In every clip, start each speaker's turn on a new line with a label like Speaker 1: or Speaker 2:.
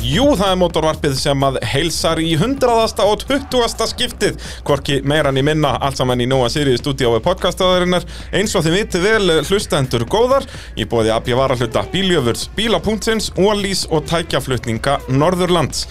Speaker 1: Jú, það er mótorvarpið sem að heilsar í hundraðasta og tuttugasta skiptið Hvorki meira en í minna, allt saman í Nóa Sirius stúdíói podcastaðarinnar Eins og þið vitið vel eh, hlustendur góðar Í bóði AB Varahluta, Bíljöfurs, Bíla.sins, Ólís og tækjaflutninga Norðurlands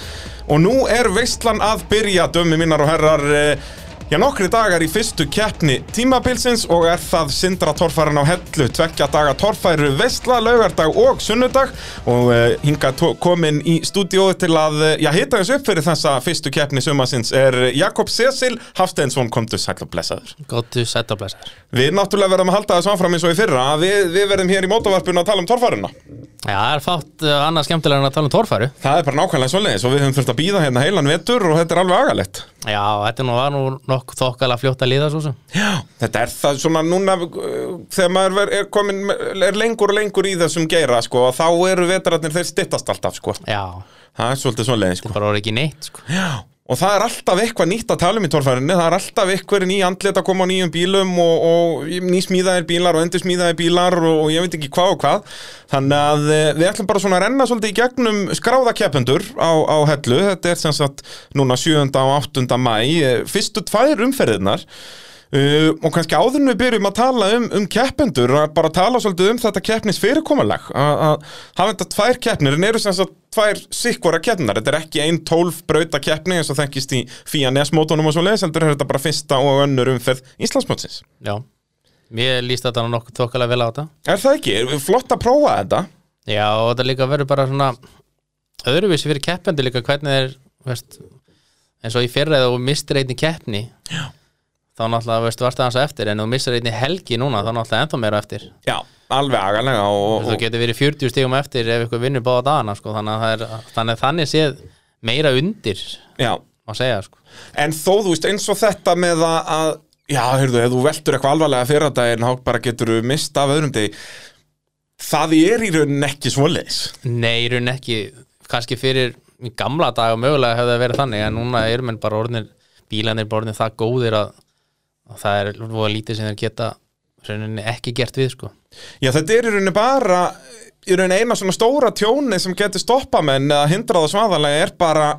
Speaker 1: Og nú er veistlan að byrja, dömi minnar og herrar eh, Já, nokkri dagar í fyrstu keppni tímabilsins og er það Sindra torfæran á hellu, tvekja daga torfæru vestla, laugardag og sunnudag og uh, hinga komin í stúdíói til að, uh, já, hita þessu upp fyrir þessa fyrstu keppni sumasins er Jakob Sesil Hafsteinsson komdu sæll og blessaður.
Speaker 2: Góttu sætt og blessaður.
Speaker 1: Við náttúrulega verðum að halda þessu áfram eins og í fyrra, að við, við verðum hér í mótavarpinu að tala um torfæruna.
Speaker 2: Já, það er fátt uh, annað skemmtilega en að tala um torfæru.
Speaker 1: Það er bara nákvæmlega svoleiðis og við höfum þurft að býða hérna heilan vetur og þetta er alveg agalegt.
Speaker 2: Já, þetta nú var nú nokkuð þokkala fljótt að líða svo sem.
Speaker 1: Já, þetta er það svona núna uh, þegar maður ver- er, komin, er lengur og lengur í þessum geira sko, að þá eru vetrarnir þeir styttast alltaf sko.
Speaker 2: Já,
Speaker 1: það er svolítið svona leið sko.
Speaker 2: bara voru ekki neitt, sko.
Speaker 1: Já, og það er alltaf eitthvað nýtt að tala um í torfærinni það er alltaf eitthvað ný andlit að koma á nýjum bílum og, og nýsmíðaðir bílar og endursmíðaðir bílar og, og ég veit ekki hvað og hvað þannig að eh, við ætlum bara svona að renna svolítið í gegnum skráða keppendur á, á hellu, þetta er sem sagt núna 7. og 8. mæ fyrstu tvær umferðinar Uh, og kannski áður en við byrjum að tala um, um keppendur, að bara tala svolítið um þetta keppnis fyrirkomalag að að hafa þetta tvær keppnir, en eru sem sagt tvær sikkvara keppnar, þetta er ekki ein tólf brauta keppni eins og þekkist í fíja nesmótonum og svo leiðis, heldur er þetta bara fyrsta og önnur umferð Íslandsmótsins
Speaker 2: Já, mér líst þetta nú nokkuð þokkala vel á þetta.
Speaker 1: Er það ekki? Er flott að prófa þetta?
Speaker 2: Já, og þetta líka verður bara svona öðruvísi fyrir keppendur líka hvernig þeir, veist, eins og í fyrra eða þú mistir einni keppni. Já. Þá náttúrulega, veist, varst það hans eftir, en ef þú mistir einni helgi núna, þá náttúrulega ennþá meira eftir.
Speaker 1: Já, alveg agalega
Speaker 2: Þú
Speaker 1: og,
Speaker 2: veist, þú
Speaker 1: og,
Speaker 2: getur verið 40 stigum eftir ef eitthvað vinnur báða dagana, sko, þannig að það er, þannig, að þannig séð meira undir,
Speaker 1: já,
Speaker 2: má segja, sko.
Speaker 1: en þó þú veist eins og þetta með að, að já, heyrðu, ef þú veltur eitthvað alvarlega fyrir þetta en þá bara getur þú mist af öðrum degi það er í raunin ekki svoleiðis
Speaker 2: Nei, í raun ekki kannski fyrir í gamla daga mögulega hefði það verið þannig en núna er menn bara orðnir bílanir bara orðnir það góðir að, að það er voða lítið sem þeir geta rauninni ekki gert við sko
Speaker 1: Já, þetta er í rauninni bara í rauninni eina svona stóra tjóni sem getur stoppa menn að hindra það svaðalega er bara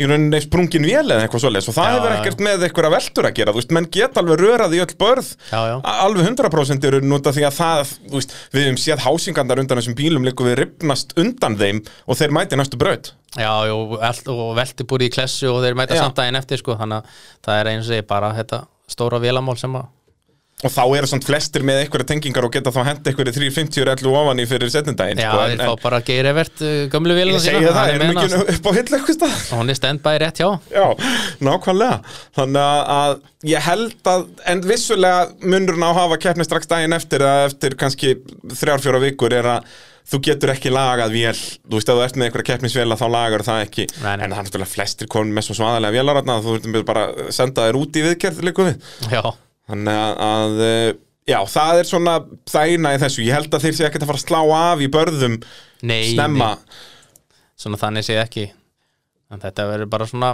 Speaker 1: í rauninni sprungin vél eða eitthvað svoleiðis og það
Speaker 2: Já,
Speaker 1: hefur
Speaker 2: já.
Speaker 1: ekkert með einhverja veldur að gera, þú veist, menn geta alveg rörað í öll börð
Speaker 2: Já, já.
Speaker 1: a- alveg 100% eru núta því að það, þú veist, við hefum séð hásingandar undan þessum bílum líka við ripnast undan þeim og þeir mæti næstu braut
Speaker 2: Já, jú, elt, og velti búið í klessu og þeir mæta
Speaker 1: Já.
Speaker 2: samt daginn eftir sko þannig að það er eins og ég bara þetta stóra vélamál sem að
Speaker 1: og þá eru samt flestir með einhverja tengingar og geta þá hent einhverja 350 ellu ofan í fyrir setnindaginn
Speaker 2: Já,
Speaker 1: sko, en-
Speaker 2: þeir
Speaker 1: en-
Speaker 2: fá bara geir evert uh, gömlu vélina
Speaker 1: Ég segi það,
Speaker 2: hann
Speaker 1: erum
Speaker 2: með
Speaker 1: ekki
Speaker 2: hana, sko.
Speaker 1: upp á hill eitthvað stað
Speaker 2: og hún er standby rétt hjá
Speaker 1: Já, nákvæmlega Þannig að- að ég held að En vissulega munur ná að hafa keppni strax daginn eftir Eða eftir kannski þrjár, fjóra vikur Er að þú getur ekki lagað vél Þú veist að þú ert með einhverja keppnisvéla Þá lagar það ekki
Speaker 2: Nei,
Speaker 1: En
Speaker 2: nei.
Speaker 1: það er náttúrulega flestir konum með svo svaðalega vélaratna Þú verður bara að senda þér út í viðkerð líku við
Speaker 2: Já,
Speaker 1: Þannig að, að eh, Já, það er svona það eina í þessu Ég held að þeir sé ekkert að fara að slá af í börðum
Speaker 2: nei
Speaker 1: Snemma
Speaker 2: svona þannig sé ekki en þetta verður bara svona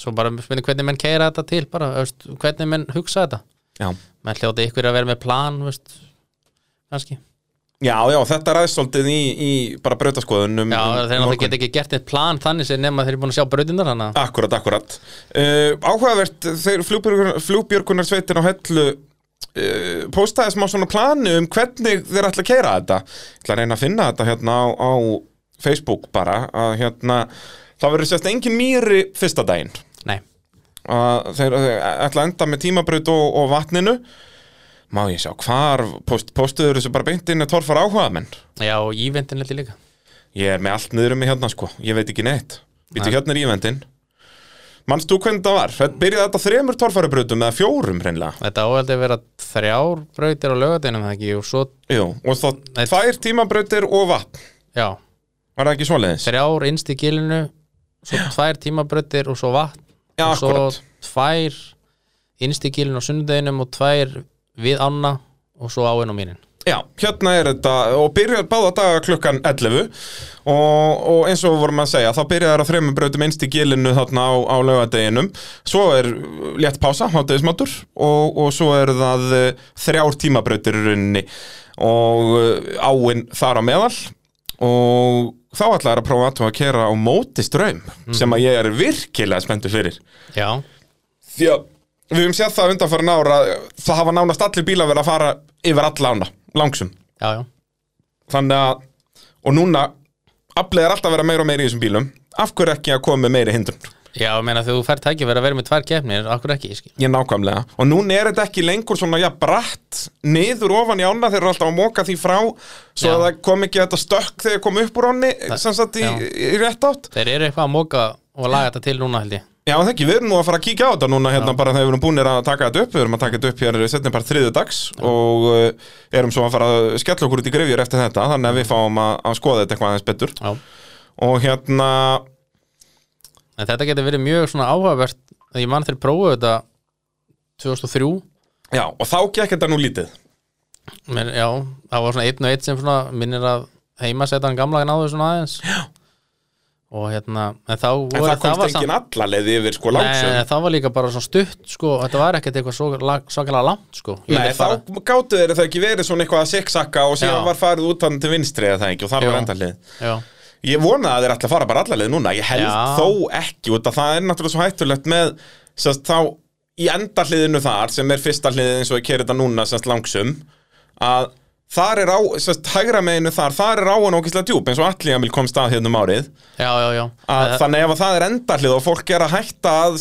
Speaker 2: svo bara spynni hvernig menn keira þetta til bara, veist, hvernig menn hugsa þetta
Speaker 1: Já
Speaker 2: menn hljóta ykkur að vera með plan veist, kannski já,
Speaker 1: Já, já, þetta ræðst svolítið í, í bara brautaskoðun um, um
Speaker 2: þeir náttúrulega
Speaker 1: morgun.
Speaker 2: geta ekki gert eitt plan þannig sem nema þeir eru búin að sjá brautinnar hana
Speaker 1: Akkurat, akkurat uh, Áhugavert, þeir flugbjörgunar, flugbjörgunarsveitin á hellu uh, postaði smá svona planu um hvernig þeir ætla að keira þetta Ég ætla að reyna að finna þetta hérna á, á Facebook bara að hérna Það verður sérst engin mýri fyrsta daginn
Speaker 2: nei,
Speaker 1: að þeir þeir ætla að enda með tímabraut og, og vatninu Má ég sjá, hvar post, postuður þessu bara beint inn að torfar áhugamenn
Speaker 2: já, og ívendin heldur líka
Speaker 1: Ég er með allt niður um mig hérna sko, ég veit ekki neitt Býtu hérna er ívendin Manst þú hvernig það var? Þetta byrjaði þetta á þremur torfærubrautum eða fjórum hreinlega
Speaker 2: þetta áhaldi að vera þrjár brautir á lögadeinum það ekki, og svo,
Speaker 1: Jú, og þá
Speaker 2: Nei.
Speaker 1: tvær tímabrautir og vatn
Speaker 2: já,
Speaker 1: Var það ekki svoleiðis?
Speaker 2: þrjár innst í gilinu svo tvær tímabrautir og svo vatn
Speaker 1: Já,
Speaker 2: og svo
Speaker 1: akkurat
Speaker 2: tvær innst í gilinu á sunnudeginum og tvær við ána og svo áin og mýrin
Speaker 1: Já, hérna er þetta og byrjar báða daga klukkan 11 og, og eins og við vorum að segja þá byrjar það á þremur brautum einst í gilinu þarna á, á laugardeginum svo er uh, létt pása, hátegismatur og, og svo er það eh, uh, þrjár tímabrautir í rauninni og uh, áin eh, þar á meðal og þá ætla er að prófa aðtum að kera á móti ströym sem að ég er virkilega spenntur fyrir
Speaker 2: já,
Speaker 1: því að við höfum séð það undanfærin ára það hafa nánast allir bílar verið að fara yfir all ána, langsum
Speaker 2: já, já,
Speaker 1: þannig að, og núna aflið er alltaf að vera meira og meira í þessum bílum af hverju ekki að koma með meiri hindrun
Speaker 2: já, ég meina þú fær tækifæri að vera með tvær keppnir, akkur ekki, ég skil
Speaker 1: ég nákvæmlega, og núna er þetta ekki lengur svona, já, bratt niður ofan í ána þeir eru alltaf að móka því frá svo
Speaker 2: Já.
Speaker 1: að það kom ekki þetta stökk þegar kom upp úr ánni, sem sagt í,
Speaker 2: já.
Speaker 1: í rétt átt
Speaker 2: Þeir eru eitthvað að móka og laga þetta til núna held ég
Speaker 1: já, það ekki, við erum nú að fara að kíkja á þetta núna hérna bara þegar við erum búinir að taka þetta upp við erum að taka þetta upp hér setnum bara þriðu dags og uh, erum svo að fara að skella okkur út í grefjur eftir þetta, þannig að við fáum að, að skoða þetta eitthvað aðeins betur
Speaker 2: Já.
Speaker 1: og hérna,
Speaker 2: En þetta getur verið mjög svona áhugavert að ég man þeir prófuðu þetta 2003
Speaker 1: já, og þá gekk þetta nú lítið
Speaker 2: Men, Já, það var svona einn og einn sem svona minnir að heima setja hann gamla en áður svona aðeins Já Og hérna, en þá
Speaker 1: En
Speaker 2: voru-
Speaker 1: það komst
Speaker 2: var
Speaker 1: engin alla leið yfir sko
Speaker 2: Nei,
Speaker 1: langsum
Speaker 2: en það var líka bara svona stutt sko, þetta var ekkert eitthvað svo, la- svakalega langt sko Ég
Speaker 1: Nei,
Speaker 2: vil fara-
Speaker 1: þá gátu þeir það ekki verið svona eitthvað að siksakka og síðan
Speaker 2: Já.
Speaker 1: var farið út hann til vinstri eða það ekki og þar
Speaker 2: Jú.
Speaker 1: var endanlið
Speaker 2: Já,
Speaker 1: Ég vona að þeir ætla að fara bara alla leið núna Ég held
Speaker 2: Já.
Speaker 1: þó ekki út að það er náttúrulega svo hættulegt með sérst, þá í endahliðinu þar sem er fyrsta hliðið eins og ég keri þetta núna sérst, langsum að þar er á sérst, hægra meginu þar, þar er áan ókislega djúp eins og allir Emil komst að hérna um árið
Speaker 2: já, já, já Eh,
Speaker 1: að
Speaker 2: Að-
Speaker 1: þannig ef að það er endahlið og fólk er að hætta að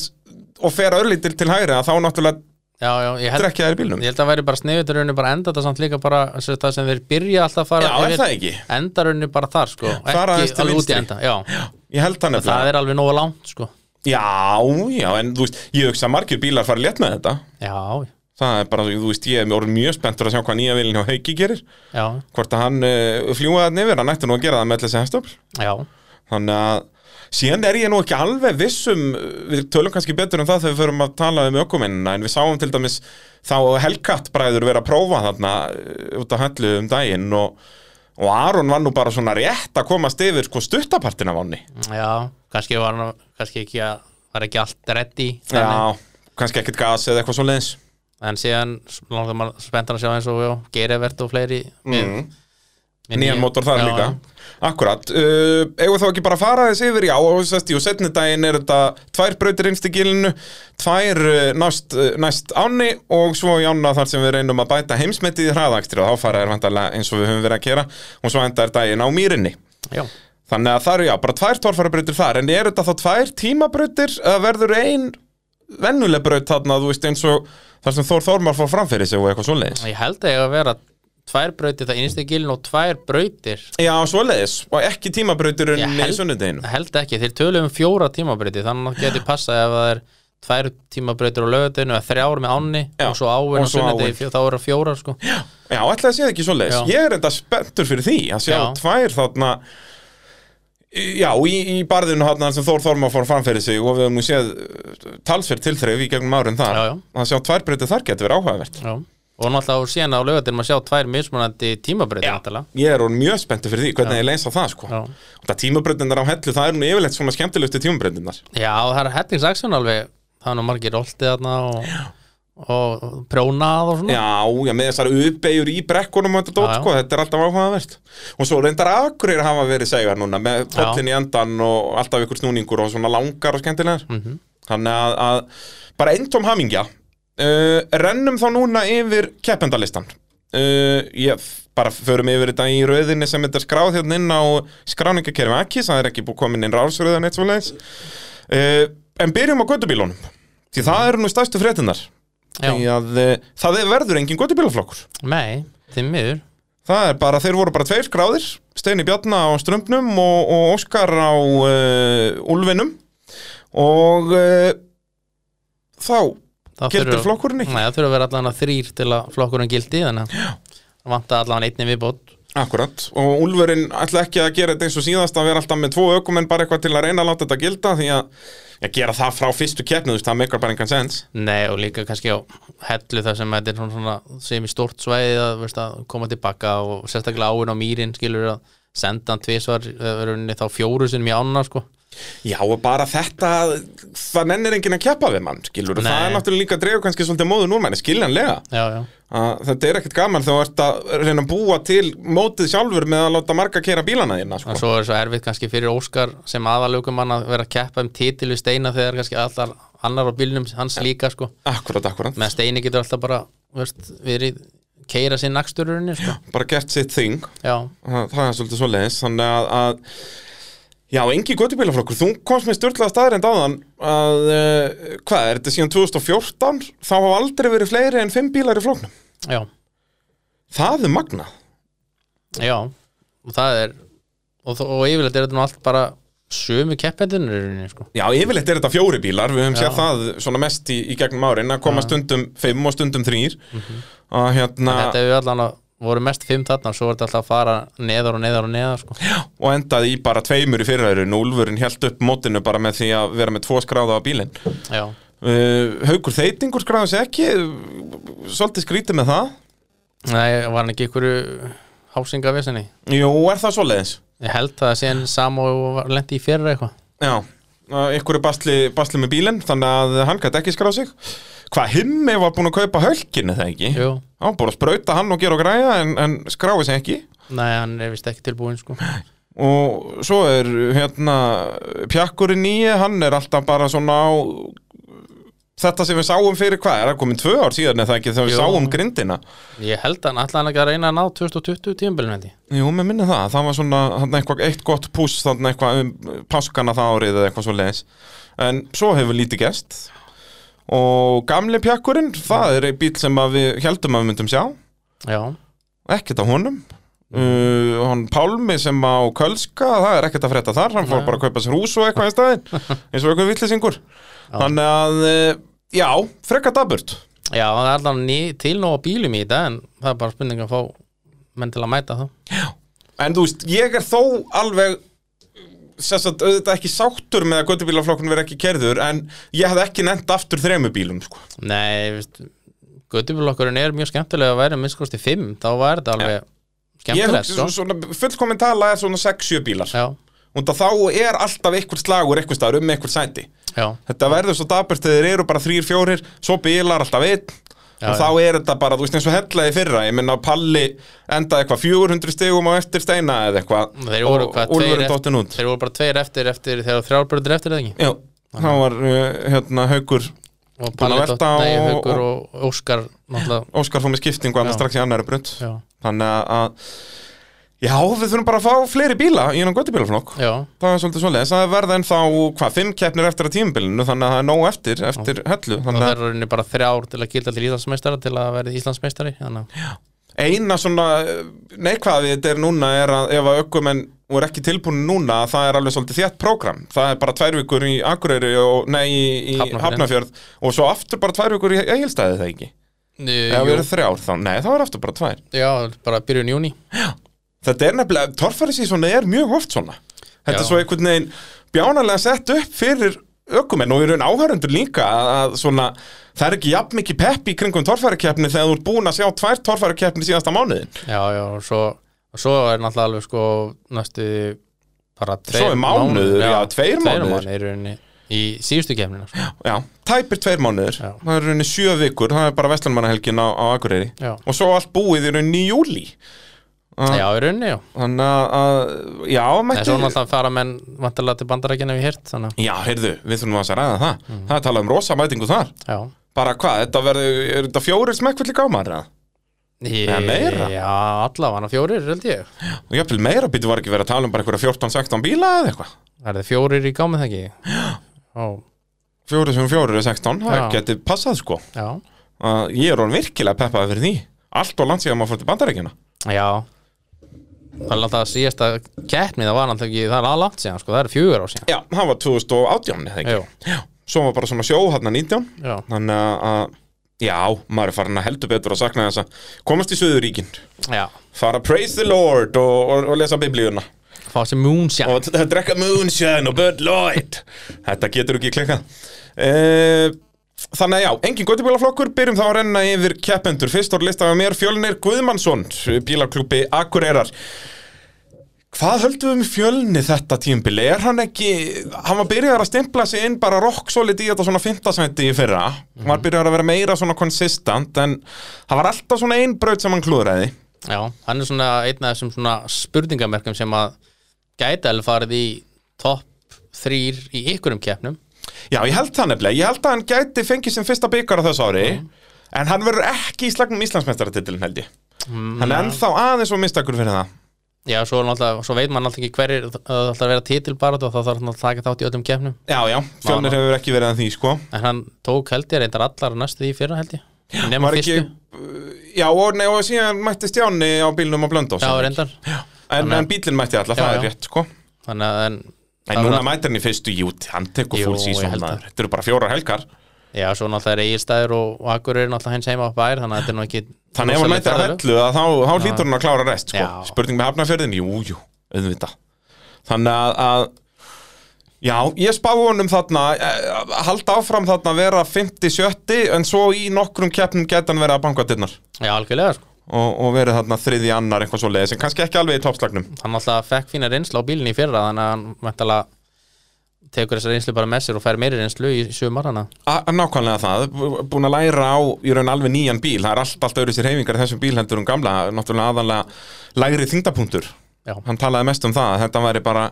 Speaker 1: og fer örlítil til hægri að þá náttúrulega
Speaker 2: Já, já, ég held,
Speaker 1: drekja þær í bílnum
Speaker 2: ég held að væri bara sniðut rauninu bara að enda þetta samt líka bara sem sagt, það sem þeir byrja alltaf að fara
Speaker 1: Já, er
Speaker 2: yfir-
Speaker 1: það ekki?
Speaker 2: enda rauninu bara þar sko
Speaker 1: Fara aðeins
Speaker 2: ekki
Speaker 1: til
Speaker 2: alveg út í
Speaker 1: vinstri.
Speaker 2: enda já.
Speaker 1: Ég held það nefnilega
Speaker 2: það er alveg nógu langt sko
Speaker 1: Já, já, en þú veist, ég hugsa að margir bílar fara létt með þetta
Speaker 2: já,
Speaker 1: Það er bara, þú veist, ég er orðin mjög spenntur að sjá hvað nýja vilin hjá Hauki gerir
Speaker 2: já,
Speaker 1: Hvort að hann uh, fljúa þannig yfir, hann ætti nú að gera það með allir sem hefstöfl
Speaker 2: já
Speaker 1: Þannig að síðan er ég nú ekki alveg viss um, við tölum kannski betur um það þegar við förum að tala um ökumennina en við sáum til dæmis þá Helgat bræður vera að prófa þarna eh, út að höllu um daginn og, og Aron var nú bara svona rétt að komast yfir sko stuttapartin af ánni
Speaker 2: já, kannski var hann kannski ekki að var ekki allt ready þannig.
Speaker 1: Já, kannski ekkert gas eða eitthvað svo leiðis
Speaker 2: en síðan langt að maður spenntar að sjá eins og já, Geirivert og fleiri mm.
Speaker 1: Nýjan mótor þar líka Akkurat, uh, eigum við þá ekki bara að fara þess yfir já og sérst, jú, setni daginn er þetta tvær brautir innst í gilinu tvær uh, næst, uh, næst áni og svo í ána þar sem við reynum að bæta heimsmetið í hraðakstri og þá fara er vandalega eins og við höfum verið að gera og svo endar daginn á mýrinni
Speaker 2: já,
Speaker 1: Þannig að það eru já, bara tvær torfarabrautir þar en er þetta þá tvær tímabrautir eða verður ein vennuleg braut þarna, þú veist, eins og þar sem Þór Þórmar fór framfyrir sig og eitthvað svoleiðis
Speaker 2: ég held að ég að vera tvær brautir það innstu gilin og tvær brautir
Speaker 1: Já, svoleiðis, og ekki tímabrautur
Speaker 2: Ég
Speaker 1: í
Speaker 2: held-
Speaker 1: sunnudeginu
Speaker 2: held ekki, þeir töluðum fjóra tímabrautir þannig að geti passað ef það er tvær tímabrautir á lögutinu eða þrjár með ánni
Speaker 1: Já,
Speaker 2: og svo áin
Speaker 1: og
Speaker 2: og
Speaker 1: svo
Speaker 2: sunnudegi
Speaker 1: áin.
Speaker 2: fjó- þá eru það fjórar sko já,
Speaker 1: Já, ætlaði að sé það ekki svoleiðis.
Speaker 2: Já.
Speaker 1: Ég er enda spenntur fyrir því að sjá
Speaker 2: Já.
Speaker 1: tvær þarna Já, í, í barðinu þarna sem Þór Þorma fór fram fyrir sig og við höfum nú séð uh, talsverð tilþreyf í gegnum árin þar
Speaker 2: Já, já.
Speaker 1: að sjá tvær breytið þar getur verið áhugavert
Speaker 2: og náttúrulega síðan á lögutinu maður sjá tvær mismunandi tímabrautir náttúrulega
Speaker 1: Ég er orðinn mjög spenntur fyrir því, hvernig ég leins á það sko.
Speaker 2: Já.
Speaker 1: Það tímabreytinnar á hellu, það er nú yfirleitt svona skemmtilegustu tímabreytinnar
Speaker 2: já, og það er hellingsaksun alveg það er nú margir oltið þarna og, og, og prjónað og svona
Speaker 1: Já, já, með þessar uppeyjur í brekkunum og þetta dót,
Speaker 2: Já, já.
Speaker 1: sko, þetta er alltaf áhugavert og svo reyndar akurir hafa verið segar núna með pollin í endan og alltaf ykkur snúningur og svona langar og skemmtilegar
Speaker 2: Mhm.
Speaker 1: þannig að, að bara eintóm hamingja uh, rennum þá núna yfir keppendalistan uh, ég bara förum yfir þetta í röðinni sem þetta er skráð hérna inn á skráningakerfi ekki, það er ekki búið komin inn rásröðan eitt svo leiðis uh, en byrjum á göttubílunum því það eru nú stærstu fréttinnar því að e, það er- verður engin göttubílaflokkur
Speaker 2: nei, þimmiður
Speaker 1: það er bara, þeir voru bara tveir skráðir Steini Bjarna á strömbnum og, og Óskar á uh, Ulfinum og uh, þá
Speaker 2: það
Speaker 1: gildur
Speaker 2: þurfa-
Speaker 1: flokkurinn ekki
Speaker 2: nei, það þurfa að vera allan að þrýr til að flokkurinn gildi þannig að vanta allan einni viðbót
Speaker 1: Akkurat, og Úlfurinn ætla ekki að gera þetta eins og síðast að vera alltaf með tvo ökumenn bara eitthvað til að reyna að láta þetta gilda því að að gera það frá fyrstu keppni, þú veist, það meikar bara engan sens
Speaker 2: Nei og líka kannski á hellu þar sem þetta er svona, svona sem í stórt svæði að, veist, að koma tilbaka og sérstaklega áin á mýrin skilur að senda hann tvisvar eh, rauninni, þá fjóru sinni í ána sko.
Speaker 1: Já, og bara þetta, það nennir enginn að keppa við mann, skilur,
Speaker 2: Nei.
Speaker 1: það er náttúrulega líka að drefa kannski svolítið móðun úr manni, skiljanlega.
Speaker 2: já, já,
Speaker 1: Að Þetta er ekkert gaman þegar þú ert að reyna að búa til mótið sjálfur með að láta marga kera bílana þína,
Speaker 2: og
Speaker 1: sko.
Speaker 2: svo er svo erfitt kannski fyrir Óskar sem aðalökum hann að vera að keppa um titil við Steina þegar kannski allar annar á bílnum hans líka sko
Speaker 1: Akkurat, akkurat.
Speaker 2: meðan Steini getur alltaf bara veist, verið keira sinn akstururinni sko.
Speaker 1: Bara gert sitt þing,
Speaker 2: já,
Speaker 1: það það er svolítið svo leiðis, þannig að, að Já, engi göttubílaflokkur, þú komst með störtlega staðrind áðan að, uh, hvað, er þetta síðan 2014, þá hafa aldrei verið fleiri en fimm bílar í flóknum.
Speaker 2: já,
Speaker 1: Það er magnað.
Speaker 2: já og það er og, þó- og yfirleitt er þetta nú allt bara sömu keppendunir sko.
Speaker 1: Já, yfirleitt er þetta fjóri bílar, við höfum
Speaker 2: Já.
Speaker 1: séð það svona mest í, í gegnum árin að koma stundum fimm og stundum þrýr og hérna,
Speaker 2: Mhm. þetta hefur allan að voru mest fimm þarna og svo er þetta alltaf að fara neðar og neðar og neðar sko.
Speaker 1: og endaði í bara tveimur í fyrirhæðurinn og Úlfurinn held upp mótinu bara með því að vera með tvo skráða á bílinn.
Speaker 2: já,
Speaker 1: Uh, Haukur Þeitingur skráði sig ekki, uh, svolítið skrítið með það.
Speaker 2: nei, var hann ekki ykkur hásingavesinni
Speaker 1: Jú, er það svoleiðis?
Speaker 2: ég held það að síðan Samo var lendi í fyrra eitthvað
Speaker 1: Já, uh, ykkur er basli, basli með bílinn, þannig að hann gæti ekki skráð sig. Hvað, himmi var búin að kaupa hölkinni það ekki?
Speaker 2: Jú,
Speaker 1: Hann búin að sprauta hann og gera og græja en, en skráði sig ekki.
Speaker 2: nei, hann er vist ekki tilbúin sko.
Speaker 1: og svo er hérna pjakkurinn nýja, hann er alltaf bara svona á þetta sem við sáum fyrir hvað, er það komin tvö ár síðan eða ekki þegar við
Speaker 2: Jú.
Speaker 1: sáum grindina
Speaker 2: Ég held hann allan ekki að reyna að ná 2020 tímabilin hendi
Speaker 1: Jú, mér minni það, það var svona þarna eitthvað, eitt gott púss, þarna eitthvað um páskana það árið eða eitthvað svo leis en svo hefur lítið gest og gamli pjakkurinn það er einn bíl sem að við heldum að við myndum sjá
Speaker 2: Já,
Speaker 1: ekkert á honum uh, hann Pálmi sem á Kölska það er ekkert að frétta þar, hann fór
Speaker 2: Nei.
Speaker 1: bara að kaupa sér hús og eitthvað í staðinn, eins og eitthvað vittlisingur þannig að uh, já, frekka daburt
Speaker 2: já það er allan ný, til nóg bílum í þetta en það er bara spurning að fá menn til að mæta það
Speaker 1: en þú veist, ég er þó alveg sem sagt, auðvitað ekki sáttur með að göttubílaflokkun verið ekki kerður en ég hafði ekki nefnt aftur þremu bílum sko.
Speaker 2: Nei, veist Götubílokkurinn er mjög skemmtilega að vera minnskosti 5 þá var þetta alveg
Speaker 1: ég
Speaker 2: skemmtilegt
Speaker 1: hugsi
Speaker 2: sko.
Speaker 1: svona, fullkomin tala er svona 6-7 bílar
Speaker 2: Já,
Speaker 1: og þá er alltaf einhver slagur einhver staður um einhver sæti
Speaker 2: já,
Speaker 1: Þetta verður svo daburt þegar þeir eru bara þrýr, fjórir Svo bílar alltaf einn Og
Speaker 2: Já, já.
Speaker 1: þá er þetta bara, þú veist eins og hellaði í fyrra Ég minna að Palli endaði eitthvað 400 stigum á eftir steina eða eitthvað
Speaker 2: þeir voru hvað
Speaker 1: Úlfur
Speaker 2: tveir
Speaker 1: er dottin
Speaker 2: eftir,
Speaker 1: út
Speaker 2: Þeir voru bara tveir eftir, eftir þegar þrjárbröður eftir eða ekki
Speaker 1: Já, þá var uh, hérna Haukur
Speaker 2: og
Speaker 1: Búin að
Speaker 2: Palli
Speaker 1: velta
Speaker 2: Dott, nei,
Speaker 1: og-
Speaker 2: Haukur og Óskar náttúrulega,
Speaker 1: Óskar fór með skiptingu annars
Speaker 2: Já.
Speaker 1: strax í annari brunt
Speaker 2: já,
Speaker 1: Þannig að- að Já, við þurfum bara að fá fleiri bíla í hennan göttubílaflokk
Speaker 2: já,
Speaker 1: Það er svolítið svolítið, það verða ennþá hvað, fimm keppnir eftir að tímabilinu þannig að það er nóg eftir, eftir hellu
Speaker 2: og
Speaker 1: þannig
Speaker 2: það
Speaker 1: að-
Speaker 2: er rauninni bara þrjár til að gilda til Íslandsmeistara til að verði Íslandsmeistari þannig að
Speaker 1: eina svona neikvæði þetta er núna er að ef að ökkumenn voru ekki tilbúin núna að það er alveg svolítið þétt prógram það er bara tvær vikur í Akureyri og, nei, í, í
Speaker 2: Hafnarfjörð.
Speaker 1: Hafnafjörð og svo aftur bara tvær vikur í Egilstæði það ekki eða við
Speaker 2: Jú,
Speaker 1: erum þrjár þá, nei það var aftur bara tvær
Speaker 2: Já, bara byrjun júni
Speaker 1: þetta er nefnilega, torfæri síðan er mjög oft svona þetta
Speaker 2: Já.
Speaker 1: er svo einhvern veginn bjánalega sett upp fyrir ökkumenn og í raun áhörundur líka að, að svona, það er ekki jafn mikið pepp í kringum torfærakeppni þegar þú ert búin að sjá tvær torfærakeppni síðasta mánuðin
Speaker 2: Já, já, og svo, og svo er náttúrulega alveg sko næstu bara tveir
Speaker 1: Svo er mánuður, já, tveir mánuðir.
Speaker 2: mánuðir í rauninni í síðustu kemnina sko.
Speaker 1: Já, tæpir tveir mánuður
Speaker 2: Já.
Speaker 1: Það er rauninni sjö vikur, það er bara Vestlandmannahelgin á, á Akureyri
Speaker 2: Já.
Speaker 1: Og svo allt búið í rauninni í júli Ah.
Speaker 2: Já, í rauninni, já
Speaker 1: Þannig að- að, já,
Speaker 2: En svo
Speaker 1: mætti
Speaker 2: náttúrulega fara menn vantarlega til bandarækina við hirt þannig, að-
Speaker 1: Já, heyrðu, við þurfum að ræða það
Speaker 2: Mhm.
Speaker 1: Það er talað um rosa mætingu þar
Speaker 2: já
Speaker 1: Bara hvað, þetta verður, er þetta fjórir smekkvill í gámar eða?
Speaker 2: Ég,
Speaker 1: Eða meira?
Speaker 2: Já, allavega fjórir, held ég
Speaker 1: Og jafnvel meira býtu var ekki verið að tala um bara einhverja 14-16 bíla eða eitthvað
Speaker 2: Það er þið fjórir í gámið það ekki Já,
Speaker 1: Fjórir sem fjórir er 16, það
Speaker 2: Já.
Speaker 1: geti passað sko
Speaker 2: já,
Speaker 1: að Ég er orðin virkilega peppaði fyrir því Allt og langt síðan maður fór til bandarækina
Speaker 2: já Það er alltaf síðasta keppni það var náttúrulega ekki, það er alveg langt síðan sko, það er fjögur á síðan
Speaker 1: Já, það var 2018 eða ekki
Speaker 2: Jú,
Speaker 1: Svo var bara svona sjó hann 19
Speaker 2: já,
Speaker 1: þannig að- að já, maður er farin að heldur betur að sakna þess að komast í Suðuríkin
Speaker 2: já
Speaker 1: fara að praise the Lord og, og, og lesa biblíuna
Speaker 2: Fá sér moonshine
Speaker 1: og t- drekka moonshine og Bud Light þetta getur ekki klikkað e Þannig að já, engin göttubílaflokkur, byrjum þá að renna yfir keppendur. Fyrst voru listað með mér Fjölnir Guðmannsson, bílaklúpi Akureyrar. Hvað höldum við um fjölni þetta tímbili? Er hann ekki, hann var byrjar að stimpla sig inn bara rock solid í þetta svona fintasæti í fyrra Hann var byrjar að vera meira svona konsistant en hann var alltaf svona ein braut sem hann klúðraði
Speaker 2: Já, hann er svona einn af þessum svona spurningamerkjum sem að gæti alveg farið í topp þrýr í ykkurum keppnum
Speaker 1: Já, ég held það nefnilega, ég held að hann gæti fengið sem fyrsta byggar á þessu ári
Speaker 2: Mm.
Speaker 1: En hann verður ekki í slagnum Íslandsmeistaratitilin held ég
Speaker 2: Mm.
Speaker 1: Hann er ennþá aðeins og mistakur fyrir það
Speaker 2: Já, svo, er náttúrulega- svo veit maður alltaf ekki hverjir það það ætlar að vera titilbarat og þá þarf hann að taka þátt í öllum keppnum
Speaker 1: Já, já, fjölnir hefur ekki verið að því sko
Speaker 2: en hann tók held ég reyndar allar næstu því í fyrra held ég nema
Speaker 1: Var ekki,
Speaker 2: fyrstu,
Speaker 1: já, og, nei, og síðan mætti Stjáni á bílnum á Blöndós
Speaker 2: já
Speaker 1: en,
Speaker 2: reyndar
Speaker 1: en, en bílinn mætti alltaf,
Speaker 2: Já,
Speaker 1: það
Speaker 2: já.
Speaker 1: er rétt sko
Speaker 2: þannig að en,
Speaker 1: En
Speaker 2: það var
Speaker 1: núna
Speaker 2: allt-
Speaker 1: mætir hann í fyrstu jút, hann tekur
Speaker 2: Jú,
Speaker 1: full season
Speaker 2: ég held
Speaker 1: maður. Þetta eru bara fjórar helgar
Speaker 2: já, svo náttúrulega er eigirstæður og, og akkur er náttúrulega hins heima á bær þannig að þetta er nú ekki
Speaker 1: Þannig ef hann
Speaker 2: rosalega
Speaker 1: mætir að
Speaker 2: ferðalög.
Speaker 1: hellu að þá, þá hlýtur hann að klára rest sko.
Speaker 2: Já.
Speaker 1: Spurning með hafnafjörðin, jú, jú, auðvitað Þannig að, að Já, ég spá honum þarna eh, að halda áfram þarna að vera 50-70 en svo í nokkrum keppnum geta hann verið að banka dinnar
Speaker 2: já, algjörlega sko
Speaker 1: og, og verið þarna þriði annar eitthvað svo leiðis en kannski ekki alveg í toppslagnum
Speaker 2: hann náttúrulega fekk fína reynslu á bílinni í fyrra þannig að hann mættalega tekur þessa reynslu bara með sér og fær meiri reynslu í sumar hana
Speaker 1: A- Nákvæmlega það, b- búin að læra á í raun alveg nýjan bíl, það er allt, allt öðru sér heifingar í þessum bíl heldur um gamla, náttúrulega aðanlega lægri þingdapunktur,
Speaker 2: Já.
Speaker 1: hann talaði mest um það, að þetta væri bara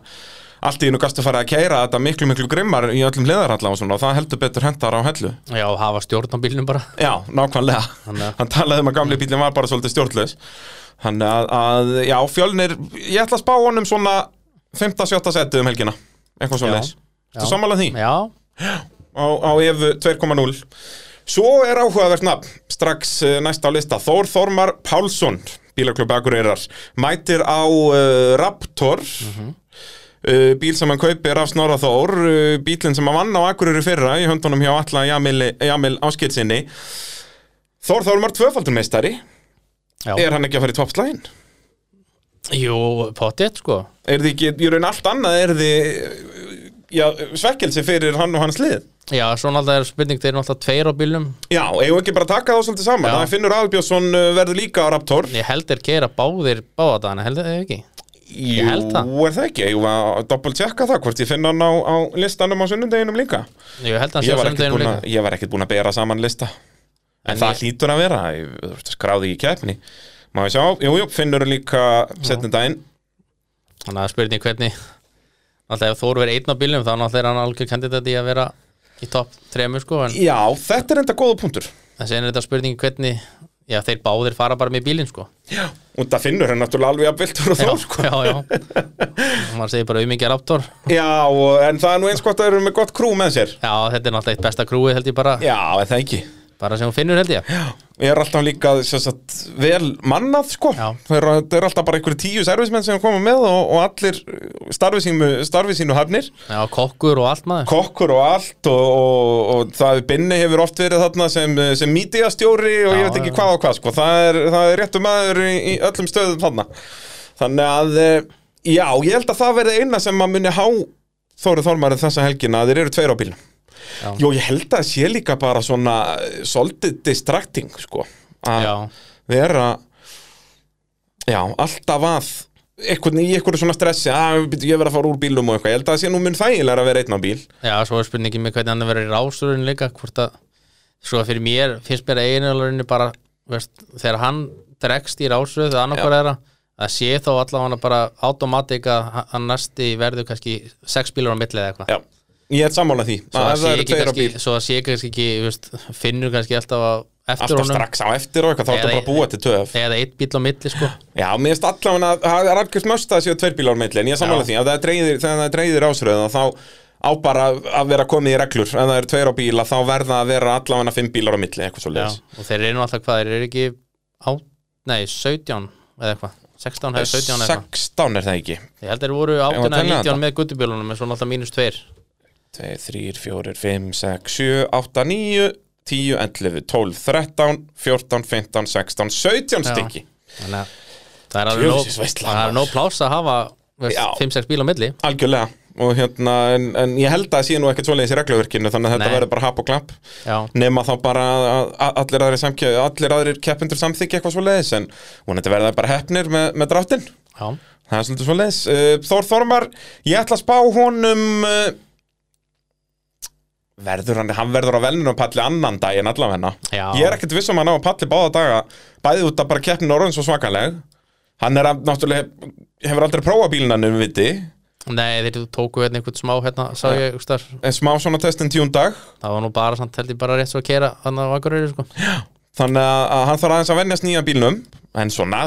Speaker 1: allt í einu gastu farið að keira þetta miklu miklu grimmar í öllum hliðarhalla og svona og það heldur betur hendar á hellu.
Speaker 2: já, og hafa stjórn á bílnum bara
Speaker 1: Já, nákvæmlega,
Speaker 2: Þannig að-
Speaker 1: hann talaði um að gamli bílinn var bara svolítið stjórnlaus, hann að, að já, fjölnir, ég ætla að spá honum svona 15-17 seti um helgina, eitthvað
Speaker 2: Já.
Speaker 1: svona leis, þú sammála því?
Speaker 2: já,
Speaker 1: á, á EFU 2.0 Svo er áhugavert nafn strax eh, næst á lista Þór Þormar Pálsson bílaklubbi Akureyrar mætir á uh, Raptor uh, bíl sem hann kaupir af Snorra Þór uh, bílinn sem hann vann á Akureyri í fyrra í höndunum hjá Alla Jamil, Jamil Áskilsinni Þór Þormar tvöfaldurmeistari
Speaker 2: já.
Speaker 1: er hann ekki að fara í toppslægin?
Speaker 2: jú, potið sko
Speaker 1: Er þið ekki, ég raun allt annað er þið eh, já, svekkelsi fyrir hann og hans lið?
Speaker 2: já, svo náttúrulega er spurning þeir eru náttúrulega tveir á bílnum
Speaker 1: Já, eigum við ekki bara að taka þá svolítið saman
Speaker 2: Já.
Speaker 1: Það er Finnur Albjörnsson uh, verður líka á Raptor
Speaker 2: ég held þeir keira báðir báðadagana held þeir ekki
Speaker 1: Jú,
Speaker 2: held það.
Speaker 1: er það ekki, eigum við að doppelt checka það hvort ég finn hann á, á listanum á sunnundeginum líka
Speaker 2: ég held hann sé
Speaker 1: ég
Speaker 2: á
Speaker 1: var, ekkert
Speaker 2: sunnudeginum
Speaker 1: búinn
Speaker 2: líka
Speaker 1: að, ég var ekkert búin að bera saman lista En,
Speaker 2: En
Speaker 1: það
Speaker 2: ég-
Speaker 1: hlýtur að vera, ég, þú veist, skráði í keppni Má ég sjá, jú, jú, Finnur er líka setnum daginn
Speaker 2: þannig að spurning hvernig náttúrulega ef Þór verið einn á bílnum þá náttúrulega er hann algjör kandidat í að vera í topp þremur sko en
Speaker 1: Já, þetta er enda góða punktur
Speaker 2: en séðan er þetta spurning hvernig já, þeir báðir fara bara með bílinn sko
Speaker 1: Og það Finnur er náttúrulega alveg að viltur og
Speaker 2: já,
Speaker 1: þór sko.
Speaker 2: já, já Og maður segir bara auðmingja raptor
Speaker 1: Já, og- en það er nú eins gott að þeir eru með gott krú með sér
Speaker 2: já, þetta er náttúrulega eitt besta krúið held ég bara
Speaker 1: Já, er það ekki
Speaker 2: bara sem hún finnur held ég
Speaker 1: Ég er alltaf líka sem sagt, vel mannað sko
Speaker 2: Já.
Speaker 1: það eru það eru alltaf bara einhverju tíu servismenn sem koma með og, og allir starfi sínu, starfi sínu hafnir
Speaker 2: já, kokkur og allt maður
Speaker 1: kokkur og allt og, og, og það binni hefur oft verið þarna sem, sem mídíastjóri og ég
Speaker 2: Já,
Speaker 1: veit ekki
Speaker 2: já.
Speaker 1: hvað og hvað sko. það, er, það er réttum aður í, í öllum stöðum þarna þannig að eh, já, ég held að það verði eina sem maður muni há Þóru Þormarið þessa helgina að þeir eru tveir á bílum
Speaker 2: Já.
Speaker 1: Jó, ég held að það sé líka bara svona eh, svolítið distracting sko að
Speaker 2: já,
Speaker 1: vera já, alltaf að einhvern, í einhverju svona stressi að byrju, ég verð að fara úr bílum og eitthvað, ég held að það sé nú mun þægilega að vera einn á bíl
Speaker 2: já, svo er spurningin með hvernig hann verið í rásturinn líka hvort að svo fyrir mér finnst mér eiginlega bara veist, þegar hann dregst í rásuð það annarkvar er að sé þá allavega bara automatik að hann næsti verður kannski sex bílar á milli eða eitthvað
Speaker 1: já, ég er sammála því
Speaker 2: svo
Speaker 1: að
Speaker 2: að
Speaker 1: ef
Speaker 2: sé
Speaker 1: það eru
Speaker 2: ekki
Speaker 1: tveir á
Speaker 2: kannski,
Speaker 1: bíl,
Speaker 2: svo að sé kannski ekki veist, finnur kannski alltaf að eftir
Speaker 1: alltaf
Speaker 2: honum
Speaker 1: strax á eftir og eitthvað, þá er
Speaker 2: Eða-
Speaker 1: bara að búa til töf
Speaker 2: eða eitt bíl á milli sko
Speaker 1: já, mér finnst allavega að það er algjörst möst að það séu tveir bílar á milli, en ég er sammála
Speaker 2: Já.
Speaker 1: því, ef það er dreigðir, þegar það er dreigðir ásröðina þá á bara að vera komið í reglur ef það eru tveir á bíla, þá verða að vera allavega fimm bílar á milli, eitthvað svo
Speaker 2: já, og þeir eru nú alltaf hvað, þeir eru ekki á, nei, 17 eða eitthvað 16 hefur 17 eða eitthvað
Speaker 1: 16 er það ekki
Speaker 2: ég held þeir voru
Speaker 1: Eigum við að
Speaker 2: 18 eða
Speaker 1: telja
Speaker 2: 19
Speaker 1: þetta?
Speaker 2: með guttubjölunum en svo náttúrulega mínus 2
Speaker 1: 2, 3, 4, 5, 6, 7, 8, 9, 10, 11, 12, 13, 14, 15, 16, 17
Speaker 2: Já.
Speaker 1: stykki.
Speaker 2: þannig að það er alveg
Speaker 1: Djöfisins
Speaker 2: nóg,
Speaker 1: veistla,
Speaker 2: það er nóg pláss að hafa
Speaker 1: Já.
Speaker 2: 5-6 bíl á milli
Speaker 1: Algjörlega. Og hérna, en, en ég held að það sé nú ekkert svoleiðis í regluverkinu, þannig að þetta
Speaker 2: Nei.
Speaker 1: verður bara hap og klapp.
Speaker 2: já,
Speaker 1: Nema þá bara að að allir aðrir, samkjö, allir aðrir keppendur samþykja eitthvað svoleiðis, en vonandi verða bara hefnir með, með dráttin.
Speaker 2: já,
Speaker 1: Það er svolítið svo leis. Þór Þormar, ég ætla að spá honum uh, verður hann, hann verður á velninu og palli annan daginn allavegna.
Speaker 2: Já.
Speaker 1: Ég er ekkert viss um að hann á að palli báða daga bæði út af bara keppnin orðin svo svakaleg. Hann er að, náttúrulega, hefur aldrei prófað bílinn hann um viti.
Speaker 2: Nei, þeir tóku hérna einhvern smá hérna, sá ég, þú veist þar.
Speaker 1: En smá svona testin tíun dag.
Speaker 2: það var nú bara samt held ég bara rétt svo að kera hann á Akureyri sko.
Speaker 1: Þannig að, að hann þarf aðeins að vennjast nýja bílnum. En svona,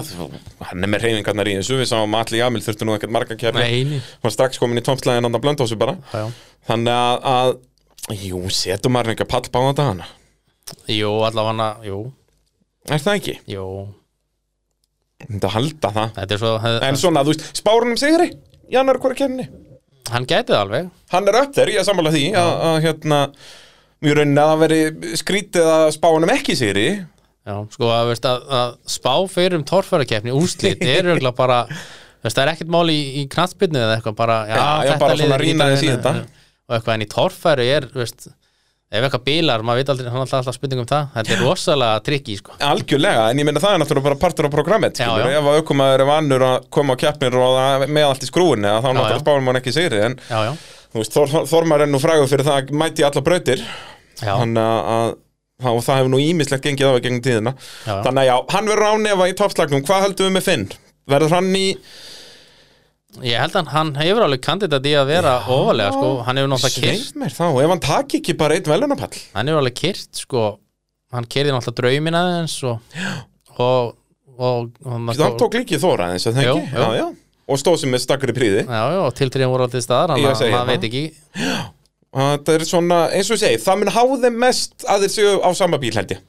Speaker 1: hann er með reyfingarnar í þessu. Við sáum að allir Jamil þurftu nú ekkert marga keppni.
Speaker 2: Nei, nei.
Speaker 1: Hann var strax komin í tómslæðin andan blöndósu bara.
Speaker 2: Já, já.
Speaker 1: Þannig að, að jú, setur maður einhver pall báða dagana.
Speaker 2: Jú, allavega jú,
Speaker 1: Er það ekki?
Speaker 2: jú
Speaker 1: Þetta halda það.
Speaker 2: Þetta er svo,
Speaker 1: En
Speaker 2: hef,
Speaker 1: svona, þú veist, spárunum sigri í annar hverju kemni.
Speaker 2: hann gæti það alveg
Speaker 1: Hann er upp þeir, ég er sammála því að, að hérna, mjög raunin að það veri skrítið að spárunum ekki sigri.
Speaker 2: Já, sko að, veist, að, að spá fyrir um torfærakeppni úrslit er örgulega bara veist, það er ekkert mál í, í knattbyrnu eða eitthvað bara, já,
Speaker 1: Já, já,
Speaker 2: þetta
Speaker 1: bara
Speaker 2: lið
Speaker 1: svona
Speaker 2: er
Speaker 1: rýna
Speaker 2: lítið
Speaker 1: aðeins í
Speaker 2: en-
Speaker 1: þetta.
Speaker 2: og eitthvað en í torfæru er veist, ef eitthvað bílar, maður veit aldrei hann er alltaf, alltaf spurning um það, þetta er rosalega trikki sko.
Speaker 1: Algjörlega, en ég meina það er náttúrulega bara partur á programmet
Speaker 2: Já,
Speaker 1: skilur,
Speaker 2: já.
Speaker 1: ef að aukumæður er vannur að koma á keppnir og það með allt í skrúinni þá náttúrulega
Speaker 2: já.
Speaker 1: spárum hann ekki sigri en
Speaker 2: já, já,
Speaker 1: þú veist, Þor, Þor- Þormar er nú frægur fyrir það að mæti alla brautir
Speaker 2: já,
Speaker 1: Þannig að, að og það hefur nú ímislegt gengið á í gegnum tíðina
Speaker 2: já, já.
Speaker 1: Þannig að já, hann verður ánefa í toppslagnum Hvað höldum við með Finn? Verður hann í
Speaker 2: ég held að hann hefur alveg kandidat í að vera ofalega, sko, hann hefur náttúrulega kyrt
Speaker 1: Sveimir þá, ef hann taki ekki bara einn velunapall
Speaker 2: hann hefur alveg kyrt, sko hann kyrði náttúrulega draumina aðeins og, og, og, og,
Speaker 1: Þannig hann tók líkið Þóra aðeins, eða
Speaker 2: Jú,
Speaker 1: ekki?
Speaker 2: jú.
Speaker 1: Já, já Og stóð sem með stakkar í príði
Speaker 2: já, já, og tiltriðan voru alltaf staðar,
Speaker 1: Ég
Speaker 2: hann
Speaker 1: segi
Speaker 2: maður
Speaker 1: það.
Speaker 2: veit ekki
Speaker 1: Það er svona, eins og ég segi, það mun há þeim mest að þeir séu á sama bíl held ég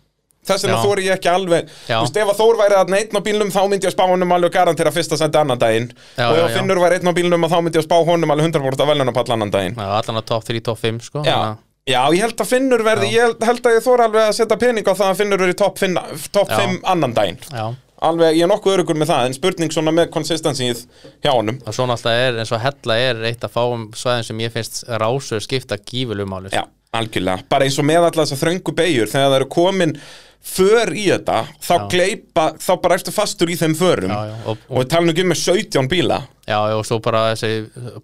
Speaker 1: Þess vegna
Speaker 2: Já.
Speaker 1: þóri ég ekki alveg Þú
Speaker 2: Já.
Speaker 1: veist, ef að Þór væri þarna einn á bílnum þá myndi ég að spá honum alveg garantera fyrsta sendi annan daginn
Speaker 2: Já,
Speaker 1: Og ef
Speaker 2: já,
Speaker 1: að
Speaker 2: já.
Speaker 1: Finnur væri einn á bílnum að þá myndi ég að spá honum alveg 100% að velunapall annan daginn
Speaker 2: Já, allan að top 3, top 5 sko
Speaker 1: Já,
Speaker 2: þannig að-
Speaker 1: já, ég held að Finnur verði, ég held, held að ég þóra alveg að setja pening á það að Finnur verði í topp finna- topp
Speaker 2: Já.
Speaker 1: 5 annan daginn
Speaker 2: já
Speaker 1: Alveg, ég er nokkuð örugur með það, en spurning svona með konsistensið hjá honum
Speaker 2: Og svona alltaf er, eins og hella er eitt af fáum svæðin sem ég finnst rásur skipta sko. gífulum áli
Speaker 1: Já, algjörlega, bara eins og með alltaf þess að þröngu beigur þegar það eru komin för í þetta, þá
Speaker 2: Já.
Speaker 1: gleypa þá bara ertu fastur í þeim förum
Speaker 2: já, já, og, og,
Speaker 1: og við talum ekki um með 17 bíla
Speaker 2: já, já, og svo bara þessi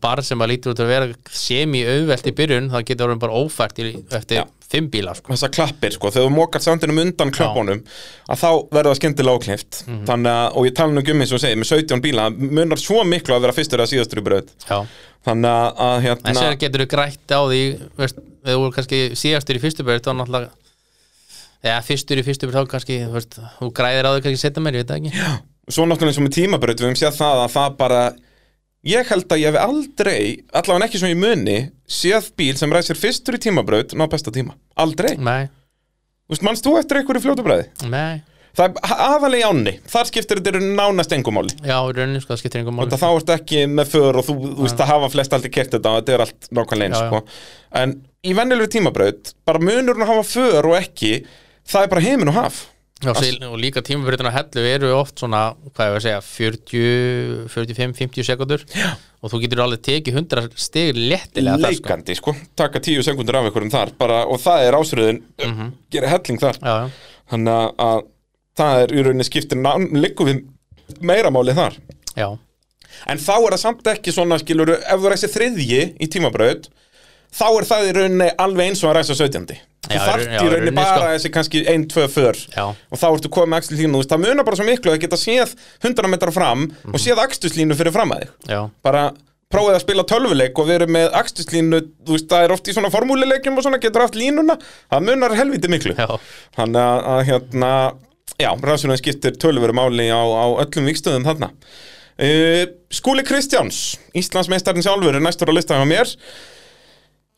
Speaker 2: bar sem að lítur út að vera semi auðvelt í byrjun, það getur orðin bara ófært í, eftir
Speaker 1: Já.
Speaker 2: 5 bílar sko
Speaker 1: þessar klappir sko, þegar þú mokar sandinum undan klöppunum að þá verður það skemmtilega áklift
Speaker 2: Mhm.
Speaker 1: þannig að, og ég tala nú ekki um eins og segi með 17 bíla, það munar svo miklu að vera fyrstur eða síðastur í braut
Speaker 2: Já,
Speaker 1: þannig að, að
Speaker 2: en
Speaker 1: hérna
Speaker 2: sér getur þú grætt á því veist, ef þú voru kannski síðastur í fyrstu byrjun þá náttúrulega Já, fyrstur í fyrstu byrjun þá kannski, þú veist, þú græðir á því kannski setja mér, ég veit það ekki
Speaker 1: svo náttúrulega eins og með tímabraut við höfum séð það að það bara ég held að ég hef aldrei, allavega ekki sem ég muni séð bíl sem ræsir fyrstur í tímabraut ná besta tíma, aldrei
Speaker 2: Nei,
Speaker 1: Þú veist, manst þú eftir einhverju fljótubræði?
Speaker 2: nei,
Speaker 1: Það er aðalega ánni, þar skiptir þetta nánast engumáli
Speaker 2: já, í rauninni, sko, það skiptir engum máli
Speaker 1: Þetta þá ertu ekki með för og þú, þú veist það hafa flest aldrei kert þetta og þetta er allt nákvæmlega eins
Speaker 2: Já, já.
Speaker 1: sko. En í venjulegu tímabraut, bara munur hún að hafa för og ekki, það er bara heimin og haf
Speaker 2: Já, sér, og líka tímabreytin á hellu eru oft svona, hvað ég var að segja, 40, 45, 50 sekundur Já. og þú getur alveg tekið 100 stig léttilega þar, sko.
Speaker 1: Leikandi, sko, taka tíu sekundur af einhverjum þar bara, og það er ásröðin, mm
Speaker 2: Mhm.
Speaker 1: gera helling þar
Speaker 2: Já, já.
Speaker 1: Þannig að, að það er í rauninni skiptir nán, liggum við meira máli þar
Speaker 2: já,
Speaker 1: En þá er það samt ekki svona, skilur, ef þú ræsir þriðji í tímabraut, þá er það í rauninni alveg eins og að ræsa sautjandi. Þú
Speaker 2: Já,
Speaker 1: þarft í
Speaker 2: í raun- já, í
Speaker 1: rauninni
Speaker 2: rauninni,
Speaker 1: bara
Speaker 2: sko.
Speaker 1: þessi kannski ein, tvö för
Speaker 2: Já.
Speaker 1: og þá ertu komið með axluslínu, þú veist, það munar bara svo miklu að geta séð 100 metrar fram
Speaker 2: Mhm.
Speaker 1: og séð axluslínu fyrir fram að þig.
Speaker 2: já,
Speaker 1: Bara prófið að spila tölvuleik og verið með axluslínu, þú veist, það er oft í svona formúlileikjum og svona getur haft línuna, það munar helviti miklu.
Speaker 2: já,
Speaker 1: Þannig að, að hérna, já, rannsóknin skiptir töluveru máli á, á öllum vikstöðum þarna. Uh, Skúli Kristjáns, Íslandsmeistarinn sjálfur er næstur á listan á mér.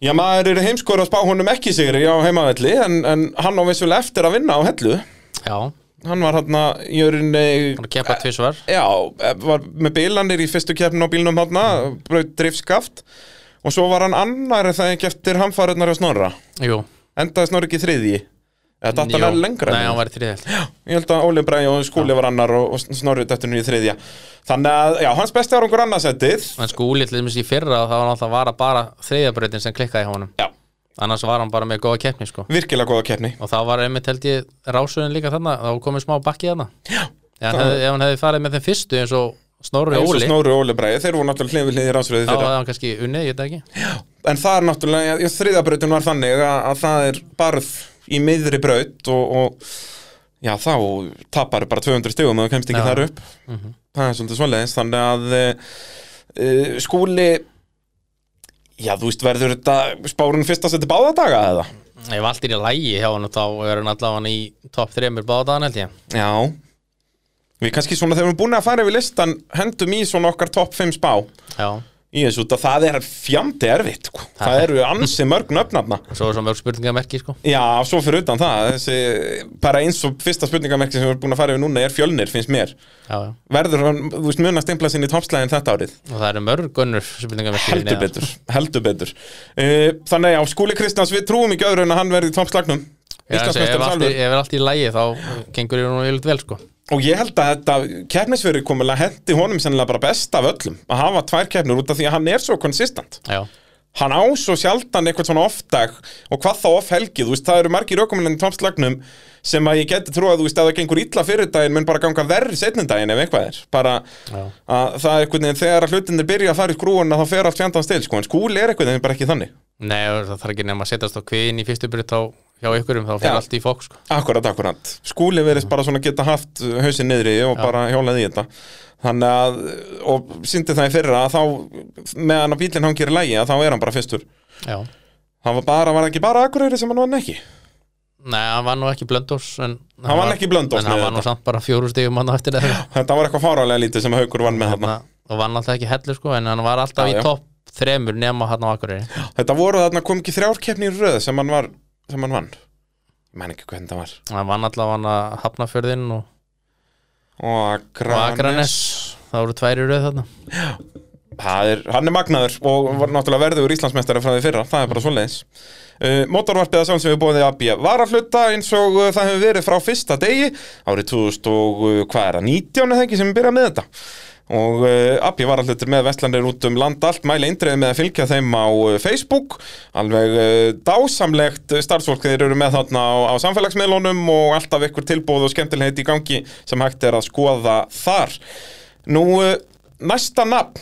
Speaker 1: Já, maður er heimskor að spá honum ekki sigri á heimavelli, en, en hann á vissulega eftir að vinna á hellu.
Speaker 2: já,
Speaker 1: Hann var hérna í örinni,
Speaker 2: hann keppa tvisvar
Speaker 1: já, eh, var með bílanir í fyrstu keppinu á bílnum hérna, braut driftskaft og svo var hann annar er það ekki eftir hamfariðnar hjá Snorra.
Speaker 2: Jú,
Speaker 1: Endaði Snorri ekki í þriðji? Eða datt hann
Speaker 2: Jú.
Speaker 1: enn lengra?
Speaker 2: Nei, hann var í þriðið
Speaker 1: Ég held að Óli Bræði og Skúli var annar og, og Snorri dættunni í þriðja Þannig að, já, hans besti árangur annarsettið
Speaker 2: En skúli, til þess í fyrra, þá var hann alltaf var bara þriðabreytin sem klikkaði hjá honum
Speaker 1: Já,
Speaker 2: annars var hann bara með góða keppni, sko
Speaker 1: virkilega góða keppni
Speaker 2: og þá var einmitt held ég rásurinn líka þarna þá komið smá bakki þarna
Speaker 1: Já,
Speaker 2: Já, hann hefði, ef hann hefði farið með þeim fyrstu eins og Snorri
Speaker 1: eins og
Speaker 2: Óli
Speaker 1: Snóri og Óli Bræði, þeir voru náttúrulega hlið við hlið í ránsröðu
Speaker 2: Já, það
Speaker 1: þeirra
Speaker 2: var kannski unnið, ég veit það ekki
Speaker 1: en það er náttúrulega, já, þriðabrautin var þannig að, að það er barð í miðri braut og, og já, þá tapar bara 200 stigum og kemst ekki
Speaker 2: Já.
Speaker 1: þar upp það er svolítið svoleiðis, þannig að e, e, skúli já, þú veist, verður þetta spárun fyrst að setja báða daga eða?
Speaker 2: Ég var alltaf í lægi hjá hann og þá er hann allavega í topp 3 báðan held ég
Speaker 1: Já Við kannski svona þegar við erum búin að fara yfir listan hendum í svona okkar topp 5 spá
Speaker 2: Já,
Speaker 1: í þessu út að það er fjandi erfitt sko. það eru ansi mörg nöfnafna
Speaker 2: svo er svo mörg spurningamerki sko
Speaker 1: Já, svo fyrir utan það þessi, bara eins og fyrsta spurningamerki sem við erum búin að fara yfir núna er fjölnir, finnst mér
Speaker 2: Já, já
Speaker 1: Verður hann, þú veist, mun að stimpla sinni í toppslæðin þetta árið
Speaker 2: Og það eru mörg önnur spurningamerki hérna,
Speaker 1: Heldur betur, heldur betur uh, Þannig já, Skúli Kristjáns, við trúum ekki öðru en að hann verði í toppslagnum
Speaker 2: Já, þessi, ef, allt, er-
Speaker 1: Íslandsmeistarinn sjálfur.
Speaker 2: ef er allt í lægi þá gengur ég nú yfirleitt vel sko
Speaker 1: Og ég held að þetta keppnisfyrir komulega hendi honum sennilega bara best af öllum að hafa tvær keppnur út af því að hann er svo konsistant
Speaker 2: Já,
Speaker 1: hann á svo sjaldan eitthvað svona off-dag og hvað þá off-helgi, þú veist, það eru margir ökumennin í toppslagnum sem að ég geti trúa að þú veist, ef það gengur illa fyrir daginn, mun bara ganga verri setnum daginn ef eitthvað er, bara
Speaker 2: já,
Speaker 1: að það er eitthvað veginn þegar að hlutinir byrja að fara í skrúuna þá fer allt fjandans til, sko, en skúli er eitthvað en bara ekki þannig,
Speaker 2: nei, og það þarf ekki nema að setjast á kviðin í fyrstu byrju þá hjá ykkurum, þá
Speaker 1: Já.
Speaker 2: fer allt í fók sko.
Speaker 1: akkurat, akkurat skúli verðist bara svona geta haft uh, hausinn niðri og bara hjólað í þetta þannig að, og síndi það í fyrra að þá, meðan að bílinn hangir í lægi að þá er hann bara fyrstur,
Speaker 2: Já,
Speaker 1: hann var bara, var það ekki bara akureyri sem hann vann ekki,
Speaker 2: nei, hann var nú ekki blöndós en
Speaker 1: hann vann ekki blönd
Speaker 2: en hann var nú samt bara fjóru stigum hann á eftir það
Speaker 1: Þetta var eitthvað fárálega lítið sem Haukur vann með þarna.
Speaker 2: Þarna- og vann alltaf ekki hellu sko en hann var alltaf
Speaker 1: Já, já.
Speaker 2: í topp þremur nema hann á Akureyri
Speaker 1: Þetta voru þarna kom ekki þrjár keppni í röð sem hann, var, sem hann vann. Ég menn ekki hvernig það var.
Speaker 2: hann vann alltaf hann að Hafnafjörðin og,
Speaker 1: Og
Speaker 2: og
Speaker 1: Akranes.
Speaker 2: Akranes það voru tværi rauð þarna
Speaker 1: Það er, hann er magnaður og var náttúrulega verður Íslandsmeistari frá því fyrra. Það er bara svoleiðis. Uh, Mótorvarpið að sjálfum sem við bóðið AB var að hluta eins og uh, það hefur verið frá fyrsta degi árið 2000 og uh, hvað er það, 19 eða ekki sem við byrjað með þetta. Og uh, Abbi var alltaf með vestlandir út um land allt, mæli eindriðið með að fylgja þeim á uh, Facebook, alveg uh, dásamlegt starfsfólk þeir eru með þarna á, á samfélagsmiðlunum og alltaf ykkur tilbúð og skemmtilegheit í gangi sem hægt er að skoða þar. Nú, uh, næsta nafn,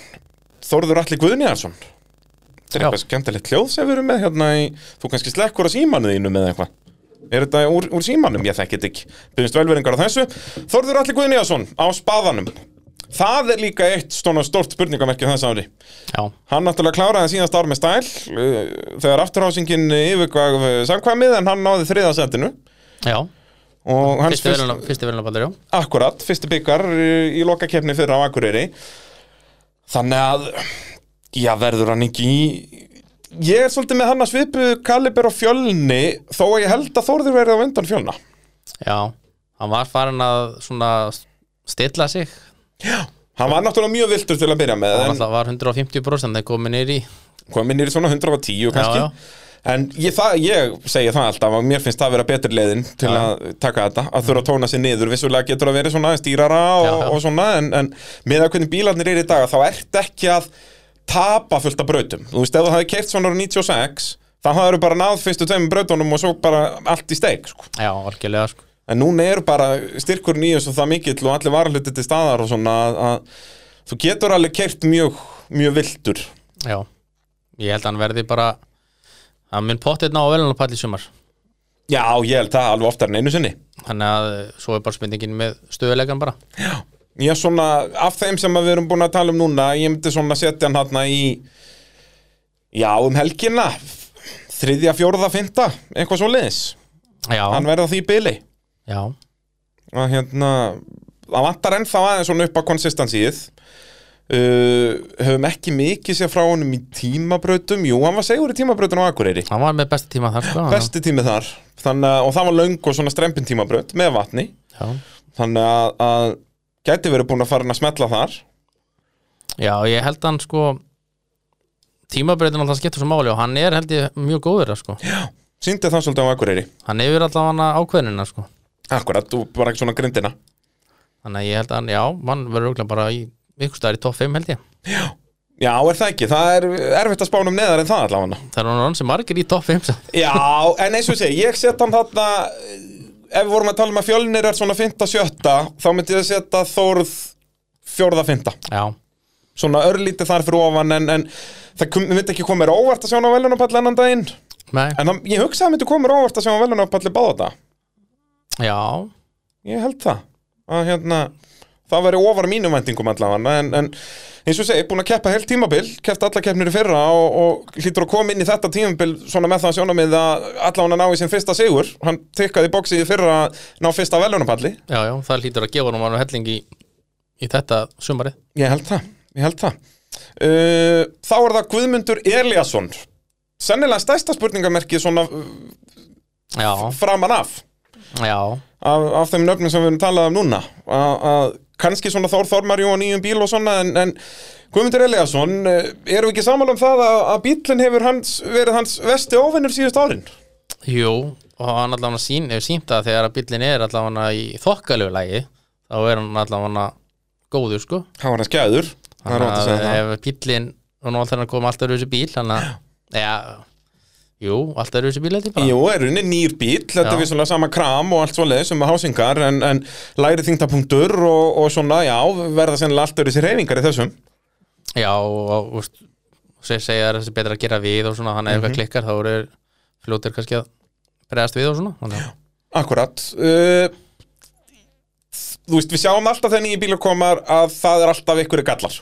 Speaker 1: Þórður Alli Guðnýjarsson. Þetta er
Speaker 2: Já.
Speaker 1: eitthvað skemmtilegt hljóð sem við erum með hérna í, þú kannski slekkur á símanu þínu með eitthvað. Er þetta úr, úr símanum? Ég þekki þetta ekki. Byrjumst velveringar á þessu. Þórður Alli Guðnýjarsson á spaðanum. Það er líka eitt svona stórt spurningamerki þess ári.
Speaker 2: já,
Speaker 1: Hann náttúrulega kláraði síðast ár með stæl uh, þegar afturhásingin yfirgaf samkvæmið en hann náði þriðasettinu
Speaker 2: já,
Speaker 1: og hans
Speaker 2: fyrsti veluna fyrsti veluna já,
Speaker 1: akkurat, fyrsti byggar í lokakefni fyrir á Akureyri þannig að já, verður hann ekki í ég er svolítið með hann að svipu kaliber og fjölni þó að ég held að Þórður verið á undan fjölna
Speaker 2: já, hann var farin að svona stilla sig
Speaker 1: hann var náttúrulega mjög viltur til að byrja með
Speaker 2: hann
Speaker 1: en
Speaker 2: alltaf var 150% þegar komið nýr í
Speaker 1: komin nýri svona 110 kannski
Speaker 2: já.
Speaker 1: En ég, það, ég segi það alltaf að mér finnst það vera betri leiðin til
Speaker 2: Já.
Speaker 1: að taka þetta, að þurfa að tóna sér niður vissulega getur að vera svona aðeins dýrara og,
Speaker 2: Já, já.
Speaker 1: og svona, en, en með að hvernig bílarnir eru í dag þá ert ekki að tapa fullt af brautum, þú veist ef þú hafði keift svona árið 96, þá hafðu bara náð fyrstu tveimur brautunum og svo bara allt í steik, sko.
Speaker 2: já, algjörlega sko
Speaker 1: en núna eru bara styrkur nýjus og það mikill og allir varahluti til staðar og svona að, að þú getur alveg keift mjög, mjög viltur
Speaker 2: já, ég held að hann verði bara hann mun pottið ná veluna pall í sumar
Speaker 1: Já, ég held það alveg oftar en einu sinni
Speaker 2: þannig að eh, svo er bara spurningin með stöðulegan bara
Speaker 1: Já, svona, af þeim sem að við erum búin að tala um núna, ég myndi svona setja hann hann í, já, um helgina, þriðja, fjórða, fynda, eitthvað svo liðis.
Speaker 2: já,
Speaker 1: Hann verða því í byli.
Speaker 2: já,
Speaker 1: Að hérna, það vantar ennþá aðeins svona upp á konsistansíið. Uh, höfum ekki mikið sér frá honum í tímabrautum, jú, hann var segur í tímabrautum á Akureyri.
Speaker 2: hann var með besta tíma þar sko hann-
Speaker 1: Besti tími þar, þannig að, og það var löng og svona strempin tímabraut með vatni,
Speaker 2: já.
Speaker 1: þannig að, að gæti verið búin að fara hann að smetla þar.
Speaker 2: Já, ég held að hann sko tímabreytin alltaf skiptur svo máli og hann er held ég mjög góður að sko
Speaker 1: Sýndi það svolítið á Akureyri.
Speaker 2: hann hefur alltaf hann ákveðnina sko
Speaker 1: Akkurat, þú bara ekki svona grindina
Speaker 2: þannig að ég held að hann, já, hann verður auðvitað bara í ykkur staðar í topp 5 held ég
Speaker 1: Já, er það ekki, það er erfitt að spánum neðar en það allavega
Speaker 2: það er hann sem margir í topp 5 samt.
Speaker 1: Já, en eins og ég segi, ég set hann þarna eh, Ef við vorum að tala um að fjölnir er svona 5. sjötta Þá myndi ég að setja Þórð fjórða, fynda
Speaker 2: já,
Speaker 1: svona örlítið þar fyrir ofan en, en það kom, myndi ekki koma mér á óvart að sjá hann á velunarpalli annan daginn
Speaker 2: nei,
Speaker 1: en það, ég hugsaði að myndi koma mér á óvart að sjá hann á velunarpalli báða þetta
Speaker 2: já
Speaker 1: Ég held það að hérna Það væri ofar mínum vendingum allavega en, en eins og ég segi, búin að keppa heilt tímabil keppt alla keppnir í fyrra og, og hlýtur að koma inn í þetta tímabil svona með það sjónamið að allavega ná í sinn fyrsta sigur hann tikkaði í boxið í fyrra að ná fyrsta velunapalli
Speaker 2: já, já, það hlýtur að gefa honum hann helling í, í þetta sumarið
Speaker 1: Ég held það, ég held það uh, Þá er það Guðmundur Eliasson sennilega stærsta spurningamerkið svona uh,
Speaker 2: já,
Speaker 1: framan af
Speaker 2: já,
Speaker 1: af, af þeim nöfnum sem við erum talað um núna A- að kannski svona Þór Þormar jú á nýjum bíl og svona en, en Guðmundur Eliasson eh, erum við ekki sammála um það að, að bílinn hefur hans, verið hans vesti óvinnur síðust árin
Speaker 2: jú og hann allavega sín, hefur sínt að þegar að bíllinn er allavega í þokkalegu lagi þá er hann allavega góður sko
Speaker 1: hann var hans gæður það er ótt að segja það
Speaker 2: ef bíllinn og nú alltaf hann kom alltaf rauðsir bíl þannig að, já, jú, alltaf rauðsir bíl þetta er bara
Speaker 1: Jú, er unni nýr bíl, þetta er
Speaker 2: Já.
Speaker 1: vissulega sama kram og allt svoleiðis um hásingar en, en læri þingtapunktur og, og svona, já, verða sennilega allt öðru sér reyfingar í þessum
Speaker 2: Já, og, og úst, seg, segja þér að þessi er betra að gera við og svona, hann ef
Speaker 1: Mhm.
Speaker 2: eitthvað klikkar þá eru fljótir kannski að bregðast við og svona þannig að-
Speaker 1: Akkurat uh, Þú veist, við sjáum alltaf þegar nýjum bílar komar að það er alltaf ykkur gallar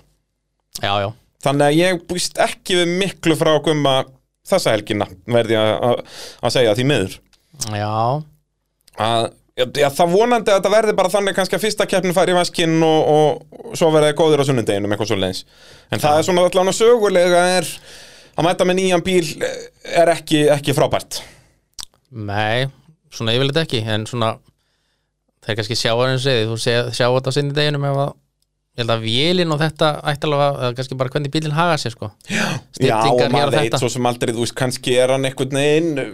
Speaker 2: Já, já,
Speaker 1: Þannig að ég búist ekki við miklu frá gumma þessa helgina verði ég að- að segja því miður
Speaker 2: já,
Speaker 1: að Já, það vonandi að þetta verði bara þannig kannski að fyrsta keppnin fari í vaskinn og, og, svo verði góðir á sunnundeginum eitthvað svo leins en það er svona allan að sögulega er að mæta með nýjan bíl eh, er ekki, ekki frábært
Speaker 2: nei svona yfirleitt ekki, en svona það er kannski sjáarinn segið, þú sé, sjá þetta sinni deginum ef að ég held að vélinn og þetta ætti alveg að, eða kannski bara hvernig bílinn haga sér sko já,
Speaker 1: Já, og maður veit svo sem aldrei, þú veist, kannski er hann einhvern veginn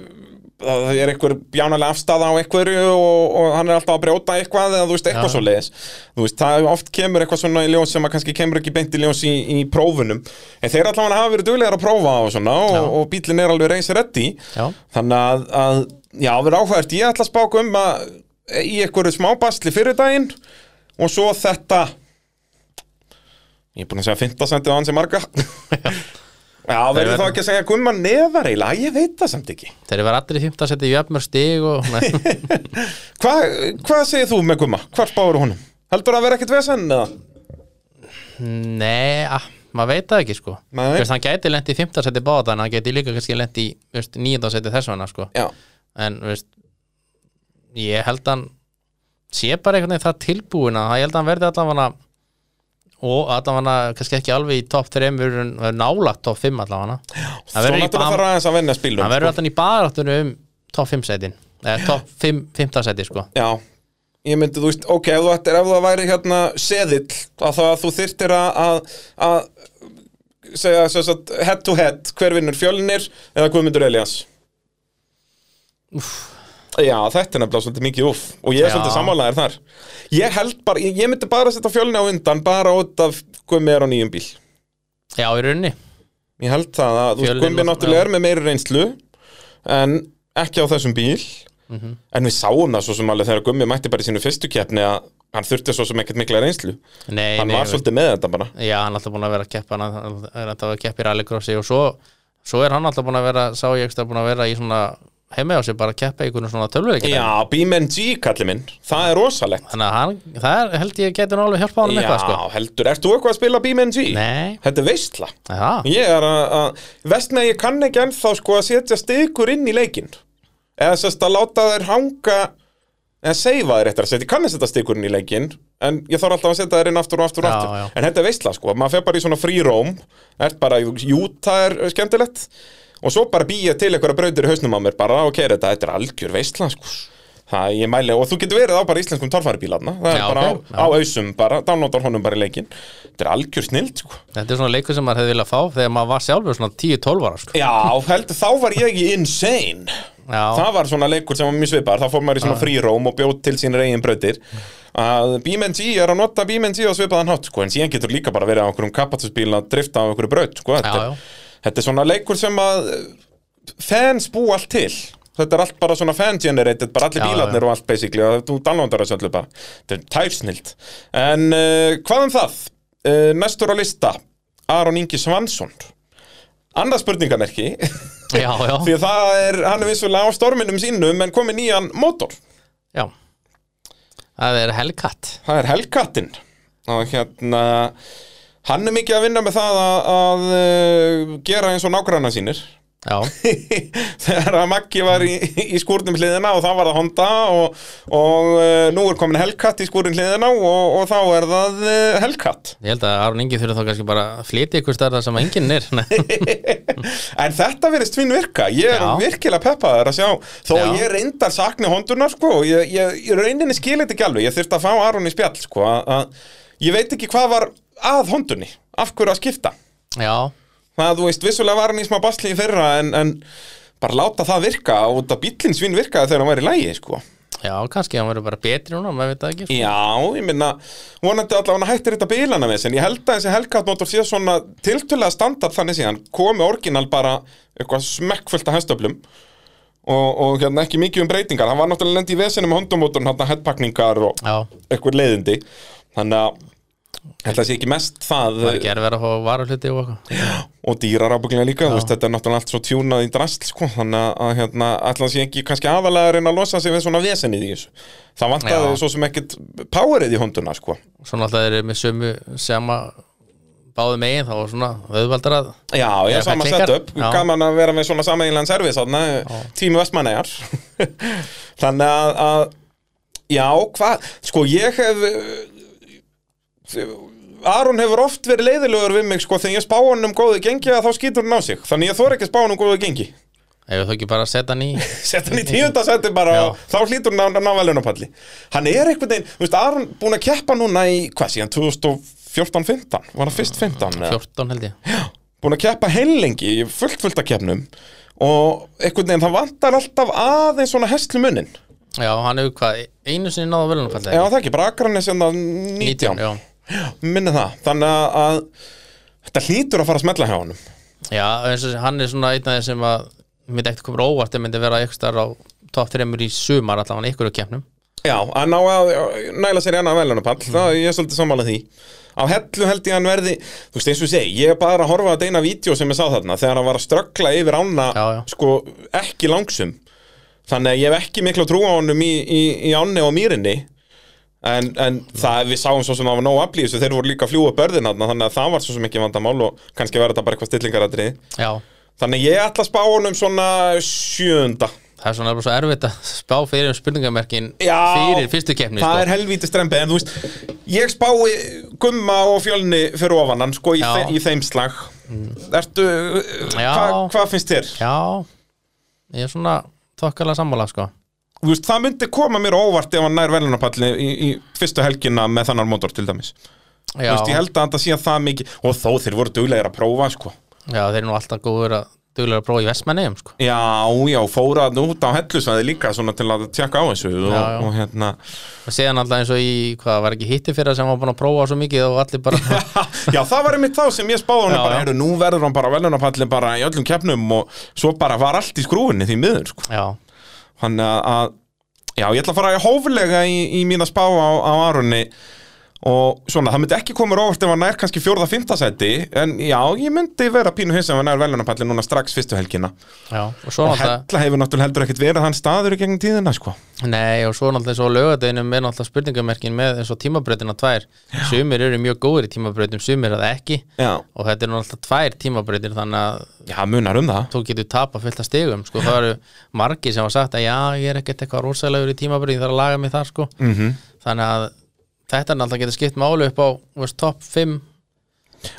Speaker 1: það er einhver bjánalega afstæða á einhverju og, og hann er alltaf að brjóta eitthvað eða þú veist, eitthvað
Speaker 2: Já.
Speaker 1: svo leiðis þú veist, það oft kemur eitthvað svona í ljós sem að kannski kemur ekki beint í ljós í, í prófunum en þeir allavega hafa verið duglegar að prófa og svona
Speaker 2: Já.
Speaker 1: og, og bílinn er alveg reisir reddi
Speaker 2: Já,
Speaker 1: þannig að, að já, við erum áhært ég ætla að spáka um að í einhverju smá basli fyrir daginn og svo þetta ég er búin að segja fintasendið á hans í marga já, verður þá ekki að segja gumma neðar eiginlega, Æ, ég veit það samt ekki
Speaker 2: þeir eru verið allir í fymta að setja í jafnmör stig og nei,
Speaker 1: Hva, hvað segir þú með gumma, hvað spáður honum heldur það að vera ekkert vesen eða?
Speaker 2: nei ah, maður veit það ekki sko
Speaker 1: Nei.
Speaker 2: Þú veist, hann gæti lent í fymta að setja báða en hann gæti líka kannski lent í nýjönda að setja þess vegna sko
Speaker 1: já,
Speaker 2: en veist, ég held hann sé bara einhvern veginn það tilbúin að ég held hann verði allavega og allavega kannski ekki alveg í topp 3 en nálagt topp 5 allavega
Speaker 1: svo
Speaker 2: hann verður í-
Speaker 1: náttúrulega
Speaker 2: hann-
Speaker 1: þarf aðeins að venja
Speaker 2: hann
Speaker 1: spilum
Speaker 2: verður alltaf í baráttunni um topp 5 setin eða topp 5 5 seti sko
Speaker 1: já, ég myndi, þú veist, ok, ef þú ættir, ef það væri hérna seðill, að þá að þú þyrtir að, að, að segja, sem sagt, head to head, hver vinnur fjölnir eða Guðmundur Elias Já, þetta er nefnilega svolítið mikið úff og ég er
Speaker 2: Já.
Speaker 1: svolítið sammálaðir þar Ég held bara, ég, ég myndi bara setja fjölni á undan bara út af Guðmi er á nýjum bíl
Speaker 2: já í rauninni
Speaker 1: Ég held það að þú veist,
Speaker 2: Fjölnir
Speaker 1: Guðmi
Speaker 2: náttúrulega-
Speaker 1: náttúrulega er með meiri reynslu en ekki á þessum bíl
Speaker 2: Mhm.
Speaker 1: en við sáum það svo sem alveg þegar Guðmi mætti bara í sínu fyrstu keppni að hann þurfti svo sem ekkert mikla reynslu
Speaker 2: nei,
Speaker 1: hann
Speaker 2: nei,
Speaker 1: var svolítið með þetta bara
Speaker 2: já hann er alltaf búin að vera að keppa hann hann er alltaf að keppa í rallycrossi og svo, svo er hann alltaf búin að vera sá ég ekki að búin að vera í svona heima á sig bara að keppa í einhvern svona tölvuleikir
Speaker 1: Já, BMNG kalli minn, það er rosalegt
Speaker 2: Þannig að hann, það er, held ég getur alveg hjálpað honum
Speaker 1: Já,
Speaker 2: eitthvað sko
Speaker 1: heldur, ert þú eitthvað að spila BMNG?
Speaker 2: Nei,
Speaker 1: Þetta er veistla
Speaker 2: það,
Speaker 1: Ég er að, að vest með að ég kann ekki ennþá sko að setja stikur inn í leikinn eða sérst að láta þeir hanga eða seifa þeir eftir að setja, ég kann að setja stikur inn í leikinn en ég þarf alltaf að setja þeir inn aftur og aftur og
Speaker 2: Já,
Speaker 1: aftur
Speaker 2: já.
Speaker 1: en þetta er veistla sko, maður fer bara í svona fríróm ert bara, í- jú, það er skemmtilegt og svo bara býja til einhverja brautir í hausnum á mér bara, ok, þetta, þetta er algjör veistla sko Það ég mæli, og þú getur verið á bara íslenskum torfæribílarna, það er
Speaker 2: Já,
Speaker 1: bara
Speaker 2: ok, já.
Speaker 1: á, á ausum bara, downloadar honum bara í leikinn Þetta er algjör snild, sko
Speaker 2: þetta er svona leikur sem maður hefði viljað fá þegar maður var sjálfur svona 10-12 ára sko.
Speaker 1: Já, heldur, þá var ég ekki insane
Speaker 2: Já,
Speaker 1: Það var svona leikur sem var mjög svipar þá fór maður í svona fríróm og bjóð til sín eigin brautir að BMNG er að nota BMNG á svipaðan hátt, sko, en síðan getur líka bara verið á einhverjum kapatusbíl að drifta á einhverju braut, sko, þetta,
Speaker 2: Já, já.
Speaker 1: þetta er svona leikur sem að eh, fans bú allt til þetta er allt bara svona fan-generated bara allir
Speaker 2: Já,
Speaker 1: bílarnir
Speaker 2: já.
Speaker 1: og allt basically og þú downloadar þessu öllu bara þetta er tærsnilt en uh, hvað um það? Uh, næstur á lista Aron Ingi Svansson annað spurningamerki
Speaker 2: já, já,
Speaker 1: því að það er, hann er vissulega á storminum sínum en komið nýjan mótor
Speaker 2: já það er Hellcat
Speaker 1: það er Hellcatin og hérna hann er mikið að vinna með það að, að uh, gera eins og nágranna sínir
Speaker 2: já,
Speaker 1: þegar að Maggi var í, í skúrnum hliðina og þá var það Honda og, og uh, nú er komin Hellcat í skúrin hliðina og, og þá er það uh, Hellcat
Speaker 2: ég held að Aron Ingi þurfa þá kannski bara að flytja ykkur starf sem enginn er
Speaker 1: en þetta verðist fín virka ég er
Speaker 2: Já.
Speaker 1: virkilega peppaður að sjá þó
Speaker 2: Já.
Speaker 1: ég reyndar sakni hondunar sko og ég, ég, ég reyninni skil þetta ekki alveg ég þurfti að fá Aron í spjall sko að, að ég veit ekki hvað var að hondunni af hverju að skipta
Speaker 2: já,
Speaker 1: það þú veist, vissulega var hann í smá basli í fyrra en, en bara láta það virka út að bíllinn svín virkaði þegar hann var í lægi sko
Speaker 2: já, kannski hann verður bara betri núna, maður veit það ekki sko.
Speaker 1: Já, ég minna, vonandi allavega hættir þetta bílana með þessin, ég held að þessi helgatmótor sé svona tiltölega standard þannig síðan komi orginal bara eitthvað smekkfullt að hestöflum og, og hérna ekki mikið um breytingar hann var náttúrulega lendi í vesinu með hondumótorn hann headpakningar og
Speaker 2: já,
Speaker 1: eitthvað leiðindi þannig að ég held að sé ekki mest það
Speaker 2: það er ekki erfið að fá varuhluti og eitthvað
Speaker 1: og dýrar ábygglega líka, þú veist, þetta er náttúrulega allt svo tjúnað í drast, sko, þannig að- að hérna, allan sé ekki kannski aðalega að reyna að losa sig við svona vesenið í þessu. Það vantaði
Speaker 2: Já.
Speaker 1: svo sem ekkit powerið í honduna, sko.
Speaker 2: svona alltaf eru með sömu sama báðum eigin þá var svona auðvaldar að
Speaker 1: Já, ég
Speaker 2: Eða
Speaker 1: er sama
Speaker 2: fæklingar.
Speaker 1: setup,
Speaker 2: Já.
Speaker 1: gaman að vera með svona sameiginlegan servis þarna, tími vestmannegar þannig að, að já, hvað sko, ég hef eh, Aron hefur oft verið leiðilegur við mig, sko, þegar ég spá hann um góðu gengi að þá skýtur hann á sig, þannig ég þor ekki að spá hann um góðu gengi,
Speaker 2: ef þú ekki bara að setja hann í
Speaker 1: sett hann í tíundasetti bara
Speaker 2: Já.
Speaker 1: og þá hlýtur hann að ná velunapalli hann er einhvern veginn, þú veist, Aron búin að keppa núna í, hvað síðan, 2014-15 var hann fyrst 15? eða?
Speaker 2: 14 held ég
Speaker 1: búin að keppa heilengi í fullt fullt af keppnum og einhvern veginn það vantar alltaf aðeins svona hestlu munnin
Speaker 2: já, hann hefur hvað, einu sinni náða velunarfalli
Speaker 1: eða það ekki, bara akrann er sérna 19
Speaker 2: já,
Speaker 1: minni það, þannig að- að þetta hlýtur að fara að smella hjá honum
Speaker 2: já eins og hann er svona einn af þeir sem að myndi ekkert koma óvart það myndi vera eitthvað starf á top 3 í sumar allavega hann ykkur keppnum
Speaker 1: já, að ná að næla sér í annað velunapall
Speaker 2: Mhm.
Speaker 1: það ég er svolítið sammála því á hellu held ég að hann verði, þú veist eins og ég segi ég er bara að horfa að deina vídeo sem ég sá þarna þegar hann var að ströggla yfir ána
Speaker 2: Já, já.
Speaker 1: sko ekki langsum þannig að ég hef ekki miklu trú á honum í, í, í ánni og mýrinni en, en það við sáum svo sem það var nóg aflýðis og þeir voru líka að fljúa börðin þarna þannig að það var svo sem ekki vandamál og kannski verður þetta bara eitthvað stillingaratrið
Speaker 2: já,
Speaker 1: þannig að ég ætla að spá honum svona sjöunda
Speaker 2: það er svona bara svo erfitt að spá fyrir um spurningamerkin
Speaker 1: Já.
Speaker 2: fyrir fyrstu keppni
Speaker 1: það
Speaker 2: sko.
Speaker 1: er helvítið strempið en þú veist, ég spái gumma og fjölni fyrir ofan hann sko í,
Speaker 2: Já. Mm.
Speaker 1: þe í þeim slag ertu,
Speaker 2: Já.
Speaker 1: hvað hva finnst þér?
Speaker 2: já, ég er svona þokkalega sammála sko
Speaker 1: Þú veist, það myndi koma mér á óvart ef hann nær velunarpalli í, í fyrstu helgina með þannar mótor til dæmis Þú
Speaker 2: já,
Speaker 1: veist, ég held að þetta sé að það mikið og þó þeir voru duglegir að prófa sko
Speaker 2: já, þeir eru nú alltaf góður að duglega að prófa í vestmennum sko.
Speaker 1: Já, já, fóra þarna út á hellusvæði líka svona til að tjekka á þessu og,
Speaker 2: Já, já.
Speaker 1: og hérna
Speaker 2: og séðan alltaf eins og í, hvað var ekki hitti fyrir sem var búin að prófa svo mikið og allir bara
Speaker 1: Já, það var einmitt þá sem ég spáði hann
Speaker 2: Já,
Speaker 1: bara,
Speaker 2: já.
Speaker 1: heyrðu, nú verður hann bara velunarpallin bara í öllum keppnum og svo bara var allt í skrúinni því miður, sko.
Speaker 2: já,
Speaker 1: Þannig að- að, já, ég ætla að fara hóflega í, í mína spá á, á Arunni og svona, það myndi ekki koma mér á óvart ef hann nær kannski fjórða fymta sæti, en já, ég myndi vera pínu hins ef hann nær velunarpallin núna strax fyrstu helgina.
Speaker 2: já, og svo
Speaker 1: Og
Speaker 2: náttúrulega
Speaker 1: hella hefur náttúrulega heldur ekkit verið hann staður í gegnum tíðina, sko.
Speaker 2: Nei, og svo náttúrulega eins og lögadeginum er náttúrulega spurningamerkin með eins og tímabrautina tvær Sumir eru mjög góður í tímabrautum, sumir að ekki
Speaker 1: Já,
Speaker 2: og þetta eru náttúrulega tvær tímabrautir þannig að
Speaker 1: já munar um það.
Speaker 2: þú getur tapa fullt að stigum sko. Það eru margir sem hafa sagt að já, ég er ekkert eitthvað rúsalegur í tímabrautin, þarf að laga mig þar sko.
Speaker 1: Mhm.
Speaker 2: -hmm. Þannig að þetta er náttúrulega getur skipt máli upp á þú veist, topp 5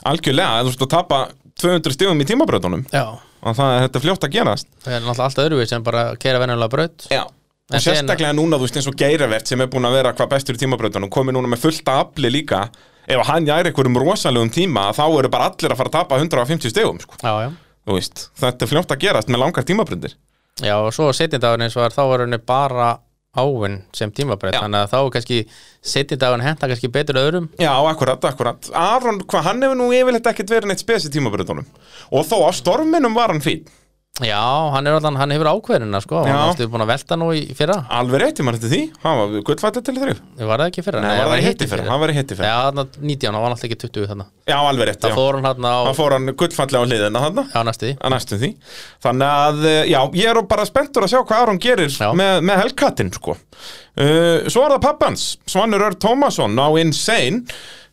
Speaker 1: Algjörlega, þú veist að tapa 200 stigum í tímabröðunum,
Speaker 2: Já,
Speaker 1: og það, þetta er fljótt að gerast.
Speaker 2: það er náttúrulega allt öðruvið sem bara keira venjulega braut
Speaker 1: Já Og
Speaker 2: En síðan-
Speaker 1: sérstaklega núna, þú veist, eins og Geiravert sem er búin að vera hvað bestur í tímabrautunum komið núna með fullta afli líka ef hann jæri einhverjum rosalegum tíma þá eru bara allir að fara að tapa 150 stegum sko.
Speaker 2: Já, já
Speaker 1: þú veist, þetta er fljótt að gerast með langar tímabrautir
Speaker 2: Já, og svo setjindagurinn eins og var, þá var henni bara áinn sem tímabreyt
Speaker 1: Já.
Speaker 2: þannig að þá er kannski setjindagurinn henta kannski betur öðrum
Speaker 1: Já, akkurat, akkurat Aron, hvað hann hefur nú yfirleitt ekkert verið neitt spes í tímabrautunum og þó á storminum var hann fín
Speaker 2: Já, hann, er allan, hann hefur ákveðina sko,
Speaker 1: Já.
Speaker 2: hann er alltaf búin að velta nú í í fyrra
Speaker 1: Alveg rétti maður þetta því, hann var gullfættur til þrjú
Speaker 2: Var það ekki í fyrra?
Speaker 1: Nei, hann
Speaker 2: það
Speaker 1: var í
Speaker 2: hitt í
Speaker 1: hitti fyrir, hann var í hitti fyrir
Speaker 2: Já, þarna 19, hann var alltaf ekki 20 þarna
Speaker 1: Já, alveg rétt,
Speaker 2: Það
Speaker 1: já
Speaker 2: fór hann hérna á,
Speaker 1: Hann fór hann gullfallega á hliðina þarna
Speaker 2: á næstu því
Speaker 1: að næstum því þannig að, eh, já, ég er bara spenntur að sjá hvað Aron gerir
Speaker 2: Já.
Speaker 1: með, með helkatin sko. uh, svo er það pappans Svanur Ör Tómasson á Insane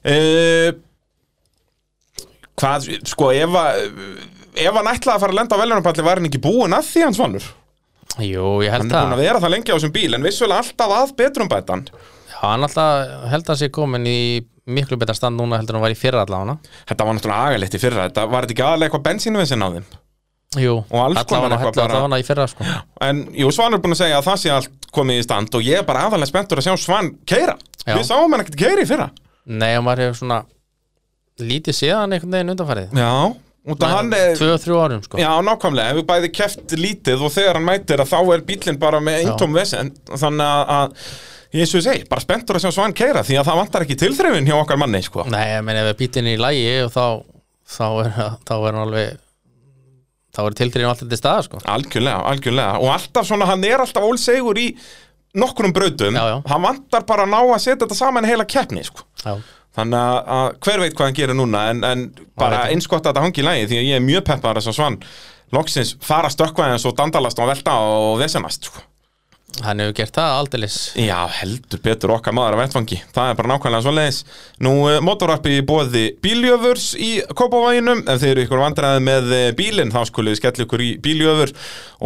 Speaker 1: uh, hvað, sko, ef að ef hann ætlaði að fara að lenda á veljónapalli var hann ekki búinn að því hans Svanur
Speaker 2: Jú, ég
Speaker 1: hann
Speaker 2: held
Speaker 1: er búinn
Speaker 2: að
Speaker 1: að vera það lengi á þessum bíl en vissulega alltaf að betrumbætan
Speaker 2: Já, hann alltaf held að sé komin í miklu betra stand núna heldur en hann var í fyrra allavega
Speaker 1: þetta var náttúrulega agalegt í fyrra þetta var þetta ekki aðalega eitthvað bensínvinsin á þeim
Speaker 2: Jú,
Speaker 1: Og alls konar
Speaker 2: allavega
Speaker 1: eitthvað bara-
Speaker 2: allavega í fyrra sko
Speaker 1: En jú, Svan er búin að segja að það sé allt komið í stand og ég er bara aðalega spenntur að sjá Svan keira.
Speaker 2: Já.
Speaker 1: Við sáum hann ekkert keira í fyrra.
Speaker 2: Nei, og maður hefur svona lítið séðan einhvern veginn undanfarið
Speaker 1: Já, út af hann er...
Speaker 2: Tvö og þrjú árum sko
Speaker 1: Já, nákvæmlega, hefur bæði keft lítið og þegar hann mætir að þá er bílinn bara með eintóm vesen þannig að, að ég svo segi, bara spenntur að sjá Svan keira því að það vantar ekki tilþrifin hjá okkar manni, sko.
Speaker 2: Nei, ég meina ef er bílinn í lægi og þá, þá, er, þá er hann alveg þá er tilþrýðin alltaf til staða sko.
Speaker 1: Algjörlega, algjörlega og alltaf svona, hann er alltaf ólsegur í nokkrum brautum,
Speaker 2: Já, já.
Speaker 1: hann vantar bara að ná að setja þetta saman í heila keppni, sko.
Speaker 2: Já,
Speaker 1: Þannig að, að hver veit hvað hann gerir núna en, en bara
Speaker 2: veit ekki.
Speaker 1: einskott að þetta hangi í lagi því að ég er mjög peppar þess að svann loksins fara stökkvæðins og dandalast og velta og vesenast sko.
Speaker 2: hann hefur gert það aldeilis
Speaker 1: Já, heldur betur okkar maður að vettfangi það er bara nákvæmlega svo leiðis Nú, motorvarpi í bóði bíljöfurs í Kópavaginum, ef þið eru ykkur vandræði með eh, bílinn, þá skulum við skella ykkur í bíljöfur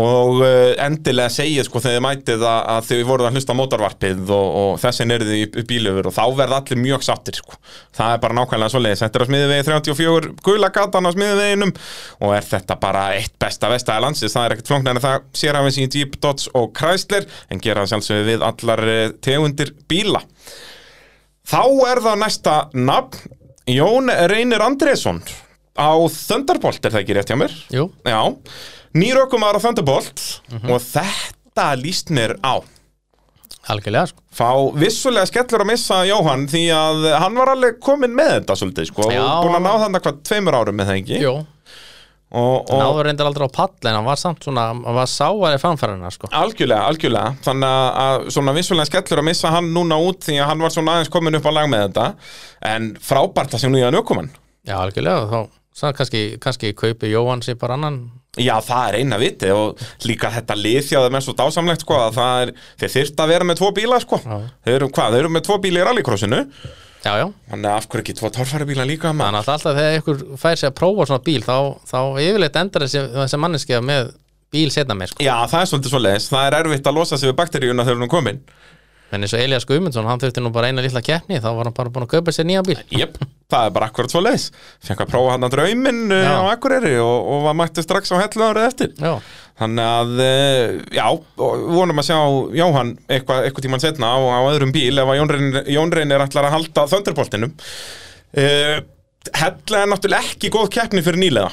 Speaker 1: og eh, endilega segja sko þegar þið mætið að, að þið voruð að hlusta á motorvarpið og, og þessin eru þið í bíljöfur og þá verða allir mjög sáttir sko. það er bara nákvæmlega svo leiðis, þetta er á smiðuvegi 34 gula gatan á smiðuveginum og er þetta bara eitt besta vestæði landsins, það er ekkert flóknar en það sér aðeins í Jeep, Dodge og Chrysler en gera það sjálfsögðu við allar eh, tegundir bíla Þá er það næsta nafn Jón Reynir Andrésson á Thunderbolt er það ekki rétt hjá mér
Speaker 2: Jú,
Speaker 1: Já, nýrökumar á Thunderbolt og þetta líst mér á
Speaker 2: algjörlega sko.
Speaker 1: Fá vissulega skellur að missa Jóhann því að hann var alveg kominn með þetta svolítið sko
Speaker 2: Já,
Speaker 1: og búin að
Speaker 2: hann-
Speaker 1: ná þannig hvað tveimur árum með það ekki
Speaker 2: Jú,
Speaker 1: og,
Speaker 2: hann
Speaker 1: og
Speaker 2: áður reyndar aldrei á pall en hann var samt svona, hann var sáari framfærarna sko.
Speaker 1: algjörlega, algjörlega þannig að- að svona vissulega skellur að missa hann núna út því að hann var svona aðeins kominn upp á lag með þetta en frábært að sé nýja nökumann
Speaker 2: Já, algjörlega, þá sann, kannski, kannski kaupi Jóhann sér bara annan
Speaker 1: Já, það er eina viti og líka þetta lið hjá þeim er svo dásamlegt sko að það er, þeir þyrft að vera með tvo bíla sko
Speaker 2: Já.
Speaker 1: þeir eru, hvað, þeir eru með tvo bíla í rallycrossinu
Speaker 2: Já, já,
Speaker 1: þannig að af hverju ekki tvo torfæribíla líka maður?
Speaker 2: þannig að alltaf þegar ykkur fær sér að prófa svona bíl þá, þá yfirleitt endar þessi, þessi manneskja með bíl setna með sko.
Speaker 1: Já, það er svolítið svo leiðis, það er erfitt að losa sig við bakteríuna þegar hún er komin
Speaker 2: en eins og Elias Guðmundsson, hann þurfti nú bara eina lilla keppni þá var hann bara búin að kaupa sér nýja bíl
Speaker 1: Jep, það er bara akkurat svo leiðis Fekk að prófa hann að drauminn uh,
Speaker 2: Já.
Speaker 1: á Akureyri og, og var mættu strax á hellu árið eftir
Speaker 2: Já,
Speaker 1: Þannig að, eh, já, og vonum að sjá Jóhann eitthvað eitthva tíman setna á, á öðrum bíl ef að Jón Reynir- Jón Reynir ætlar að halda þöndurboltinum uh, Hella er náttúrulega ekki góð keppni fyrir nýlega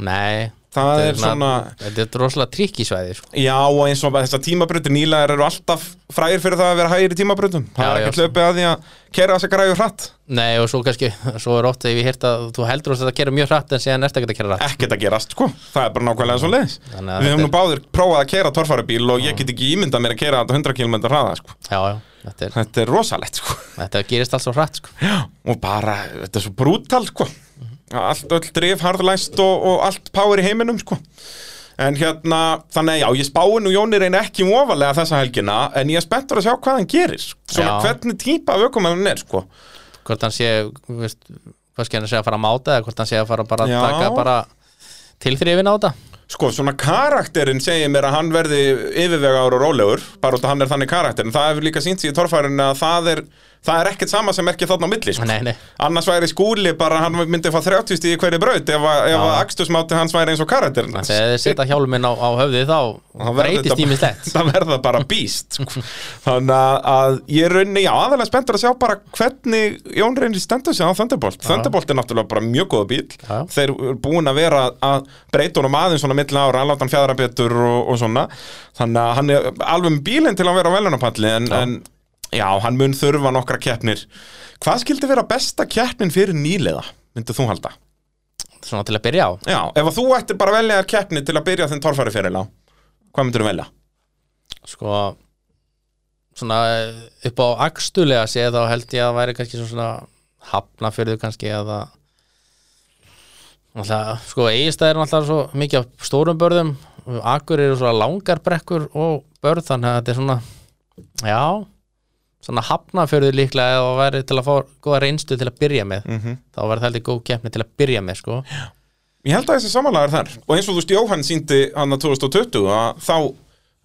Speaker 2: nei
Speaker 1: Það
Speaker 2: þetta
Speaker 1: er svona,
Speaker 2: Þetta er rosalega trikk í svæði sko.
Speaker 1: já og eins og þessar tímabrautir nýlegar eru alltaf frægir fyrir það að vera hægir í tímabrautum Það
Speaker 2: Já, sko.
Speaker 1: er
Speaker 2: já,
Speaker 1: ekkert löpið að því að kera þess að græðu hratt
Speaker 2: Nei, og svo kannski, svo er oft ef ég hýrt að þú heldur að þetta kera mjög hratt en séðan næsta geta að kera hratt
Speaker 1: ekkert að gerast sko, það er bara nákvæmlega svo leiðis
Speaker 2: Þannig að
Speaker 1: Við höfum
Speaker 2: þetta
Speaker 1: nú báður prófað að kera torfarabíl og ég get ekki ímyndað mér að kera þetta 100 km hraða sko.
Speaker 2: Já, já, þetta, er,
Speaker 1: Þetta er rosalegt sko
Speaker 2: þetta gerist alls svo hratt sko.
Speaker 1: Já, og bara, þetta er svo brútal sko Allt öll drif, harðlæst og, og allt power í heiminum sko En hérna, þannig að já, ég spái nú Jóni reyna ekki um ofalega þessa helgina En ég er spenntur að sjá hvað hann gerir sko. Svona
Speaker 2: Já.
Speaker 1: hvernig típa af ökum hann er sko
Speaker 2: Hvort hann sé, þú veist, hvað skil hann segja að fara að máta eða hvort hann segja að fara bara að
Speaker 1: Já.
Speaker 2: taka bara tilþrifin á þetta
Speaker 1: Sko, svona karakterinn segir mér að hann verði yfirvegaður og rólegur bara út að hann er þannig karakter en það hefur líka sínt sig í torfærin að það er það er ekkert sama sem er ekki þarna á milli sko.
Speaker 2: Nei, nei,
Speaker 1: annars væri skúli bara hann myndi fá 30 stíð í hverju braut ef, að- ef að akstusmáti hans væri eins og karakterinn hans.
Speaker 2: þegar þið setja hjálminn á, á höfði þá
Speaker 1: Það verður
Speaker 2: breytist
Speaker 1: þetta-
Speaker 2: tímislegt
Speaker 1: það verða bara býst sko. þannig að- að ég raunni já, aðalega spenntur að sjá bara hvernig Jón reynir stendur sig á Thunderbolt Thunderbolt er náttúrulega bara mjög góða bíl
Speaker 2: Já.
Speaker 1: þeir eru búin að vera að breyta honum aðeins svona milli ára, að láta hann fjadra betur og, og svona, þannig að hann er alveg með bílinn til að vera á velunapalli en,
Speaker 2: Já.
Speaker 1: en já, hann mun þurfa nokkra keppnir hvað skildi vera besta keppnin fyrir nýliða, myndu þú halda?
Speaker 2: svona til að byrja á
Speaker 1: Já, ef að þú ættir bara að velja þér keppni til að byrja þinn torfæri fyrir lá Hvað myndur velja?
Speaker 2: sko svona eh, upp á akstulega séð þá held ég að væri kannski svona hafna fyrir þau kannski eða alltaf, sko eigistæðir er alltaf svo mikið á stórum börðum akkur eru svona langar brekkur og börð þannig að þetta er svona já, svona hafna fyrir þau líklega eða væri til að fá góða reynstu til að byrja með
Speaker 1: Mhm.
Speaker 2: þá væri það heldur góð keppni til að byrja með sko
Speaker 1: Ég held að þessi samanlagar þar Og eins og þú veist, Jóhann síndi hann að 2020 að þá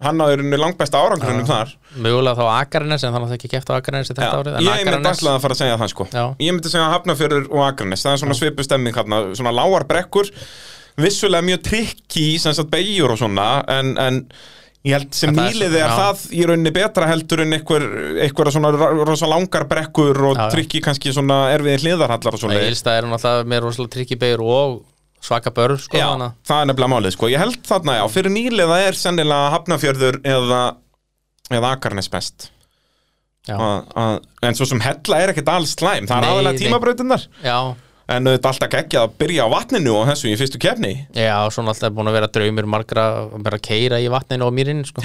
Speaker 1: hann náður henni langbesta árangrunum þar
Speaker 2: mögulega þá Akarnes en þannig að það ekki keppt á Akarnes þetta
Speaker 1: Já,
Speaker 2: árið en
Speaker 1: Ég myndi
Speaker 2: Akranes-
Speaker 1: alltaf að fara að segja það sko
Speaker 2: Já.
Speaker 1: Ég myndi segja Hafnafjörður og Akranes Það er svona svipu stemming hérna, svona lágar brekkur Vissulega mjög trikki sem sagt beigjur og svona En, en ég held sem
Speaker 2: En það er
Speaker 1: nýliði er
Speaker 2: svona- já.
Speaker 1: það í rauninni betra heldur en einhver, einhverja svona ra- rosa langar brekkur og
Speaker 2: Já, já.
Speaker 1: trikki kannski svona erfiði hliðarhallar og svona
Speaker 2: Egilstað er náttúrulega með rosalega tryggi beigur og svaka börn sko
Speaker 1: Já,
Speaker 2: þannig að-
Speaker 1: það er nefnilega málið sko Ég held þarna, já, fyrir nýliða er sennilega Hafnafjörður eða, eða Akarnes best
Speaker 2: Já.
Speaker 1: Að- að- En svo sem hella er ekkert alls slæm Það er
Speaker 2: Nei,
Speaker 1: aðalega
Speaker 2: nei.
Speaker 1: tímabrautinnar
Speaker 2: Já,
Speaker 1: En auðvitað alltaf geggjað að byrja á vatninu og þessu í fyrstu kefni
Speaker 2: já, svona alltaf búin að vera draumur margra að vera að keira í vatninu og mýrinu sko.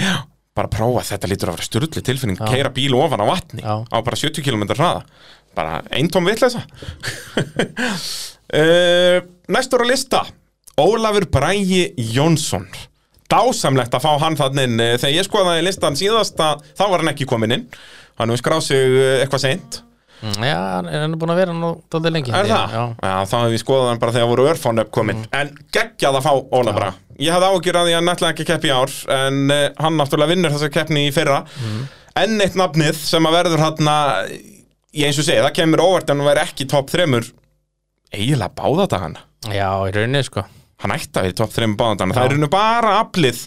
Speaker 1: Bara prófa, þetta lítur að vera styrlu tilfinning
Speaker 2: Já.
Speaker 1: Keira bíl ofan á vatni
Speaker 2: Já.
Speaker 1: Á bara 70 km hraða Bara eintóm vitleysa uh, Næstur á lista Ólafur Brægi Jónsson Dásamlegt að fá hann þannig inn Eh, Þegar ég skoðaði listan síðast að þá var hann ekki komin inn Hann hefur skráð sig eh, eitthvað seint
Speaker 2: Mm, Já, hann er hann búin að vera nú daldið lengi
Speaker 1: Er það?
Speaker 2: Já,
Speaker 1: Já, þá hefum við skoðað hann bara þegar voru örfán uppkomin En geggjað að fá Óla Braga Ég hafði ágjur að því að hann ætlaði ekki að keppa í ár En uh, hann náttúrulega vinnur þessa keppni í fyrra Enn eitt nafnið sem að verður hann að Ég eins og segi, það kemur óvart en hann væri ekki í topp þremur Eiginlega báða dagana
Speaker 2: já í rauninni sko.
Speaker 1: Hann ætti að við topp þremur báða dagana Það
Speaker 2: Já.
Speaker 1: er hennu bara aflið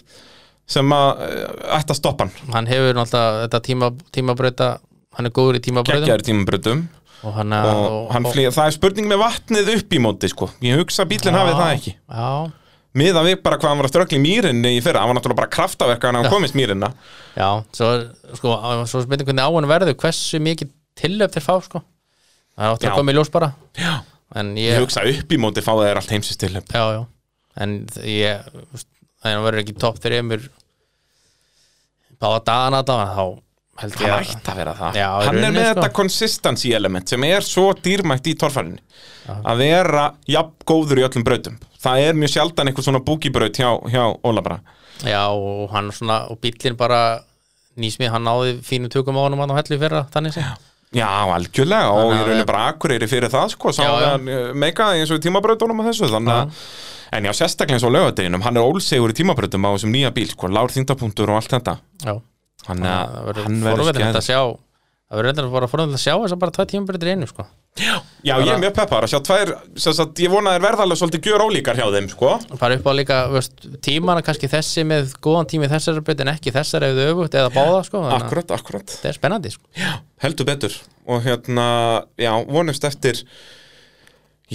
Speaker 1: sem að uh, ætti að stoppa hann
Speaker 2: Hann hefur náttúrulega þetta tíma, tímabrauta hann er góður í tímabrautum
Speaker 1: Geggjaður tímabrutum
Speaker 2: Ah, og hann, að-
Speaker 1: og, hann flýja, það er spurning með vatnið upp í móti sko. Ég hugsa að bílinn hafi það ekki
Speaker 2: Já,
Speaker 1: miða við bara hvað hann var að ströggla í mýrinni í fyrra, hann var náttúrulega bara kraftaverka hann komist mýrinna
Speaker 2: Já, svo, sko, svo spyrir hvernig á hann verður hversu mikið tillöf þeir fá sko. það áttur
Speaker 1: Já.
Speaker 2: að koma í ljós bara
Speaker 1: Já.
Speaker 2: en
Speaker 1: ég
Speaker 2: ég,
Speaker 1: hugsa upp í móti fáið þeir allt heimsins til
Speaker 2: já, já. en þ- ég þú veist, þannig að verður ekki topp þreymur báða dagana þá þá held
Speaker 1: hann
Speaker 2: ég að
Speaker 1: ætti að vera það
Speaker 2: Já, í
Speaker 1: hann er
Speaker 2: rauninni,
Speaker 1: með
Speaker 2: sko.
Speaker 1: þetta consistency element sem er svo dýrmætt í torfærinni að vera jafn góður í öllum brautum það er mjög sjaldan einhver svona búkibraut hjá, hjá Óla bara
Speaker 2: já, og hann svona, og bíllinn bara nýsmið, hann náði fínum tökum á honum hann á hellu í fyrra, þannig sé
Speaker 1: Já, algjörlega, og
Speaker 2: Þannig
Speaker 1: ég
Speaker 2: að
Speaker 1: raunir
Speaker 2: við-
Speaker 1: bara akureyri fyrir það, sko, sá
Speaker 2: Já, já.
Speaker 1: hann eh, meika eins og í tímabrautunum og þessu, þannig að, en já, sérstaklega eins og lögadeginum, hann er ólsegur í tímabrautum á þessum nýja bíl, sko, lár þýndapunktur og allt þetta,
Speaker 2: já,
Speaker 1: hann,
Speaker 2: það
Speaker 1: eh,
Speaker 2: verður
Speaker 1: hann verður
Speaker 2: forveitilegt
Speaker 1: skæður.
Speaker 2: að sjá það verður reyndar bara forveitilegt að sjá þess að bara tvað tímabreytir einu sko.
Speaker 1: Já, ég er mjög peppar að sjá tvær, sem sagt, ég vona að þær verða alveg svolítið gjör ólíkar hjá þeim, sko
Speaker 2: bara upp á líka þú veist, tímana kannski þessi með góðan tími í þessari breyt en ekki þessari ef þau öfugt eða báða sko, þannig að
Speaker 1: Akkurat, akkurat
Speaker 2: þetta er spennandi sko.
Speaker 1: Heldur betur Og hérna, já, vonumst eftir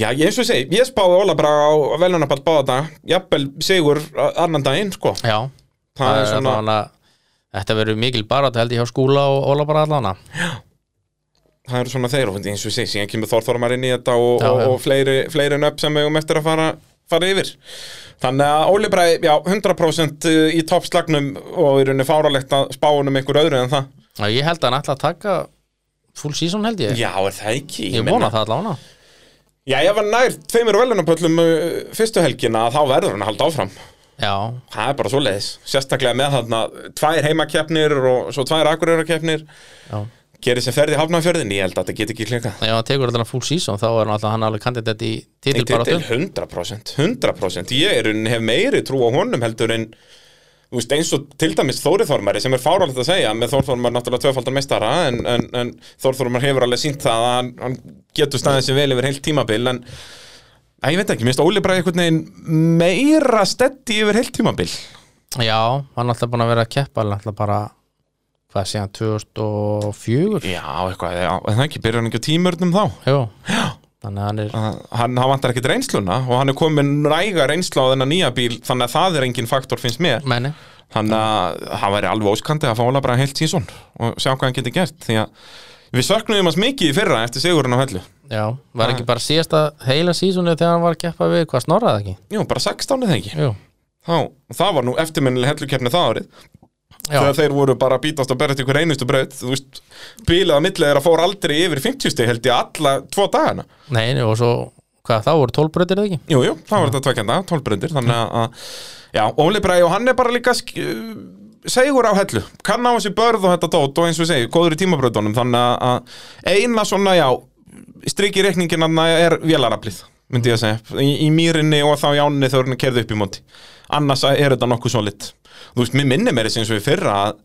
Speaker 1: Já, ég eins og ég segi, ég spáði Óla bara á velunarpall báða dag Jafnvel sigur a- annan daginn, sko
Speaker 2: já,
Speaker 1: Það er svona,
Speaker 2: svona... þetta verður mikil bara held ég hjá skúla og Óla bara allana
Speaker 1: það eru svona þeir Og eins og ég segi, síðan kemur Þorþormar inn í þetta Og,
Speaker 2: Já,
Speaker 1: og,
Speaker 2: já.
Speaker 1: og fleiri, fleiri nöpp sem við um eftir að fara fara yfir. Þannig að Óli bara, já, 100% í toppslagnum og í rauninni fáralegt að spáunum einhver öðru en það.
Speaker 2: ég held að hann ætla að taka full season held ég,
Speaker 1: Já, er það ekki?
Speaker 2: ég
Speaker 1: meina-
Speaker 2: vona það allana
Speaker 1: Já, ef hann nær tveimur velunapöllum uh, fyrstu helgina þá verður hann að halda áfram
Speaker 2: já,
Speaker 1: Það er bara svoleiðis, sérstaklega með þarna tvær heimakeppnir og svo tvær akureyrakeppnir
Speaker 2: já
Speaker 1: gerir sem ferði hafnafjörðin, ég held að þetta get ekki klikað
Speaker 2: ef hann tekur allana full season þá er hann alltaf hann alveg kandidat í
Speaker 1: Þetta
Speaker 2: titilbaráttu
Speaker 1: er 100%, 100% Ég er, unn- hef meiri trú á honum heldur en þú veist, eins og til dæmis Þóriþormari sem er fáralegt að segja með Þórþormar náttúrulega tvöfaldan meistara en, en, en Þórþormar hefur alveg sínt það að hann, hann getur staðið sem vel yfir heilt tímabil en Æ, ég veit ekki, mér finnst Óli bara einhvern veginn meira steddi yfir heilt tímabil
Speaker 2: já, hann er alltaf búin að vera að keppa hann er alltaf bara, hvað sé hann 2004
Speaker 1: Já, eitthvað, já, en það ekki, byrjar hann ekki á tímörnum þá
Speaker 2: já, þannig að hann er
Speaker 1: Að Hann, hann vantar ekkit reynsluna og hann er komin ræga reynsla á þennan nýja bíl þannig að það er engin faktor finnst mér
Speaker 2: menni
Speaker 1: Þannig að hann væri alveg óskandi að fá Óla bara heilt sísón og sjá hvað hann getur gert því að við söknum hans mikið í fyrra eftir sigurinn á hellu
Speaker 2: já, var ekki bara síðasta heila sísunni þegar hann var að keppa við, hvað snorraði ekki?
Speaker 1: Jú, bara 16 eða ekki
Speaker 2: Jú,
Speaker 1: Þá, það var nú eftirminnileg hellukefni það árið
Speaker 2: já,
Speaker 1: þegar þeir voru bara að bítast og berjast ykkur einustu braut þú veist, bílið að millið er að fór aldrei yfir 50 stig held ég alla tvo dagana
Speaker 2: nei, nei, og svo, hvað þá voru tólbröðir eða ekki?
Speaker 1: Jú, jú, það var þetta tvekjanda, tólbrendir þannig að- að, já, Óli Bræði og hann er bara líka sk- uh, segur á hellu, kann á þessi börð og þetta dót og eins og ég segi, góður í tímabrautunum þannig að- að eina svona, já strikki reikningin hann er vélaraflið myndi ég að segja, í, í mýrinni og þá í ánni þegar hann kerði upp í móti annars er þetta nokkuð svo lit þú veist, mér minni mér eins og í fyrra að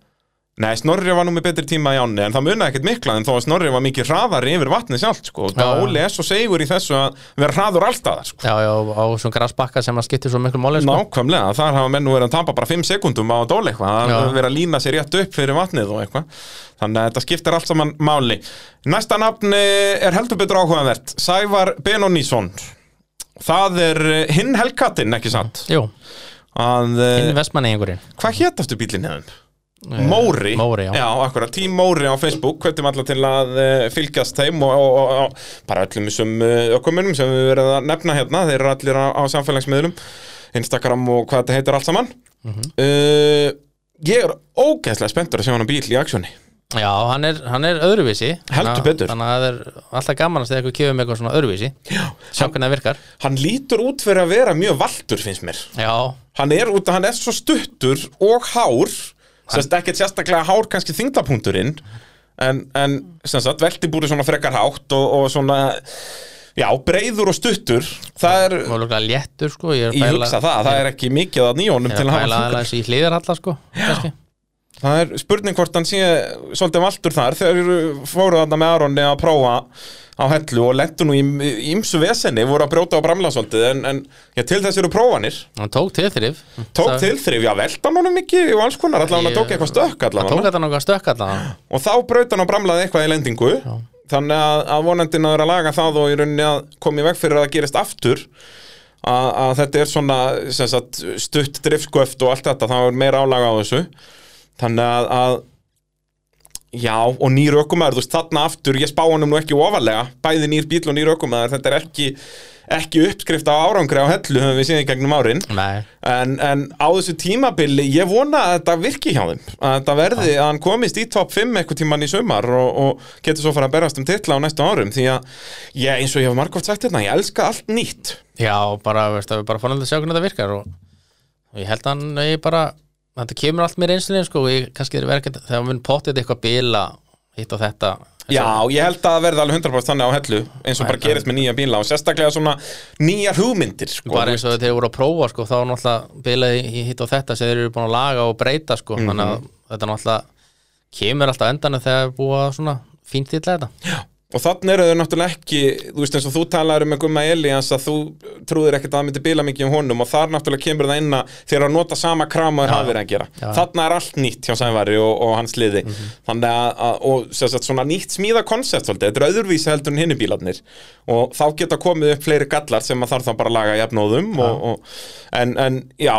Speaker 1: Nei, Snorri var nú með betri tíma í ánni en það munaði ekkert mikla en þó að Snorri var mikið hraðari yfir vatni sjálft sko, og
Speaker 2: Já, já.
Speaker 1: það Óli er svo segur í þessu að vera hraður allstaðar sko.
Speaker 2: Já, já, á svona grassbakka sem að skipti svo miklu máli, sko.
Speaker 1: Nákvæmlega, þar hafa menn nú verið að tapa bara 5 sekundum á að dóla eitthvað,
Speaker 2: Já.
Speaker 1: að vera að lína sér rétt upp fyrir vatnið og eitthvað þannig að þetta skiptir allt saman máli Næsta nafn eh, er heldur betur áhugaðvert Sævar Benonísson Það er eh, hinn helkatinn, ekki satt
Speaker 2: Jú,
Speaker 1: að, eh,
Speaker 2: inn vestmanni einhverjum.
Speaker 1: Hvað hétt eftir bílinn hefum? hérna? Móri,
Speaker 2: Eh, Móri, já.
Speaker 1: já akkurat, tím Móri á Facebook hvetjum alla til að uh, fylgjast þeim og, og, og, og bara öllum þessum uh, ökumunum sem við verðum að nefna hérna þeir eru allir á, á samfélagsmiðlum Instagram og hvað þetta heitir allt saman
Speaker 2: Mhm.
Speaker 1: uh, Ég er ógeðslega spenntur að sjá hann á bíl í aksjóni
Speaker 2: Já, hann er, hann er öðruvísi
Speaker 1: Heldur
Speaker 2: Þannig að-
Speaker 1: betur.
Speaker 2: Þannig að það er alltaf gaman að segja eitthvað kefum eitthvað svona öðruvísi Já Sjá hvernig það virkar
Speaker 1: Hann lítur út fyrir að vera mjög valdur finnst mér
Speaker 2: Já,
Speaker 1: Hann er út að hann er svo stuttur og hár sérst ekkert sérstaklega hár kannski þingdapunkturinn en, en sem sagt veltibúri svona frekar hátt og, og svona já, breiður og stuttur það er,
Speaker 2: og lukka léttur sko Ég, er að
Speaker 1: ég
Speaker 2: pæla-
Speaker 1: hugsa það, það er ekki mikið að nýjónum
Speaker 2: Ég er
Speaker 1: til
Speaker 2: að
Speaker 1: að
Speaker 2: pæla
Speaker 1: hafa
Speaker 2: aðeins í hlýðarhalla sko kannski.
Speaker 1: það er spurning hvort hann sé svolítið valdur þar þegar þeir fóru þarna með Aronni að prófa á hellu og lentu nú í í ýmsu vesenni voru að brjóta á bramla svolítið en, en já, til þess eru prófanir
Speaker 2: Hann tók tilþrif
Speaker 1: tók
Speaker 2: Það-
Speaker 1: til þrif, já velta hann honum mikið og alls konar allavega hann
Speaker 2: Ég-
Speaker 1: tók eitthvað stökk
Speaker 2: Hann
Speaker 1: allavega
Speaker 2: tók þetta nokkað stökk allan
Speaker 1: og þá braut hann og bramlaði eitthvað í lendingu þannig að, að vonandi náður að laga það og í rauninni að koma í veg fyrir að það gerist aftur að, að þetta er svona sem sagt, stutt driftsköft og allt þetta, það er meira álaga á þessu þannig að, að já, og nýr ökumæður þú veist, þarna aftur, ég spá honum nú ekki ofalega bæði nýr bíl og nýr ökumæður, þetta er ekki ekki uppskrift á árangri á hellu höfum við séð í gegnum árin
Speaker 2: Nei,
Speaker 1: En, en á þessu tímabili, ég vona að þetta virki hjá þeim að þetta verði að hann komist í top 5 eitthvað tíman í sumar og, og getur svo fara að berast um titla á næstu árum því að ég, eins og ég hef margóft sagt þetta, ég elska allt nýtt
Speaker 2: já, bara, veist, það er bara fórnandi að sjá hvernig það virkar og, og ég held að hann ég bara, þetta kemur allt mér einslunni sko, og ég kannski er verið þegar mun pottið eitthvað bila hitt og þetta
Speaker 1: Já, ég held að það verði alveg 100% þannig á hellu eins og bara gerist með nýja bíla og sérstaklega svona nýjar hugmyndir sko,
Speaker 2: bara
Speaker 1: þú
Speaker 2: eins og þeir voru að prófa sko, þá er náttúrulega bilaði í hitt og þetta sem þeir eru búin að laga og breyta sko, þannig að þetta náttúrulega kemur alltaf á endanum þegar er búið að svona fíntilla þetta
Speaker 1: Og þannig eru þau náttúrulega ekki, þú veist eins og þú talar um með Gumma Elíans að þú trúðir ekkert að það myndi bila mikið um honum og þar náttúrulega kemur það inn að þeir eru að nota sama kram og þeir hafa verið að gera.
Speaker 2: Já. Mhm.
Speaker 1: Þannig er allt nýtt hjá Sævari og, og hans liði. Þannig að, að og, sem sagt, svona nýtt smíða konsept svolítið, þetta er öðurvísi heldur en hinni bílarnir og þá geta komið upp fleiri gallar sem að þarf þá bara að laga jafnóðum og, og, en, en já,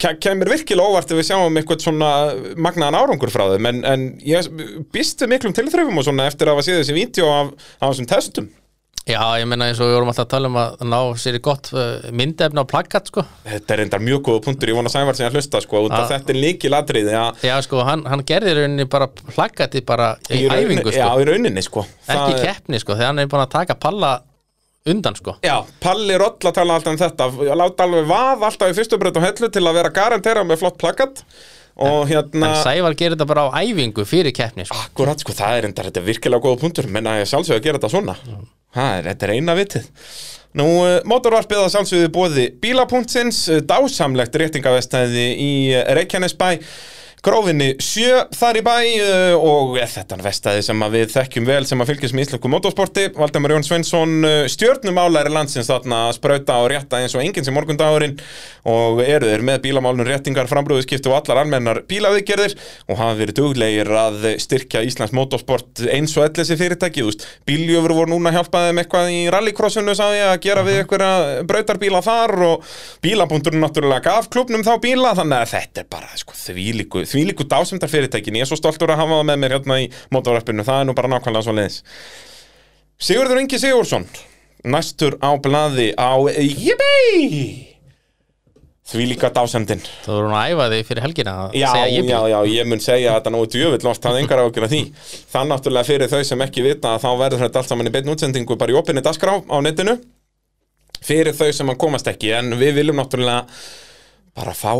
Speaker 1: ke- kemur virkilega óvart ef við sjáum eitthvað svona magnaðan árangur frá þeim en, en ég býst við miklum tilþrifum og svona eftir að hafa séð þessi vídeo af, af þessum testum
Speaker 2: já, ég meina eins og við vorum alltaf að tala um að ná sér í gott uh, myndefni á plakkat sko.
Speaker 1: Þetta er reyndar mjög góða punktur, ég vona Sævar sem að hlusta sko, út af
Speaker 2: Já.
Speaker 1: þetta er líkil atriði að
Speaker 2: já, sko, hann, hann gerði í rauninni bara plakkatið bara
Speaker 1: í
Speaker 2: í,
Speaker 1: rauninni-
Speaker 2: æfingu
Speaker 1: Já,
Speaker 2: sko.
Speaker 1: í rauninni sko Það
Speaker 2: ekki
Speaker 1: er-
Speaker 2: keppni, sko, þegar hann er búin að taka palla undan sko.
Speaker 1: Já, Palli Roll að tala alltaf um þetta að láta alveg vað alltaf í fyrstu breytt og hellu til að vera garantera með flott plakat og hérna
Speaker 2: en Sævar gerir þetta bara á æfingu fyrir keppni sko.
Speaker 1: Akkurat, sko, það er enda, þetta er virkilega góða punktur menn að ég sjálfsög að gera þetta svona það er, þetta er eina vitið Nú, eh, mótorvarpið að sjálfsögðu bóði bílapunktsins, eh, dásamlegt réttingavestæði í eh, Reykjanesbæ grófinni sjö þar í bæ eh, og eh, þetta er vestæði sem að við þekkjum vel sem að fylgjast með íslensku motorsporti Valdemar Jón Svensson, eh, stjörnumálari landsins þarna að sprauta og rétta eins og enginn sem morgundagurinn og eru þeir með bílamálnum réttingar, frambrúðuskipti og allar almennar bílaviðgerðir og hafa verið duglegir að styrkja Íslands motorsport eins og ellesi fyrirtæki, þú veist bíljöfur voru núna að hjálpa þeim eitthvað í rallycrossinu sá ég að gera við einhverja brautarbíla þar og bílapunkturinn náttúrulega gaf klubnum þá bíla þannig að þetta er bara sko, þvílíku, þvílíku dásendar fyrirtækin, ég er svo stoltur að hafa það með mér hérna í motorvarpinu, það er nú bara nákvæmlega svo leiðis Sigurður Ingi Sigursson Næstur á blaði á Jibbi Því líka dásendin
Speaker 2: Það voru hún að æfa þig fyrir helgina að
Speaker 1: Já,
Speaker 2: segja ég
Speaker 1: já, já, ég mun segja að þetta náu djöfull loft hafði engar ágjur af því Það náttúrulega fyrir þau sem ekki vita að þá verður þetta allt saman í beinni útsendingu bara í opinni dagskrá á netinu fyrir þau sem að komast ekki en við viljum náttúrulega bara fá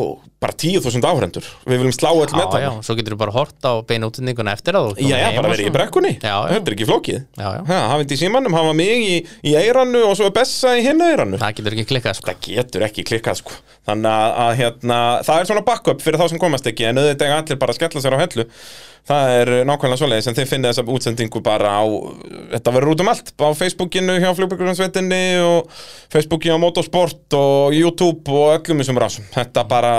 Speaker 1: bara 10.000 áhrendur við viljum slá öll
Speaker 2: Já, já,
Speaker 1: metan
Speaker 2: svo getur þú bara hort á beinu útendinguna eftir að þú komir
Speaker 1: Já, já,
Speaker 2: heim
Speaker 1: bara
Speaker 2: og
Speaker 1: verið í
Speaker 2: svona.
Speaker 1: brekkunni
Speaker 2: Já, já.
Speaker 1: Þetta er ekki flókið
Speaker 2: Já, já.
Speaker 1: Ha, Hafa þetta í símanum, hafa mig í, í eirannu og svo Bessa í hinna eirannu
Speaker 2: Það getur ekki klikkað sko
Speaker 1: Það getur ekki klikkað sko Þannig að, að hérna, það er svona backup fyrir þá sem komast ekki En auðvitað eiga allir bara að skella sér á hellu Það er uh, nákvæmlega svoleiðis En þið finnið þessa útsendingu bara á Þetta verður út um allt Á Facebookinu hjá Flugbyggurinsveitinni Og Facebooki á Motorsport Og YouTube og öllum þessum rásum Þetta bara,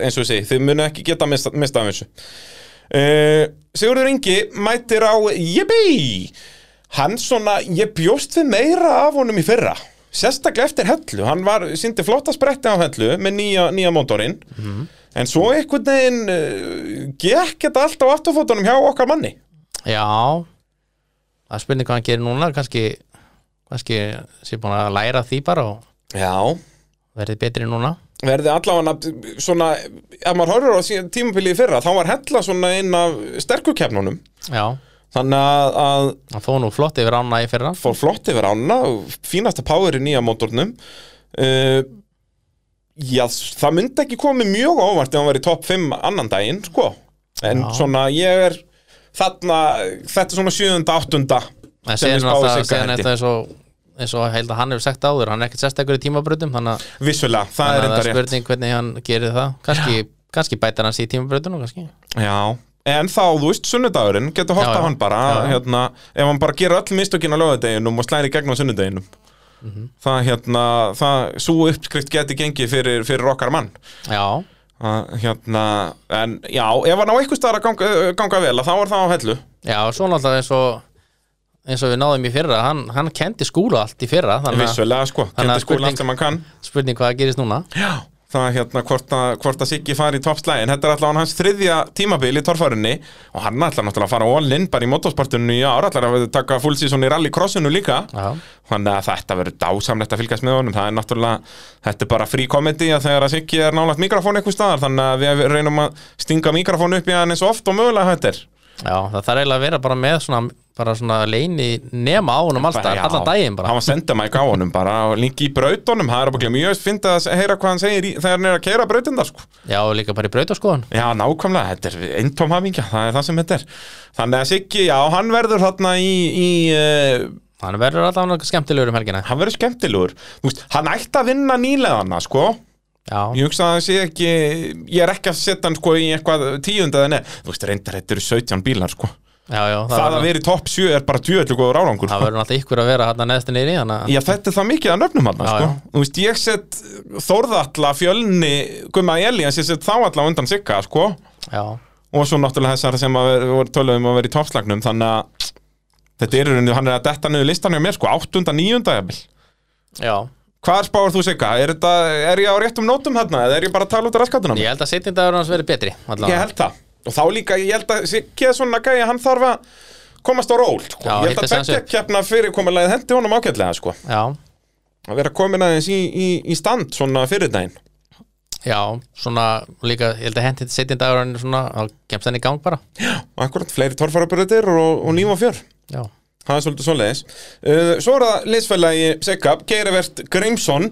Speaker 1: eins og ég segi, þið munu ekki geta mista, mista af þessu uh, Sigurður Ingi mætir á Yippie Hann svona, ég bjóst við meira af honum í fyrra Sérstaklega eftir hellu, hann var, síndi flotta spretti á hellu með nýja, nýja mótorinn En svo einhvern veginn uh, gekk þetta allt á afturfótunum hjá okkar manni
Speaker 2: Já Það er spurning hvað hann gerir núna kannski, kannski sé búin að læra því bara og
Speaker 1: Já
Speaker 2: verði betri núna
Speaker 1: Verði allavega svona, ef maður horfir á síðan tímabilið í fyrra Þá var hella svona inn af sterkukefnunum
Speaker 2: Já,
Speaker 1: Þannig að, að
Speaker 2: hann fóð nú flott yfir ána í fyrra
Speaker 1: fór flott yfir ána fínasta power í nýja mótornum uh, já, það myndi ekki komið mjög á óvart ef hann var í topp 5 annan daginn sko. en
Speaker 2: Já.
Speaker 1: svona ég er þarna, þetta er svona 7. 8.
Speaker 2: En
Speaker 1: sem við
Speaker 2: síðan
Speaker 1: spáum
Speaker 2: er
Speaker 1: Sigga
Speaker 2: það síðan er
Speaker 1: held ég.
Speaker 2: þetta eins og eins og ég held að hann hefur sagt áður, hann er ekkert sérstakur í tímabrautum þannig að
Speaker 1: vissulega, það er
Speaker 2: þannig að það er
Speaker 1: enda rétt
Speaker 2: spurning hvernig hann gerir það kannski, kannski bætar hann sér í tímabrautunum kannski.
Speaker 1: já En þá, þú veist, sunnudagurinn, getur hort
Speaker 2: Já,
Speaker 1: á
Speaker 2: já.
Speaker 1: hann bara,
Speaker 2: Já, já.
Speaker 1: hérna, ef hann bara gerir öll mistökin á lögadeginum og slæri gegn á sunnudeginum.
Speaker 2: Mhm.
Speaker 1: Það, hérna, það, svo uppskrift geti gengið fyrir, fyrir okkar mann.
Speaker 2: Já,
Speaker 1: að hérna, en já, ef hann á eitthvað staðar að ganga, eh, ganga vel, að þá er það á hellu
Speaker 2: já, svo náttúrulega eins og eins og við náðum í fyrra, hann, hann kendi skúla allt í fyrra, þannig að
Speaker 1: vissulega, sko,
Speaker 2: þannig að
Speaker 1: kendi skóla
Speaker 2: spurning-
Speaker 1: allt sem hann kann
Speaker 2: spurning hvað gerist núna
Speaker 1: já. það er hérna hvort að, hvort að Siggi fari í toppslægin, þetta er allavega hans þriðja tímabil í torfarinni og hann ætlar náttúrulega að fara all-in bara í motorsportunni í ár, ætlar að taka full season í rallycrossinu líka
Speaker 2: Já,
Speaker 1: þannig að þetta verður dásamlegt að fylgjast með honum það er náttúrulega, þetta er bara frí komedi að þegar að Siggi er nálægt mikrofón eitthvað staðar þannig að við reynum að stinga mikrofón upp í hann eins og oft og mögulega þetta er
Speaker 2: já, það þarf eiginlega að vera bara með svona, bara svona leini nema á honum alls
Speaker 1: já,
Speaker 2: alltaf, allan daginn bara
Speaker 1: hann var sendamæk á honum bara og líki í brautunum það er bara mjög fint að heyra hvað hann segir í, þegar hann er að keira brautundar sko.
Speaker 2: Já, og líka bara í brautaskoðun
Speaker 1: já, nákvæmlega, þetta er eintóm hafingja það er það sem þetta er þannig að Siggi, já, hann verður þarna í, í uh,
Speaker 2: Hann verður alltaf skemmtilegur um helgina
Speaker 1: hann verður skemmtilegur Þú veist, hann ætti að vinna nýleðana sko.
Speaker 2: Já,
Speaker 1: ég hugsa að það sé ekki ég er ekki að setja hann sko, í eitthvað tíund eða neð, þú veist, reyndar þetta eru 17 bílar sko.
Speaker 2: já, já
Speaker 1: það, að vera í topp 7 er bara djöðlu góður árangur
Speaker 2: Það
Speaker 1: sko.
Speaker 2: verður náttúrulega ykkur að vera hann neðst niður í þannig að-
Speaker 1: Já, þetta er það mikið að nöfnum hann,
Speaker 2: Já,
Speaker 1: sko.
Speaker 2: já.
Speaker 1: Þú veist, ég set Þórðalla, Fjölni, Gumma Elías, ég set þá alla undan Sigga, sko.
Speaker 2: Já,
Speaker 1: Og svo náttúrulega þessar sem að ver- voru tölum að vera í toppslagnum, þannig að þetta er í rauninni, hann er að detta niður listan hjá mér, sko, 8. 9. jafnvel.
Speaker 2: já
Speaker 1: Hvar spáir þú Sigga? Er, þetta, er ég á réttum nótum þarna eða er ég bara að tala út af raskatunum?
Speaker 2: Ég held að setjindagur hans verið betri allavega.
Speaker 1: Ég held það. Og þá líka, ég held að Siggi er svona gæja, hann þarf að komast á ról, sko.
Speaker 2: Já,
Speaker 1: ég held
Speaker 2: hitta
Speaker 1: að
Speaker 2: sig aðeins
Speaker 1: tveggja
Speaker 2: upp.
Speaker 1: keppna fyrirkomulega hendi honum ágætlega, sko.
Speaker 2: Já,
Speaker 1: Að vera komin aðeins í, í, í stand svona fyrir daginn.
Speaker 2: já, svona líka Ég held að hendi setjindagur hann svona þá kemst hann í gang bara
Speaker 1: Akkurat, fleiri torfarabröðir og, og nýjum og fjör
Speaker 2: Já,
Speaker 1: Það er svolítið svoleiðis uh, Svo er það liðsfélagi Segab, Geirivert Grimson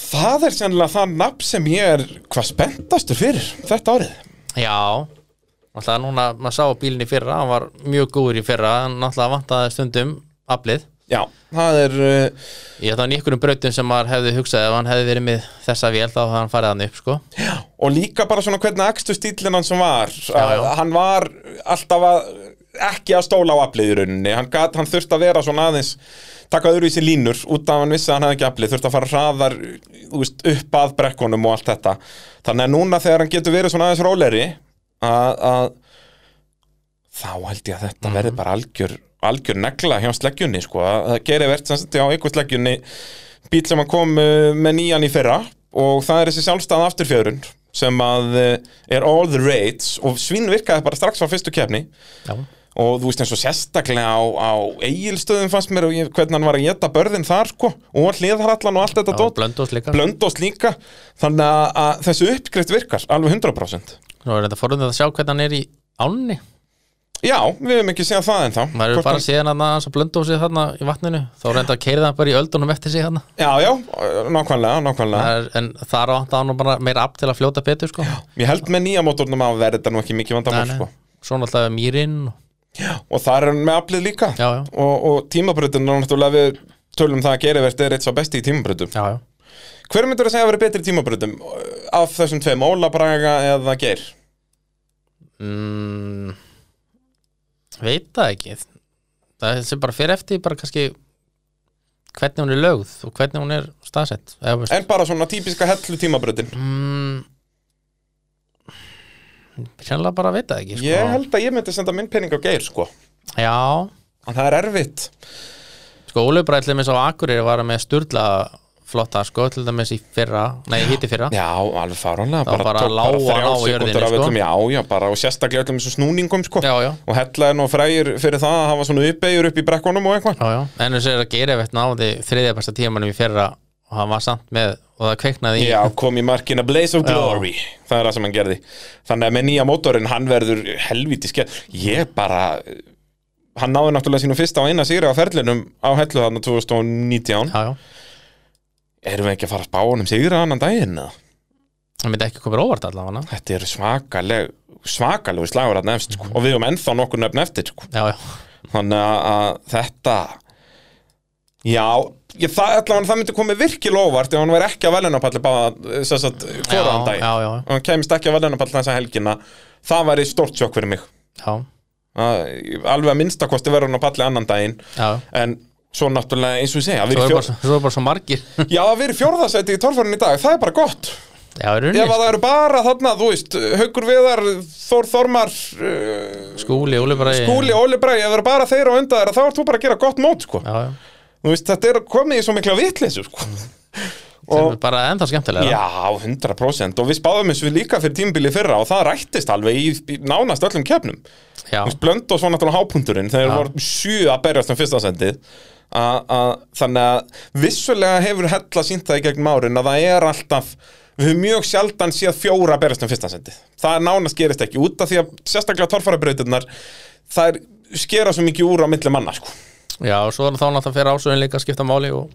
Speaker 1: Það er sennilega það nafn sem ég er hvað spenntastur fyrir þetta árið
Speaker 2: já Náttúrulega núna, maður sá bílinni í fyrra Hann var mjög góður í fyrra En náttúrulega vantaði stundum aflið
Speaker 1: Já, það er uh,
Speaker 2: Ég held að hann í ykkurum brautum sem maður hefði hugsað Ef hann hefði verið með þessa vél þá hefði hann farið hann upp sko.
Speaker 1: Og líka bara svona hvernig akstu stíllinn hann sem var
Speaker 2: já.
Speaker 1: Að Hann var alltaf að ekki að stóla á aflið í rauninni hann, gat, hann þurfti að vera svona aðeins taka öðru í sér línur út af hann vissi að hann hefði ekki aflið þurfti að fara hraðar þú veist, upp að brekkunum og allt þetta þannig að núna þegar hann getur verið svona aðeins róleri að, að þá held ég að þetta
Speaker 2: Mhm.
Speaker 1: verði bara algjör algjör negla hjá sleggjunni sko. að það gerir verðt sem þetta á einhver sleggjunni bíl sem að kom uh, með nýjan í fyrra og það er þessi sjálfstæða afturfjörun eh, sem að uh, er all the rates og svinn virkaði bara strax frá fyrstu kefni
Speaker 2: Já,
Speaker 1: og þú veist eins og sérstaklega á, á eigilstöðum fannst mér og ég, hvernig hann var að geta börðin þar sko og hliðarallan og allt þetta
Speaker 2: og
Speaker 1: dót
Speaker 2: blöndós líka
Speaker 1: blöndóst líka þannig að- að þessu uppskrift virkar alveg 100%
Speaker 2: Nú er þetta forðum að sjá hvernig hann er í ánni
Speaker 1: Já, við höfum ekki segjað það en þá
Speaker 2: maður eru bara síðan að hans að blöndósið þarna í vatninu þá reynda að keira það bara í öldunum eftir sig þarna
Speaker 1: Já, já, nákvæmlega, nákvæmlega
Speaker 2: Það er- en þar á hann bara meira app til að fljóta betur sko.
Speaker 1: Ég held með nýja mótornum að verða þetta nú ekki mikið vandamál sko.
Speaker 2: svona alltaf mýrin og-
Speaker 1: og það er hann með aflið líka
Speaker 2: já, já,
Speaker 1: og, og tímabröðin er náttúrulega við tölum það að gerivert er eitt svo besti í tímabröðum
Speaker 2: já, já.
Speaker 1: Hver myndur að segja að vera betri í tímabröðum af þessum tveim, Óla Braga eða Geir?
Speaker 2: Mm, veit það ekki það sem bara fyrir eftir bara kannski hvernig hún er lögð og hvernig hún er staðsett eða, veist,
Speaker 1: En bara svona típiska hellu tímabröðin
Speaker 2: mm, sennilega bara veit það ekki sko.
Speaker 1: Ég held að ég myndi senda minn pening á Geir sko
Speaker 2: já,
Speaker 1: En það er erfitt
Speaker 2: sko Ólið bara allir með svo Akureyri var með sturla flotta sko, til dæmis í fyrra nei, hitti fyrra,
Speaker 1: Já, alveg faranlega
Speaker 2: Það var bara
Speaker 1: tók
Speaker 2: lágan á
Speaker 1: þrjár sekúndur
Speaker 2: jörðinni,
Speaker 1: af
Speaker 2: sko.
Speaker 1: öllum, Já, já, bara og sérstaklega öllum þessum snúningum sko.
Speaker 2: já, já
Speaker 1: og hella er nú frægir fyrir það að hafa svona uppeyjur upp í brekkunum og eitthvað
Speaker 2: Já, já, en þess er að gera eftir náði þriðja besta tímanum í fyrra og hann var samt með og það kveiknaði í
Speaker 1: Já, kom í markina Blaze of Glory Það er það sem hann gerði Þannig að með nýja mótorinn, hann verður helvíti skeð Ég bara Hann náði náttúrulega sínum fyrsta og eina sigri á ferlinum á hellu þarna 2019
Speaker 2: já, já.
Speaker 1: Erum við ekki að fara að spá honum sigra annan daginn? eða?
Speaker 2: hann myndi ekki komið óvart allavega
Speaker 1: Þetta eru svakaleg svakalegu slagur að nefnst sko. og við höfum ennþá nokkur nefn eftir sko.
Speaker 2: Já, já,
Speaker 1: þannig að- að þetta já ég, það, allavega það myndi komið virkilega óvart ef hann væri ekki að velunapalli bara sem sagt,
Speaker 2: já,
Speaker 1: hvoraðan dag
Speaker 2: já, já,
Speaker 1: og hann kemist ekki að velunapalli þessa helgina það væri stórt sjokk fyrir mig
Speaker 2: já,
Speaker 1: að, alveg að minnstakosti verður hann á palli annan daginn
Speaker 2: já.
Speaker 1: en svo náttúrulega eins og ég segja að vera
Speaker 2: Svo
Speaker 1: í
Speaker 2: er, bara,
Speaker 1: fjórð-
Speaker 2: svo- svo er bara svo margir
Speaker 1: já, að vera í fjórðasæti í torfærin í dag það er bara gott
Speaker 2: Já, er
Speaker 1: ef að
Speaker 2: unni,
Speaker 1: það eru bara þarna, þú veist Haukur Viðar, Þór Þormar uh,
Speaker 2: skúli, Óli bara í-
Speaker 1: Skúli, Óli Bræði, ef það eru bara þeir á undan þeirra þá ert þú bara að gera gott mót sko.
Speaker 2: Já, já,
Speaker 1: Þú veist, þetta er komið í svo mikla vitleysu sko.
Speaker 2: sem
Speaker 1: og,
Speaker 2: er bara ennþá skemmtilega
Speaker 1: Já, 100% og við spáðum þessu líka fyrir tímabili í fyrra og það rættist alveg í, í nánast öllum kefnum Þú
Speaker 2: já,
Speaker 1: veist, blönd og svo náttúrulega hápunturinn þegar
Speaker 2: Já.
Speaker 1: voru sjö að berjast um fyrsta sendið A- a- Þannig að vissulega hefur hella sínt það í gegnum árin að það er alltaf Við höfum mjög sjaldan séð fjóra að berjast um fyrsta sendið Það nánast gerist ekki út af því að sérstaklega torfarabrautirnar Það er skera svo mikið úr á milli manna sko.
Speaker 2: já, og svo er þá náttúrulega fyrir ásöðin líka að skipta máli og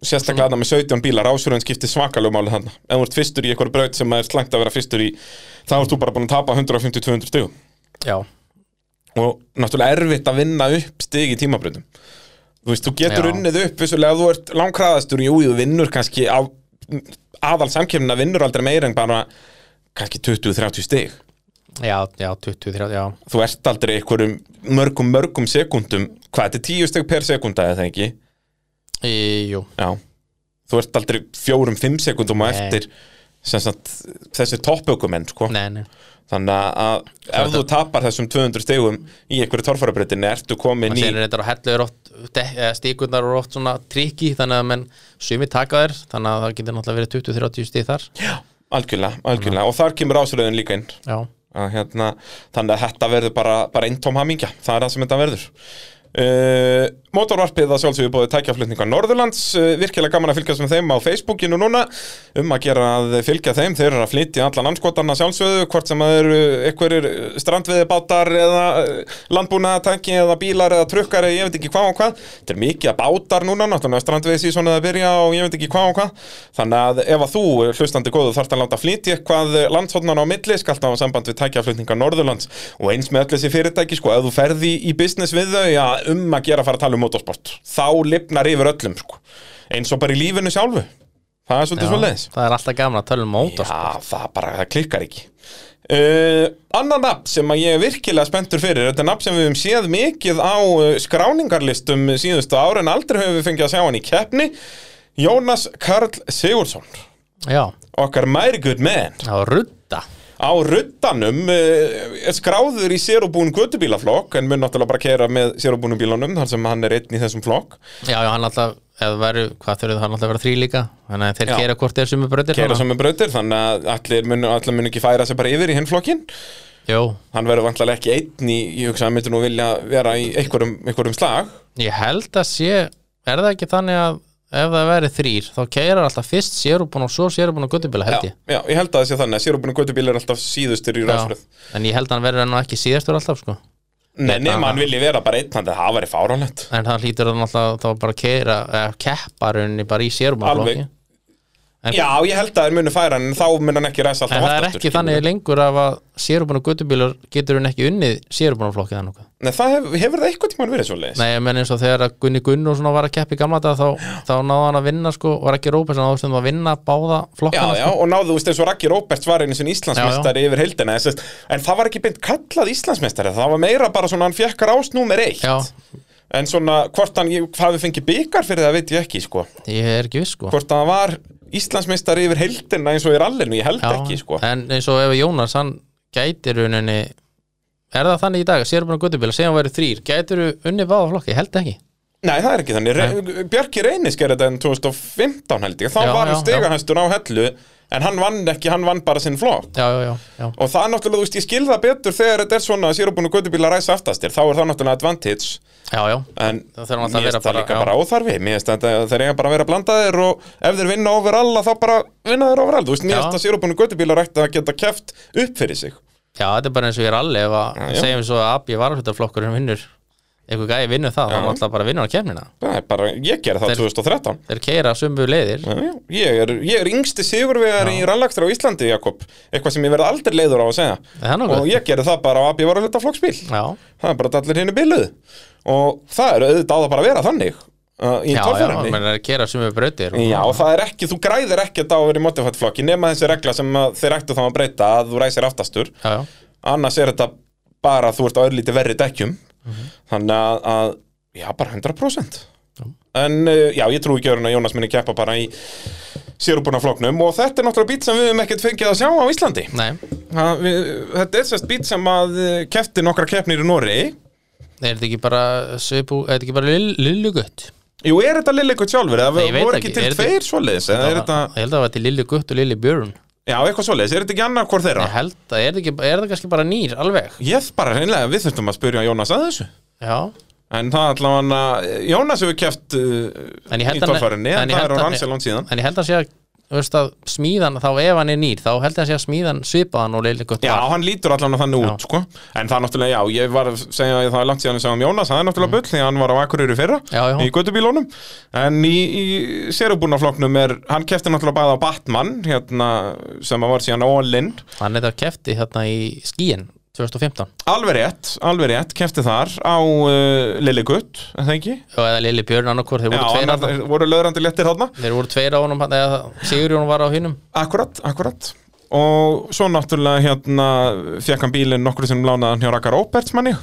Speaker 1: sérstaklega þarna með 17 bílar ásverðin skiptir svakalegu máli þarna ef þú ert fyrstur í eitthvað braut sem er slangt að vera fyrstur í þá ert þú bara búin að tapa 150-200 stigum
Speaker 2: já,
Speaker 1: og náttúrulega erfitt að vinna upp stig í tímabrautum þú veist, þú getur
Speaker 2: Já.
Speaker 1: unnið upp vissulega ef þú ert langkraðastur í úið og vinnur kannski á aðal samkefnina vinnur aldrei meira en bara kannski 20-30 stig
Speaker 2: já, já, 20, 30, já
Speaker 1: þú ert aldrei einhverjum mörgum mörgum sekundum hvað, þetta er 10 stig per sekunda eða það ekki?
Speaker 2: í, Jú,
Speaker 1: Já, þú ert aldrei fjórum, fimm sekundum og
Speaker 2: Nei.
Speaker 1: eftir sem sagt, þessi toppaukumenn sko.
Speaker 2: nei, nei,
Speaker 1: þannig að ef
Speaker 2: er
Speaker 1: þú tapar þessum 200 stegum í einhverju torfarabreytinni ertu komin
Speaker 2: mann
Speaker 1: í
Speaker 2: segir þetta á hellu er oft de- eða stíkurnar eru oft svona trikki þannig að menn sumi taka þær þannig að það getur náttúrulega verið 20-30 stíð þar
Speaker 1: algjörlega, algjörlega og þar kemur ásröðun líka inn
Speaker 2: já,
Speaker 1: að, hérna, þannig að þetta verður bara, bara eintóm hamingja, það er það sem þetta verður Uh, Mótorvarpið að sjálfsögðu bóðið tækjaflutninga Norðurlands uh, virkilega gaman að fylgjast með þeim á Facebookinu núna um að gera að fylgja þeim þeir eru að flytja allan anskotarna sjálfsögðu hvort sem að eru einhverjir strandveiðibátar eða landbúnaðatæki eða bílar eða trukkar eða ég veit ekki hvað og hvað þetta er mikið að bátar núna náttúrulega strandveiði síðan að byrja og ég veit ekki hvað og hvað þannig að ef að þú hlustandi góðu þarft að láta flytja eitthvað landshotnan á milli skalt á samband við tækjaflutninga Norðurlands og eins með öll þessi fyrirtæki sko, ef þú ferði í business við þau ja, um að gera að fara að tala um motorsport þá lifnar yfir öllum sko. eins og bara í lífinu sjálfu það er
Speaker 2: já
Speaker 1: svolítið svo leiðis
Speaker 2: það er alltaf gaman að tala um mót
Speaker 1: Já, það bara, það klikkar ekki uh, Annan nafn sem að ég er virkilega spenntur fyrir Þetta er nafn sem við höfum séð mikið á uh, skráningarlistum síðustu ára En aldrei höfum við fengið að sjá hann í keppni Jónas Karl Sigurðsson
Speaker 2: já,
Speaker 1: Okkar mæri good man
Speaker 2: já, rudda
Speaker 1: Á ruddanum uh, er skráður í sérubún gödubílaflokk En mun náttúrulega bara kera með sérubúnum bílunum Þar sem hann er einn í þessum flokk
Speaker 2: já, já, hann alltaf, eða veru, hvað þurfið hann alltaf að vera þrý líka þannig að þeir
Speaker 1: Já.
Speaker 2: gera hvort þeir sumi bröðir
Speaker 1: Kera sem er brautir Þannig að allir mun, allir mun ekki færa sig bara yfir í hinn flokkin
Speaker 2: Jó,
Speaker 1: hann verður vantilega ekki einn í, ég hugsa að hann myndir nú vilja vera í einhverjum, einhverjum slag
Speaker 2: ég held að sé Er það ekki þannig að ef það væri þrýr þá keirar alltaf fyrst sérubun og svo sérubun og guttubila held
Speaker 1: já,
Speaker 2: ég
Speaker 1: já, ég held að það sé þannig að sérubunni göttubíl er alltaf síðustur í rásröð
Speaker 2: En ég held að hann verður nú ekki síðastur alltaf sko
Speaker 1: Nei, nema hann vilji vera bara einn, þannig að það væri fáránlegt
Speaker 2: En það hlýtur það náttúrulega þá bara keira eða keppa rauninni bara í sérumaflokki
Speaker 1: Alveg. Já, ég held að þeir munu færa hann en þá mun hann ekki ræsa alltaf
Speaker 2: En það er
Speaker 1: aftur,
Speaker 2: ekki
Speaker 1: skilur.
Speaker 2: þannig lengur af að sérubun og guttubílar getur hún ekki unnið sérubunaflokkið eða nokkuð
Speaker 1: Nei, það hef, hefur það eitthvað tímann verið svo leiðis
Speaker 2: Nei, ég menn eins og þegar að Gunni Gunnarsson var að keppa í gamla dag þá, þá náði hann að vinna sko og Rækki Rópesson náði stundum að vinna báða
Speaker 1: Já,
Speaker 2: flokkana
Speaker 1: já, og náðu, þú veist, eins og Raggi Róberts var einu sinni Íslandsmeistari yfir heildina þess að- En það var ekki beint kallað Íslandsmeistari Það var meira bara svona, hann fekk rás númer eitt
Speaker 2: Já,
Speaker 1: En svona, hvort hann ég- hafi fengið byggar fyrir það veit ég ekki, sko
Speaker 2: ég er ekki viss sko
Speaker 1: Hvort hann var Íslandsmeistari yfir heildina eins og í rallinu, ég held
Speaker 2: já,
Speaker 1: ekki, sko
Speaker 2: En eins og ef Jónas, hann gætir uninni Er það þannig í dag að sérubun og guttubílar segjum verið þrýr, gætir unnið báða flokki, Ég held ekki
Speaker 1: Nei, það er ekki þannig, Re Bjarki Reynis gerði þetta en 2015 held ég, þá
Speaker 2: Já,
Speaker 1: var hann
Speaker 2: já,
Speaker 1: steganhæstur á hellu En hann vann ekki, hann vann bara sinn flokk
Speaker 2: Já, já, já, já.
Speaker 1: Og það er náttúrulega, þú veist, ég skil það betur þegar þetta er svona að sérubun og göttubíla ræsa aftastir, þá er það náttúrulega advantage
Speaker 2: já, já.
Speaker 1: en
Speaker 2: Það þarf alltaf
Speaker 1: mér
Speaker 2: að vera
Speaker 1: finnst það
Speaker 2: bara-
Speaker 1: líka
Speaker 2: já.
Speaker 1: bara óþarfi mér finnst þetta, þeir eiga bara að vera blandaðir og ef þeir vinna overall að þá bara vinna þeir overall, þú veist, mér
Speaker 2: Já.
Speaker 1: finnst að sérubun og göttubílar ætti að geta keft upp fyrir sig
Speaker 2: Já, þetta er bara eins og ég er allir ef að
Speaker 1: já.
Speaker 2: segjum svo að Abbi varaflutaflokkur hann vinnur eitthvað gæði vinnur það, þá náttúrulega bara vinnur hann kemnina
Speaker 1: það er bara, ég gerði það 2013
Speaker 2: Þeir keira sömu leiðir
Speaker 1: Já, já. Ég er, ég er yngsti sigurvegar í rannakstur á Íslandi, Jakob Eitthvað sem ég verði aldrei leiður á að
Speaker 2: Er það
Speaker 1: segja
Speaker 2: nokkuð?
Speaker 1: Og ég gerði það bara á að bývara hluta flokksbíl
Speaker 2: Já,
Speaker 1: það er bara að allir henni biluð og það er auðvitað á það bara að vera þannig uh, í
Speaker 2: já, já,
Speaker 1: tólfjörðinni já,
Speaker 2: menn þeir keira sömu brautir og-
Speaker 1: það er ekki, þú græðir ekkert á að vera í motifatflokki nema þessi regla sem að þeir ættu þá að breyta að þú ræsir aftastur
Speaker 2: já, já.
Speaker 1: annars er þetta bara að þú ert á örlíti verri dekkjum þannig að, að, já, bara 100% En uh, já, ég trúi ekki öðrun að Jónas minni keppa bara í sérubuna floknum og þetta er náttúrulega bít sem við höfum ekkert fengið að sjá á Íslandi.
Speaker 2: Nei,
Speaker 1: Ha, við, þetta er sérst bít sem að eh, keppti nokkra keppnir í Noregi
Speaker 2: er þetta ekki bara svipu, er þetta ekki bara lill- lillugutt
Speaker 1: Jú, er þetta Lilli Gutt sjálfur? Eða
Speaker 2: Nei, ég veit
Speaker 1: voru ekki
Speaker 2: ekki.
Speaker 1: til
Speaker 2: Er þetta-
Speaker 1: tveir svoleiðis? Eða er þetta...
Speaker 2: Ég held að það var til lillugutt og lillibjörn
Speaker 1: Já, eitthvað svoleiðis, er þetta ekki annað hvort þeirra?
Speaker 2: Ég held að, er þetta ekki, er þetta kannski bara nýr alveg
Speaker 1: Ég bara hreinlega, við þurftum að spyrja Jónas að þessu
Speaker 2: Já,
Speaker 1: En það allavega hann að Jónas hefur keft uh,
Speaker 2: En ég
Speaker 1: í
Speaker 2: held hann-
Speaker 1: tólfærinni
Speaker 2: en
Speaker 1: En það
Speaker 2: ég held
Speaker 1: er á
Speaker 2: hann-
Speaker 1: rannsjálón síðan
Speaker 2: en ég held að sé að, þú veist að smíðan, þá ef hann er nýr þá held ég að sé að smíðan svipaðan og lillugutt
Speaker 1: Já, hann lítur allan að þannig
Speaker 2: Já.
Speaker 1: út, sko En það er náttúrulega, já, ég var að segja að það er langt síðan að segja um Jónas Það er náttúrulega bull, því að hann var á Akureyri í fyrra
Speaker 2: Mm. Já, já.
Speaker 1: Í göttubílónum En í, í sérubúnafloknum er, hann kefti náttúrulega bæða á Batman Hérna, sem að var síðan All-In
Speaker 2: Hann er þetta kefti hérna í skíin 2015
Speaker 1: Alveg rétt, alveg rétt, kefti þar á uh, Lilli Gutt, er það ekki?
Speaker 2: Já, eða Lili Björn annarkvort, þeir
Speaker 1: Já,
Speaker 2: voru tveir
Speaker 1: annar,
Speaker 2: annar,
Speaker 1: voru löðrandi léttir hátna
Speaker 2: þeir voru tveir á honum eða Sigurjón var á hinnum
Speaker 1: Akkurat, akkurat Og svo náttúrulega hérna fekk hann bílinn nokkru sem lánaðan hjá Raka Róberts manni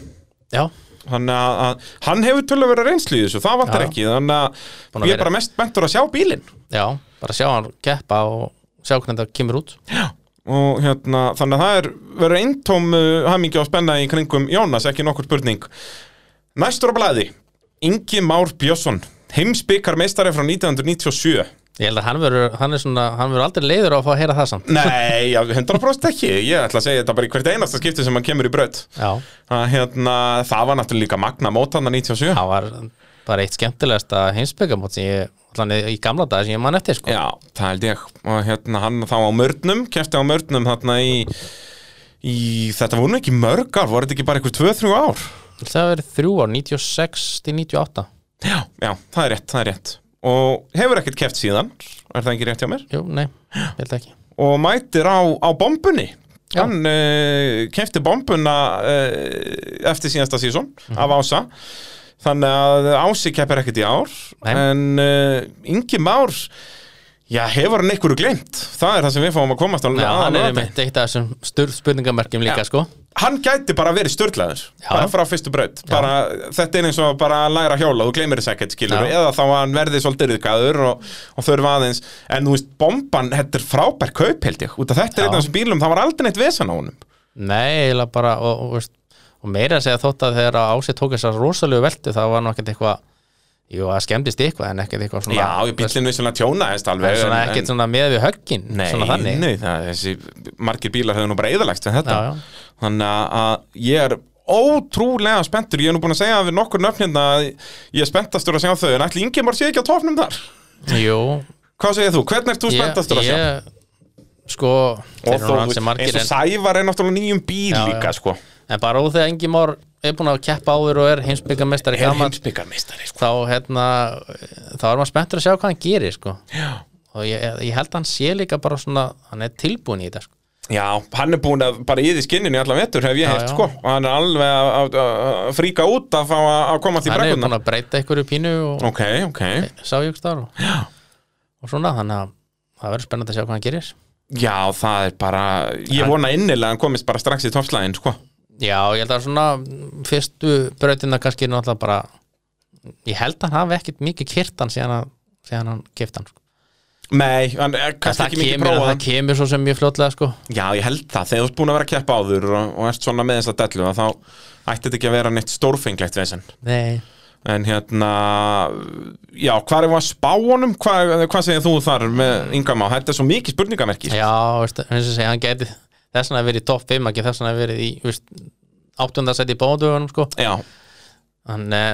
Speaker 2: Já,
Speaker 1: Þannig að, að hann hefur tölulega verið reynslu í þessu, það vantar
Speaker 2: Já.
Speaker 1: ekki Þannig að ég
Speaker 2: Búin að vera-
Speaker 1: er bara mest bentur að sjá bílinn
Speaker 2: já, bara sjá hann keppa og sjá hvernig þetta kemur út
Speaker 1: og hérna, þannig að það er verið eintóm uh, hamingi og spenna í kringum Jónas, ekki nokkur spurning Næstur á blæði, Ingi Már Björnsson heimsbyggar meistari frá 1997
Speaker 2: Ég held að hann verður, hann er svona, hann verður aldrei leiður á að fá að heyra það samt
Speaker 1: Nei, já, 100% ekki Ég ætla að segja þetta bara í hvert einasta skipti sem hann kemur í braut
Speaker 2: Já,
Speaker 1: Það, hérna, það var náttúrulega líka magna mótana 97
Speaker 2: það var bara eitt skemmtilegasta heimsbyggamót sem ég, allan í- í gamla dag sem ég man eftir sko
Speaker 1: Já, það held ég og hérna hann þá á mörnum, kefti á mörnum þarna í, í þetta voru nú ekki mörg ár, voru þetta ekki bara eitthvað 2-3 ár?
Speaker 2: Það hafa verið þrjú ár, 96 til 98
Speaker 1: Já, já, það er rétt, það er rétt og hefur ekkert keft síðan er það ekki rétt hjá mér
Speaker 2: Jú, nei, ég held ekki
Speaker 1: og mætir á, á bombunni
Speaker 2: Já.
Speaker 1: hann uh, kefti bombuna uh, eftir síðasta sísón
Speaker 2: Mhm.
Speaker 1: af Ása þannig að Ási keppir ekkert í ár
Speaker 2: Nei.
Speaker 1: en uh, Ingi Már já, hefur hann einhverju glemt það er það sem við fáum að komast á
Speaker 2: Já,
Speaker 1: á-
Speaker 2: hann
Speaker 1: á-
Speaker 2: er einmitt eitt af þessum sturð spurningamerkjum líka sko
Speaker 1: hann gæti bara verið störtlaður
Speaker 2: Já.
Speaker 1: bara frá fyrstu braut bara, þetta er eins og bara að læra að hjóla, þú gleymir þess ekkert skilur
Speaker 2: Já.
Speaker 1: eða þá að hann verði svolítið yfirgaður og, og þurfa aðeins, en þú veist bomban, þetta er frábær kaup held ég út af þetta
Speaker 2: Já.
Speaker 1: er einn af þessum bílum, það var aldrei neitt vesan á honum
Speaker 2: Nei, eiginlega bara og, og, veist, og meira að segja þótt að þegar að Ási tók þessar rosalegu veltu það var nú ekkert eitthvað Jú, það skemmtist eitthvað en ekkert eitthvað svona
Speaker 1: Já, ég bílinn við svona tjónaðist
Speaker 2: það
Speaker 1: alveg
Speaker 2: er svona
Speaker 1: en-
Speaker 2: ekkert svona með við höggin
Speaker 1: Nei,
Speaker 2: svona þannig
Speaker 1: nei það, þessi, margir bílar hefur nú bara eðalægst við þetta
Speaker 2: Já, já.
Speaker 1: Þannig að- að ég er ótrúlega spenntur Ég er nú búin að segja við nokkur nöfnirna að ég er spenntastur að segja þau En ætli Ingemar sé ekki á tofnum þar
Speaker 2: Jú,
Speaker 1: Hvað segir þú? Hvernig ert þú spenntastur að
Speaker 2: ég,
Speaker 1: segja?
Speaker 2: ég sko, þeir
Speaker 1: Og
Speaker 2: eru
Speaker 1: þó,
Speaker 2: nú hansi
Speaker 1: eins
Speaker 2: margir
Speaker 1: og
Speaker 2: en,
Speaker 1: Sævar er náttúrulega á nýjum bíl
Speaker 2: Já, já.
Speaker 1: líka sko
Speaker 2: en bara úr þegar Ingi Már er búin að keppa áður og er heimsbyggamestari gaman
Speaker 1: heimsbyggarmeistari sko
Speaker 2: þá hérna þá er maður spenntur að sjá hvað hann gerir sko.
Speaker 1: Já.
Speaker 2: og ég, ég held að hann sé líka bara svona, hann er tilbúin í þetta sko.
Speaker 1: Já, hann er búin að bara yði skinninu í alla vetur hef ég
Speaker 2: Já,
Speaker 1: heyrt
Speaker 2: já.
Speaker 1: sko og hann er alveg að- að að fríka út að fá að að komast í
Speaker 2: hann er búin
Speaker 1: brekkuna
Speaker 2: að breyta einhverju pínu og
Speaker 1: Ok, ok
Speaker 2: sá ég ekki þar og, og svona, þannig að það verður spennandi að sjá hvað hann gerir
Speaker 1: Já, það er bara ég
Speaker 2: Hann-
Speaker 1: vona innilega að hann komist bara strax í toppslæðin sko
Speaker 2: já, ég held að svona mm, fyrstu breytina kannski náttúrulega bara ég held að hann hafi ekkert mikið kyrtan síðan, að, síðan hann kefti hann sko.
Speaker 1: Nei, hann er
Speaker 2: En
Speaker 1: kannski
Speaker 2: það,
Speaker 1: ekki mikið
Speaker 2: kemur,
Speaker 1: prófað
Speaker 2: það kemur svo sem mjög fljótlega sko.
Speaker 1: Já, ég held það, þegar þú ert búin að vera að keppa áður og, og ert svona með þess að dellu að þá ætti þetta ekki að vera neitt stórfenglegt vesen
Speaker 2: nei,
Speaker 1: En hérna, já, hvað er að spá honum? Hvað, hvað segir þú þar með Ingamá? Þetta er svo mikið spurningamerki
Speaker 2: já, veist, eins og segja hann geti þess vegna verið í topp 5 ekki þess vegna verið í veist, áttundasæti í bóðugunum sko.
Speaker 1: Já,
Speaker 2: hann eh,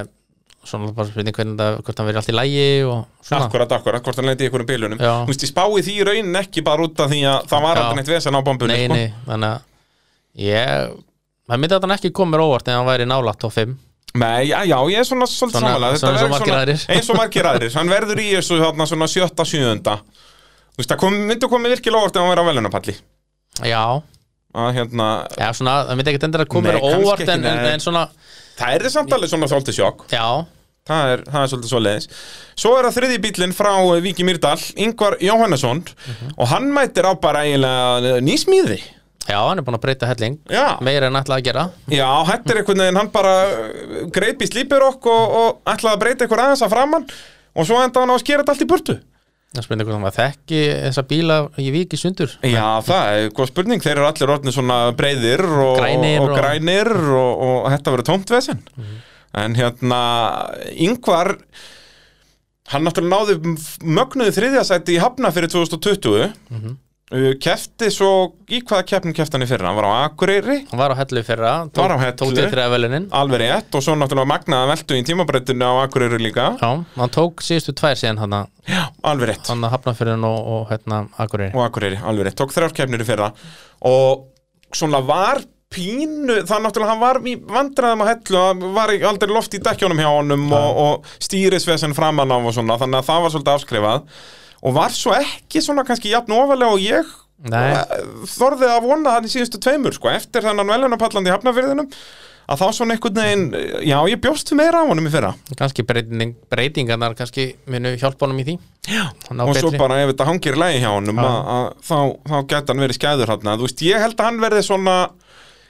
Speaker 2: svona bara spurning hvernig það, hvort hann verið allt í lægi og svona
Speaker 1: akkurat, akkurat, hvort hann lendi í einhverjum bilunum
Speaker 2: Já.
Speaker 1: Þú veist, ég spái því í raunin ekki bara út af því að það var
Speaker 2: Já.
Speaker 1: aldrei neitt vesen á bombunni
Speaker 2: nei,
Speaker 1: sko.
Speaker 2: nei, þannig að ég, maður myndi að hann ekki koma mér á óvart en hann væri nálægt top 5
Speaker 1: Nei, já, já, ég er svona svolítið
Speaker 2: Svona-
Speaker 1: samanlega
Speaker 2: svona eins og margir aðrir.
Speaker 1: Eins og margir aðrir, hann verður í þessu þarna svona sjötta, sjöunda Þú veist, það kom, myndi komið virkilega óvart ef hann verið á velunapalli
Speaker 2: já,
Speaker 1: að hérna,
Speaker 2: já svona, það myndi ekki endur að koma
Speaker 1: Nei,
Speaker 2: mér á
Speaker 1: kannski
Speaker 2: óvart
Speaker 1: ekki,
Speaker 2: en, en,
Speaker 1: nei.
Speaker 2: en svona,
Speaker 1: það er þið samt alveg svona þóltið sjokk
Speaker 2: já
Speaker 1: það er, það er svolítið svo leiðis Svo er það þriði bílinn frá eh, Víki Mýrdal Ingvar Jóhannesson og hann mætir á bara eiginlega eh, nýsmíði
Speaker 2: já, hann er búin að breyta helling
Speaker 1: Já,
Speaker 2: meira en ætlaði að gera
Speaker 1: já þetta er einhvern veginn hann bara eh, greip í slípir okk og, og ætlaði að breyta einhver aðeins að framann og svo enda hann á að skera þetta allt í burtu
Speaker 2: það spurning hvort hann var þekki þessa bíla í viki sundur
Speaker 1: Já, það er góð spurning, þeir eru allir orðnir svona breyðir og
Speaker 2: Grænir
Speaker 1: og,
Speaker 2: og- Mhm.
Speaker 1: grænir og, og þetta verður tómt vesen En hérna, yngvar, hann náttúrulega náði m- mögnuðu þriðjasæti í Hafna fyrir 2020 mm
Speaker 2: Mhm.
Speaker 1: Kefti svo, í hvaða keppnum kefti hann í fyrra? Hann var á Akureyri,
Speaker 2: hann var á hellu í fyrra, tók,
Speaker 1: Var á Hellu.
Speaker 2: tók til þreða velunin
Speaker 1: alveg rétt og svo náttúrulega magnaða veltu í tímabreitinu á Akureyri líka
Speaker 2: já, hann tók síðustu tvær síðan hann að-
Speaker 1: Já, alveg rétt
Speaker 2: hann að hafna fyrir hann og, og hérna Akureyri
Speaker 1: og Akureyri, alveg rétt, tók þrjár keppnir í fyrra og svona var pínu, það náttúrulega hann var í vandræðum að hellu, að var í- aldrei loft í dekkjónum hjá honum og, og stýrisvesen framan á og svona, þannig að það var svolítið afskrifað og var svo ekki svona kannski jafn ofalega og ég
Speaker 2: Nei.
Speaker 1: eh, þorði að vona það í síðustu tveimur sko, eftir þennan velunapallandi í hafnafyrðinum að þá svona einhvern veginn, eh, já ég bjóst við meira á honum í fyrra
Speaker 2: kannski breyting, breytingarnar kannski minu hjálpa honum í því já,
Speaker 1: og svo bara ef þetta hangir í lægi hjá honum
Speaker 2: Já.
Speaker 1: að, að, þá, þá geta hann verið skæður hann þú veist, ég held að hann verði svona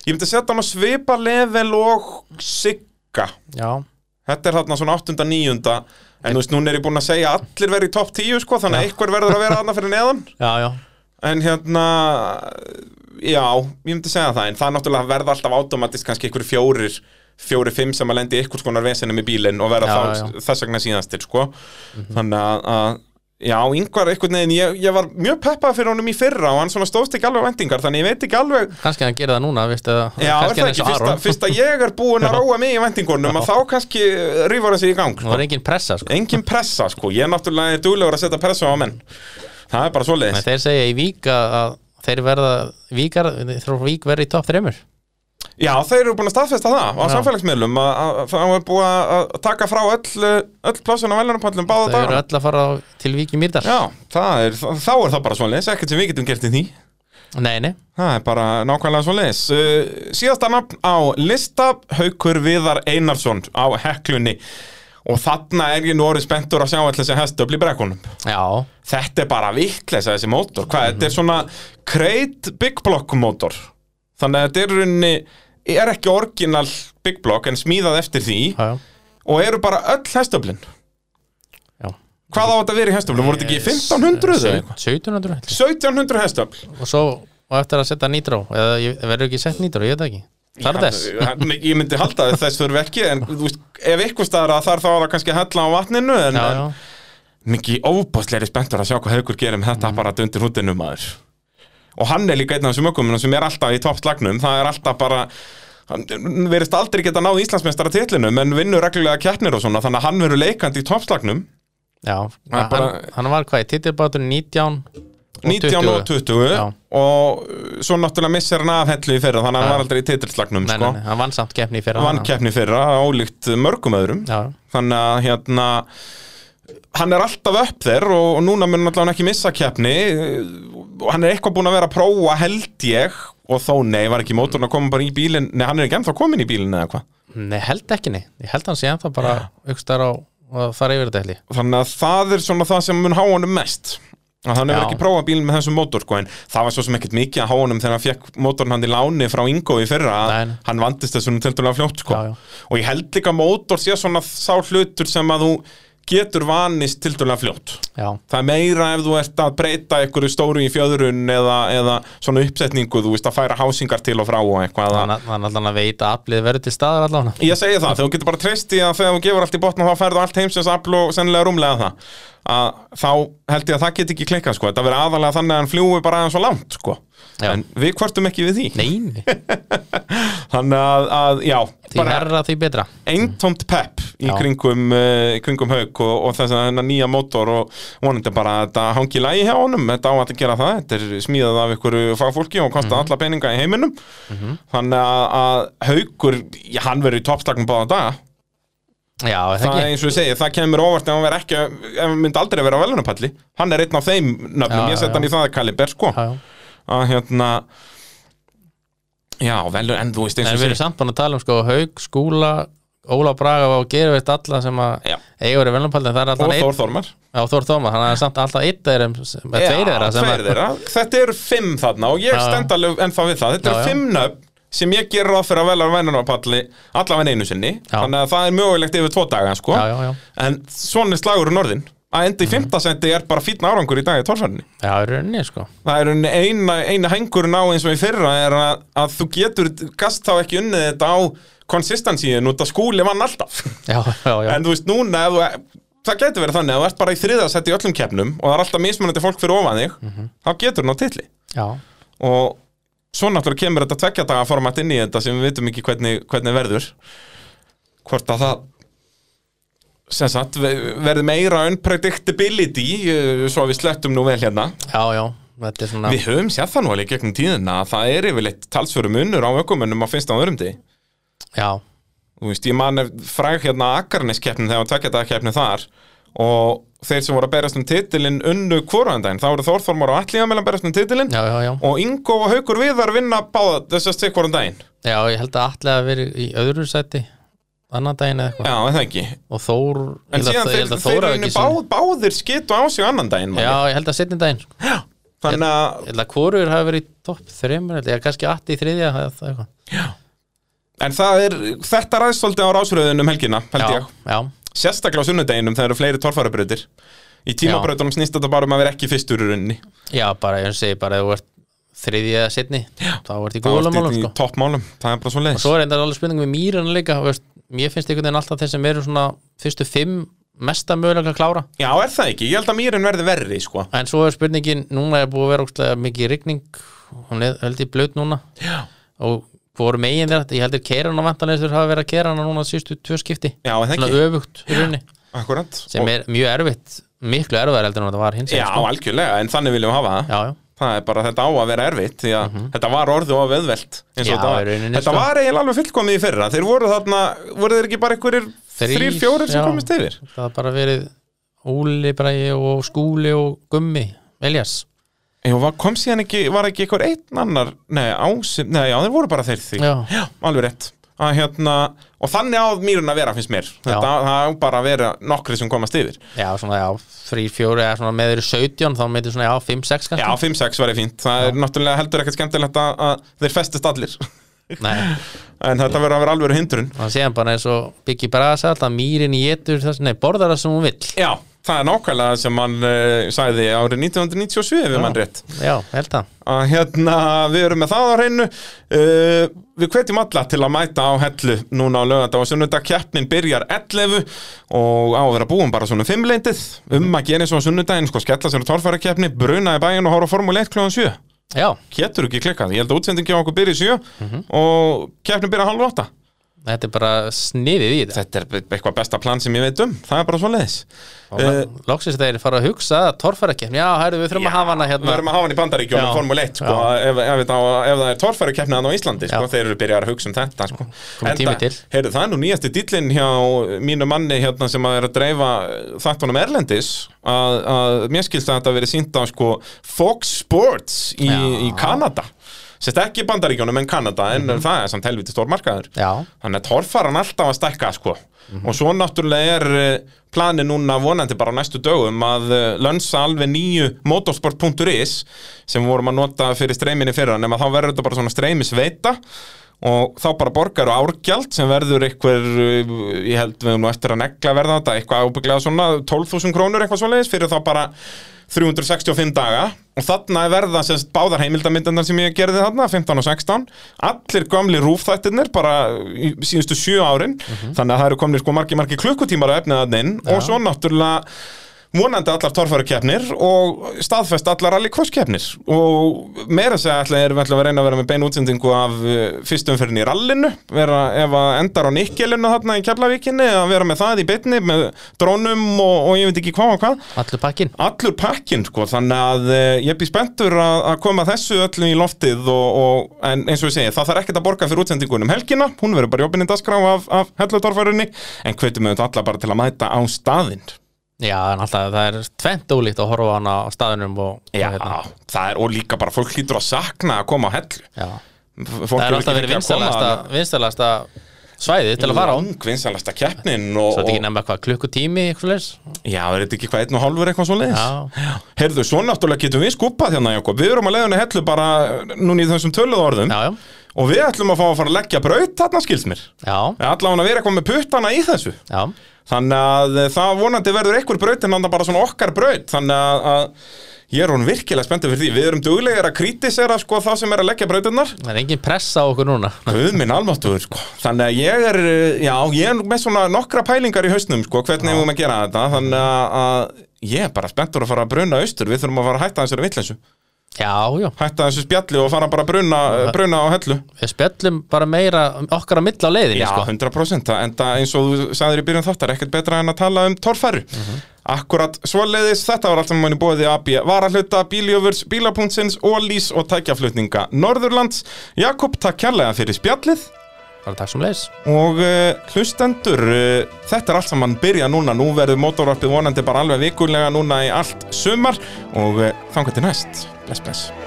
Speaker 1: ég myndi að setja hann að svipa level og sigga
Speaker 2: já,
Speaker 1: þetta er þarna svona 8. 9. en þú veist, núna er ég búinn að segja að allir verði í topp 10 sko, þannig að einhver verður að vera þarna fyrir neðan
Speaker 2: já, já,
Speaker 1: en hérna já, ég myndi segja það en það er náttúrulega að verða alltaf automatist kannski einhver fjórir fjóri, fimm sem að lendi einhvers konar vesinum í bílinn og verða
Speaker 2: Já, Mhm.
Speaker 1: þá þess vegna síðastir sko. þannig að, að já, yngvar einhvern veginn, ég, ég var mjög peppað fyrir honum í fyrra og hann svona stóðst ekki alveg á vendingar, þannig ég veit ekki alveg
Speaker 2: kannski hann gerir það núna veistu,
Speaker 1: já, er
Speaker 2: kannski
Speaker 1: það ekki, fyrst að, fyrst að ég er búin að róa mig í vendingunum að þá kannski rýfur hann sig í gang
Speaker 2: það var engin pressa sko.
Speaker 1: engin pressa, sko, ég náttúrulega er duglegur að setja pressa á menn það er bara
Speaker 2: en
Speaker 1: svoleiðis
Speaker 2: þeir segja í vík að að þeir verða víkar, þeir eru vík verði í topp þreymur
Speaker 1: Já, þeir eru búin að staðfesta það á
Speaker 2: Já.
Speaker 1: samfélagsmiðlum að að það er búið að að taka frá öll eh, öll plásun á veljarnapallum báða
Speaker 2: þeir eru
Speaker 1: dagar
Speaker 2: öll að fara á- til vík í Mýrdal
Speaker 1: Já, það er, þá er það bara svoleiðis ekkert sem við getum gert í því
Speaker 2: nei, nei,
Speaker 1: það er bara nákvæmlega svoleiðis uh, síðasta nafn á lista Haukur Viðar Einarsson á heklunni og þarna er ég nú orðið spenntur að sjá allir sem hestöfl í brekkunum
Speaker 2: já,
Speaker 1: þetta er bara vitleisa þessi mótor hvað, þetta er svona kreit big block mótor þannig að þetta er í rauninni er ekki orginal big block en smíðað eftir því
Speaker 2: já, já.
Speaker 1: og eru bara öll hestöflin
Speaker 2: já.
Speaker 1: hvað á þetta að vera í hestöflin, voru þetta ekki 1500 eða eitthvað?
Speaker 2: 1700 held ég.
Speaker 1: 1700 hestöfl
Speaker 2: og svo og eftir að setja nýtró eða ég- verður ekki sett nýtró, ég veit það ekki Þarf þess.
Speaker 1: Hann- Ég myndi halda að þess fyrir verki en þú veist, ef ykkur staðar að þar þá er það kannski að hella á vatninu en,
Speaker 2: já, já.
Speaker 1: en mikið óbásleiri spenntur að sjá hvað haugur gerir
Speaker 2: Mhm.
Speaker 1: með þetta apparat undir hútinu maður og hann er líka einn af þessum ökumunum sem er alltaf í toppslagnum það er alltaf bara hann verist aldrei geta náð Íslandsmeistara titlinum en vinnur reglulega keppnir og svona þannig að hann verður leikandi í toppslagnum
Speaker 2: Já,
Speaker 1: Það er
Speaker 2: hann,
Speaker 1: bara-
Speaker 2: hann var hvað í titilbátur 19 og
Speaker 1: 19 og 20
Speaker 2: Já.
Speaker 1: og uh, svo náttúrulega missir hann af hellu í fyrra þannig að hann
Speaker 2: Já.
Speaker 1: var aldrei í titilslagnum
Speaker 2: nei,
Speaker 1: sko.
Speaker 2: nei, nei, hann vann samt keppni í fyrra
Speaker 1: Hann vann
Speaker 2: þannig að-
Speaker 1: keppni í fyrra, ólíkt mörgum öðrum
Speaker 2: Já,
Speaker 1: þannig að hérna hann er alltaf upp þér og, og núna mun alltaf hann ekki missa keppni og hann er eitthvað búinn að vera að prófa held ég og þó nei, var ekki mótorn að koma bara í bílinn nei, hann er ekki ennþá komin í bílinn eða hvað
Speaker 2: nei, held ekki nei Ég held hann sé ennþá bara aukstar á og þar yfir þetta held ég
Speaker 1: þannig að það er svona það sem mun há honum mest að hann hefur
Speaker 2: Já.
Speaker 1: ekki prófað bílinn með þessum mótor sko, en það var svo sem ekkert mikið að há honum þegar hann fekk mótorn hann í láni frá Ingo í fyrra að
Speaker 2: Nei, nei.
Speaker 1: hann vandist þessum tildulega fljótt sko.
Speaker 2: Já, já.
Speaker 1: og ég held líka að mótor sé svona sá hlutur sem að þú getur vanist tildulega fljótt
Speaker 2: Já,
Speaker 1: það er meira ef þú ert að breyta einhverju stóru í fjöðrun eða, eða svona uppsetningu, þú veist að færa hásingar til og frá og eitthvað
Speaker 2: hann hann allan að veita að aflið verður til staðar allan
Speaker 1: Ég segi það, þegar þú getur bara treyst í að þegar þú gefur allt í botna þá færðu allt heimsins afl og sennilega rúmlega það að þá held ég að það get ekki klikkað sko, þetta verður aðalega þannig að hann fljúi bara aðeins og langt sko,
Speaker 2: Já.
Speaker 1: en við kvartum ekki við því
Speaker 2: Nei, nei,
Speaker 1: þannig að, að já,
Speaker 2: því herra því betra
Speaker 1: eintómt pepp í
Speaker 2: Já.
Speaker 1: kringum, uh, kringum haug og, og þess að hennar nýja mótor og vonandi bara að þetta hangi í lagi hjá honum þetta á að gera það, þetta er smíðað af ykkur fagfólki og kostar
Speaker 2: Mhm.
Speaker 1: alla peninga í heiminum þannig að, að haugur já, hann verður í toppstaknum báða daga
Speaker 2: Já, er það
Speaker 1: það er
Speaker 2: ekki
Speaker 1: eins og ég segi, það kemur óvart ef hann verður ekki, ef hann myndi aldrei vera á velunapalli hann er einn af þeim nöfnum,
Speaker 2: Já,
Speaker 1: ég set
Speaker 2: já.
Speaker 1: hann í það kaliber sko,
Speaker 2: Já, já.
Speaker 1: að hérna já, velun, en þú veist eins
Speaker 2: En
Speaker 1: og
Speaker 2: við
Speaker 1: ég
Speaker 2: erum
Speaker 1: segi
Speaker 2: samt búin að tala um sko Haug, Skúla, Óla Braga og Geru veitt alla sem að
Speaker 1: Já.
Speaker 2: eiga verið velnapaldin, það er
Speaker 1: og
Speaker 2: allan einn
Speaker 1: Þór Þormar
Speaker 2: Já, Þór Þóma, þannig að það er samt alltaf einn þeirra sem- eða tveir þeirra sem
Speaker 1: tveir
Speaker 2: að-
Speaker 1: þeirra. Þetta eru fimm þarna og ég
Speaker 2: Já, já.
Speaker 1: stend alveg ennþá við það Þetta
Speaker 2: Já,
Speaker 1: eru
Speaker 2: já.
Speaker 1: fimm nöfn sem ég ger ráð fyrir að velja vennunarpalli allavega einu sinni
Speaker 2: Já.
Speaker 1: Þannig að það er mögulegt yfir tvo daga sko.
Speaker 2: Já, Mhm. já, já.
Speaker 1: En svona er slagur um norðin Að enda í fimmta sendi er bara fínn árangur í dag í torfarni
Speaker 2: Já, í rauninni sko
Speaker 1: Það er einu, eina, eina hengurinn á eins og í fyrra er að, að þú getur gast þá ekki unnið þetta á konsistansíin út að skúli vann alltaf
Speaker 2: Já, já, já
Speaker 1: En þú veist, núna ef þú, það getur verið þannig að þú ert bara í þriðasett í öllum keppnum og það er alltaf mismunandi fólk fyrir ofan þig
Speaker 2: Mhm.
Speaker 1: þá getur hann á titli
Speaker 2: Já,
Speaker 1: og svo náttúrulega kemur þetta tveggja daga format inn í þetta sem við vitum ekki hvernig, hvernig verður hvort að það sem sagt ve- verður meira unpredictability eh, svo að við slettum nú vel hérna
Speaker 2: já, já, þetta er svona
Speaker 1: við höfum sér það nú alveg í gegnum tíðina að það er yfirleitt talsfjörum unnur á ökumönnum á finnst á öðrum degi
Speaker 2: Já,
Speaker 1: þú veist, ég man ef- fræg hérna Akarneskeppnin þegar var tveggjadagakeppnin þar og þeir sem voru að berast um titilinn unnu kvorandaginn, þá voru Þórþormar og Atli að meðan berast um titilinn
Speaker 2: já, já, já
Speaker 1: og Ingo og Haukur Viðar vinna báða þess að stikk kvorandaginn
Speaker 2: Já, ég held að allega að vera í öðru sæti annan daginn eða eitthvað
Speaker 1: Já, er það ekki
Speaker 2: og Þór, ég
Speaker 1: En
Speaker 2: held
Speaker 1: síðan
Speaker 2: að, ég
Speaker 1: þeir,
Speaker 2: held að
Speaker 1: þeir
Speaker 2: Þór hafi
Speaker 1: unnu
Speaker 2: ekki
Speaker 1: bá,
Speaker 2: sinni-
Speaker 1: báðir skitu á sig annan daginn man
Speaker 2: Já,
Speaker 1: ég.
Speaker 2: ég held að setni daginn sko.
Speaker 1: Þannig að,
Speaker 2: Ég held að hvorur hafi verið í topp þreymur eða kannski allt í þriðja það, það eitthvað
Speaker 1: en það er, þetta ræðst svolítið á rásröðunum helgina, held
Speaker 2: Já,
Speaker 1: ég
Speaker 2: já,
Speaker 1: Sérstaklega á sunnudeginum þegar eru fleiri torfærabrautir Í tímabrautunum snýst þetta bara um að vera ekki fyrstur í rauninni
Speaker 2: já, bara ég segi bara ef þú ert þriðja eða setni þá ert í
Speaker 1: Það er
Speaker 2: góðlega
Speaker 1: allt
Speaker 2: málum
Speaker 1: í
Speaker 2: sko.
Speaker 1: toppmálum, það er bara svo
Speaker 2: Svo er einnig alveg spurning með mýrana líka þú veist, Mér finnst einhvern veginn alltaf þeir sem eru svona fyrstu fimm mesta mögulega að klára
Speaker 1: Já, er það ekki? Ég held að mýrin verði verri, sko.
Speaker 2: En svo er spurningin, núna er búið að vera ógstlega mikið rigning, hún er held í blöð núna
Speaker 1: Já.
Speaker 2: og voru megin þeirra, ég heldur keiran og vantanleysur hafa verið að keira hana núna sístu tvö skipti
Speaker 1: Já, er það
Speaker 2: svona
Speaker 1: ekki?
Speaker 2: öfugt í rauninni,
Speaker 1: Akkurat.
Speaker 2: sem er mjög erfitt miklu erfiðar heldur en þetta var hins
Speaker 1: Já,
Speaker 2: sko.
Speaker 1: algjörlega, en þannig viljum við hafa það.
Speaker 2: já, já,
Speaker 1: Það er bara þetta á að vera erfitt, því að þetta var orðu of auðvelt. eins og
Speaker 2: Já,
Speaker 1: þetta var.
Speaker 2: í rauninni,
Speaker 1: Þetta
Speaker 2: sko.
Speaker 1: var eiginlega alveg fullkomið í fyrra. Þeir voru þarna, voru þeir ekki bara einhverjir
Speaker 2: Þrír,
Speaker 1: þrýr, fjórir sem
Speaker 2: já.
Speaker 1: komist yfir?
Speaker 2: það har bara verið Úli Bræi og Skúli og Gummi Elias,
Speaker 1: Jú, var- kom síðan ekki, var ekki einhver einn annar, nei, ásinn, nei, já, þeir voru bara þeir því.
Speaker 2: já,
Speaker 1: Já, alveg rétt. Að, hérna, og þannig á mýrun að vera, finnst mér. Þetta, það á bara að vera nokkri sem komast yfir.
Speaker 2: já svona já, þrý, fjóri eða svona með þeir eru 17 þá meitir svona já, 5, 6 kannski
Speaker 1: Já, 5-6 væri fínt. Það er náttúrulega heldur ekkert skemmtilegt að, að þeir festist allir.
Speaker 2: Nei,
Speaker 1: En þetta verður að vera alveg hindrun
Speaker 2: þannig séðan bara eins og Biggi Braga sagði alltaf mýrin í getur þess, nei, borðar það sem hún vill
Speaker 1: Já, það er nákvæmlega sem hann uh, sagði árið 1997 ef
Speaker 2: Já.
Speaker 1: mann rétt
Speaker 2: Já, held að
Speaker 1: að hérna við erum með það á hreinu uh, við hvetjum alla til að mæta á hellu núna á lögandag og sunnudag keppnin byrjar 11 og á að vera búin bara svona fimmleintið um að gera eins og á sunnudaginn sko skella sér á torfæra keppni bruna í bæinn og horfa á Formule 1 kljóðan 7
Speaker 2: Já,
Speaker 1: getur ekki klikkað, ég held að útsendingi á okkur byrja 7 og keppnin byrja halv 8
Speaker 2: þetta er bara sniðið í þetta
Speaker 1: þetta er eitthvað besta plan sem ég veit um það er bara Eh, svo leiðis
Speaker 2: uh, Loksins þeir fara að hugsa að torfærakefni Já, hæru, við þurfum að hafa hana
Speaker 1: Við
Speaker 2: hérna
Speaker 1: erum að hafa hann í bandaríkjónum
Speaker 2: Já.
Speaker 1: Formule 1 sko, ef, ef, þetta á- ef það er torfæru keppnaðan á Íslandi sko,
Speaker 2: Já.
Speaker 1: þeir eru byrjar að hugsa um þetta sko.
Speaker 2: Kominn tími til.
Speaker 1: heyrðu, það er nú nýjasti dýllinn hjá mínu manni hérna, sem að er að dreifa þáttunum Erlendis að, að mér skilst að þetta verið sínt á sko, Fox Sports í,
Speaker 2: Já.
Speaker 1: í Kanada Sérst ekki í bandaríkjónum en Kanada en
Speaker 2: Mhm.
Speaker 1: það er samt helviti stór markaður
Speaker 2: Já,
Speaker 1: Þannig að torfaran alltaf að stækka sko og svo náttúrulega er eh, planið núna vonandi bara á næstu dögum að eh, lönsa alveg nýju motorsport.is sem vorum að nota fyrir streyminni fyrra nema þá verður þetta bara svona streymisveita og þá bara borgar og árgjald sem verður eitthvað, ég held við höfum nú eftir að negla verða þetta, eitthvað ábygglega svona 12.000 krónur eitthvað svoleiðis fyrir þá bara 365 daga og þarna er verða sérst báðar heimildamyndarnar sem ég gerði þarna, 15 og 16 allir gömli rúfþættirnir bara í síðustu sjö árin þannig að það eru komni sko margi margi klukkutímar að efnið þarna inn og svo náttúrulega vonandi allar torfærukeppnir og staðfest allar rallycrosskeppnir og meira að segja ætla erum við ætla að reyna að vera með beinu útsendingu af eh, fyrstu umferðin í rallinu vera ef að endar á nikkelinu þarna í Keflavíkinni að vera með það í beinni með drónum og, og ég veit ekki hvað og hvað
Speaker 2: allur pakkin
Speaker 1: allur pakkin sko, þannig að eh, ég bý spenntur að, að koma þessu öllu í loftið og, og en eins og ég segi, það þarf ekkert að borga fyrir útsendingunum um helgina, hún verður bara í opinni dasgrá af, af hellutorfærunni, en hvetum við alla bara til að mæta á staðinn
Speaker 2: Já, en alltaf það er tvennt ólíkt að horfa á hana á staðunum og, og
Speaker 1: Já,
Speaker 2: hérna.
Speaker 1: það er, og líka bara fólk hlýtur að sakna að koma á hellu
Speaker 2: Já.
Speaker 1: F- fólk
Speaker 2: Það er
Speaker 1: hefur
Speaker 2: alltaf
Speaker 1: ekki fengið
Speaker 2: verið
Speaker 1: að koma
Speaker 2: vinstalasta,
Speaker 1: að-
Speaker 2: vinstalasta svæði til að fara á
Speaker 1: Lang vinsalasta keppnin og,
Speaker 2: Svo þetta
Speaker 1: og,
Speaker 2: ekki nefna hvað klukkutími eitthvað leys
Speaker 1: Já, er þetta ekki hvað einn og hálfur eitthvað svo leiðis?
Speaker 2: Já.
Speaker 1: Heyrðu, svo náttúrulega getum við skúpað hérna, Jakob Við erum að leiðuna hellu bara eh, núna í þessum töluð orðum
Speaker 2: Já, já,
Speaker 1: Og við ætlum að fá að fara að leggja braut þarna skilst mér
Speaker 2: já,
Speaker 1: Allavega að vera eitthvað með puttana í þessu
Speaker 2: já
Speaker 1: Þannig að eh, það vonandi verður einhver braut en andan bara svona okkar braut Þannig að, að ég er hún virkilega spenntið fyrir því Við erum duglegir að krítisera sko þá sem er að leggja brautinnar
Speaker 2: Það er engin pressa á okkur núna
Speaker 1: Guð minn almáttugur sko Þannig að ég er, eh, já, ég er með svona nokkra pælingar í hausnum sko Hvernig við um að gera þetta Þannig að, að ég er bara spenntur að fara að bruna austur Við þurfum að fara að hætta þessari villessu
Speaker 2: Já, já,
Speaker 1: Hætta þessu spjalli og fara bara að bruna, eh, bruna á hellu
Speaker 2: við spjöllum bara meira um okkar að milla á leiðinni
Speaker 1: Já,
Speaker 2: sko.
Speaker 1: 100% það- en það eins og þú sagðir í byrjun þáttar ekkert betra en að tala um torfæru Akkurat svoleiðis, þetta var allt sem manni bóði AB Varahluta, Bíljöfurs, Bílapunktsins, Ólís og tækjaflutninga Norðurlands Jakob, takk kærlega fyrir spjallið
Speaker 2: Bara takk sem leys
Speaker 1: og uh, hlustendur uh, þetta er allt sem mann byrja núna nú verður mótorvarpið vonandi bara alveg vikulega núna í allt sumar og uh, þangar til eh, næst Bless, bless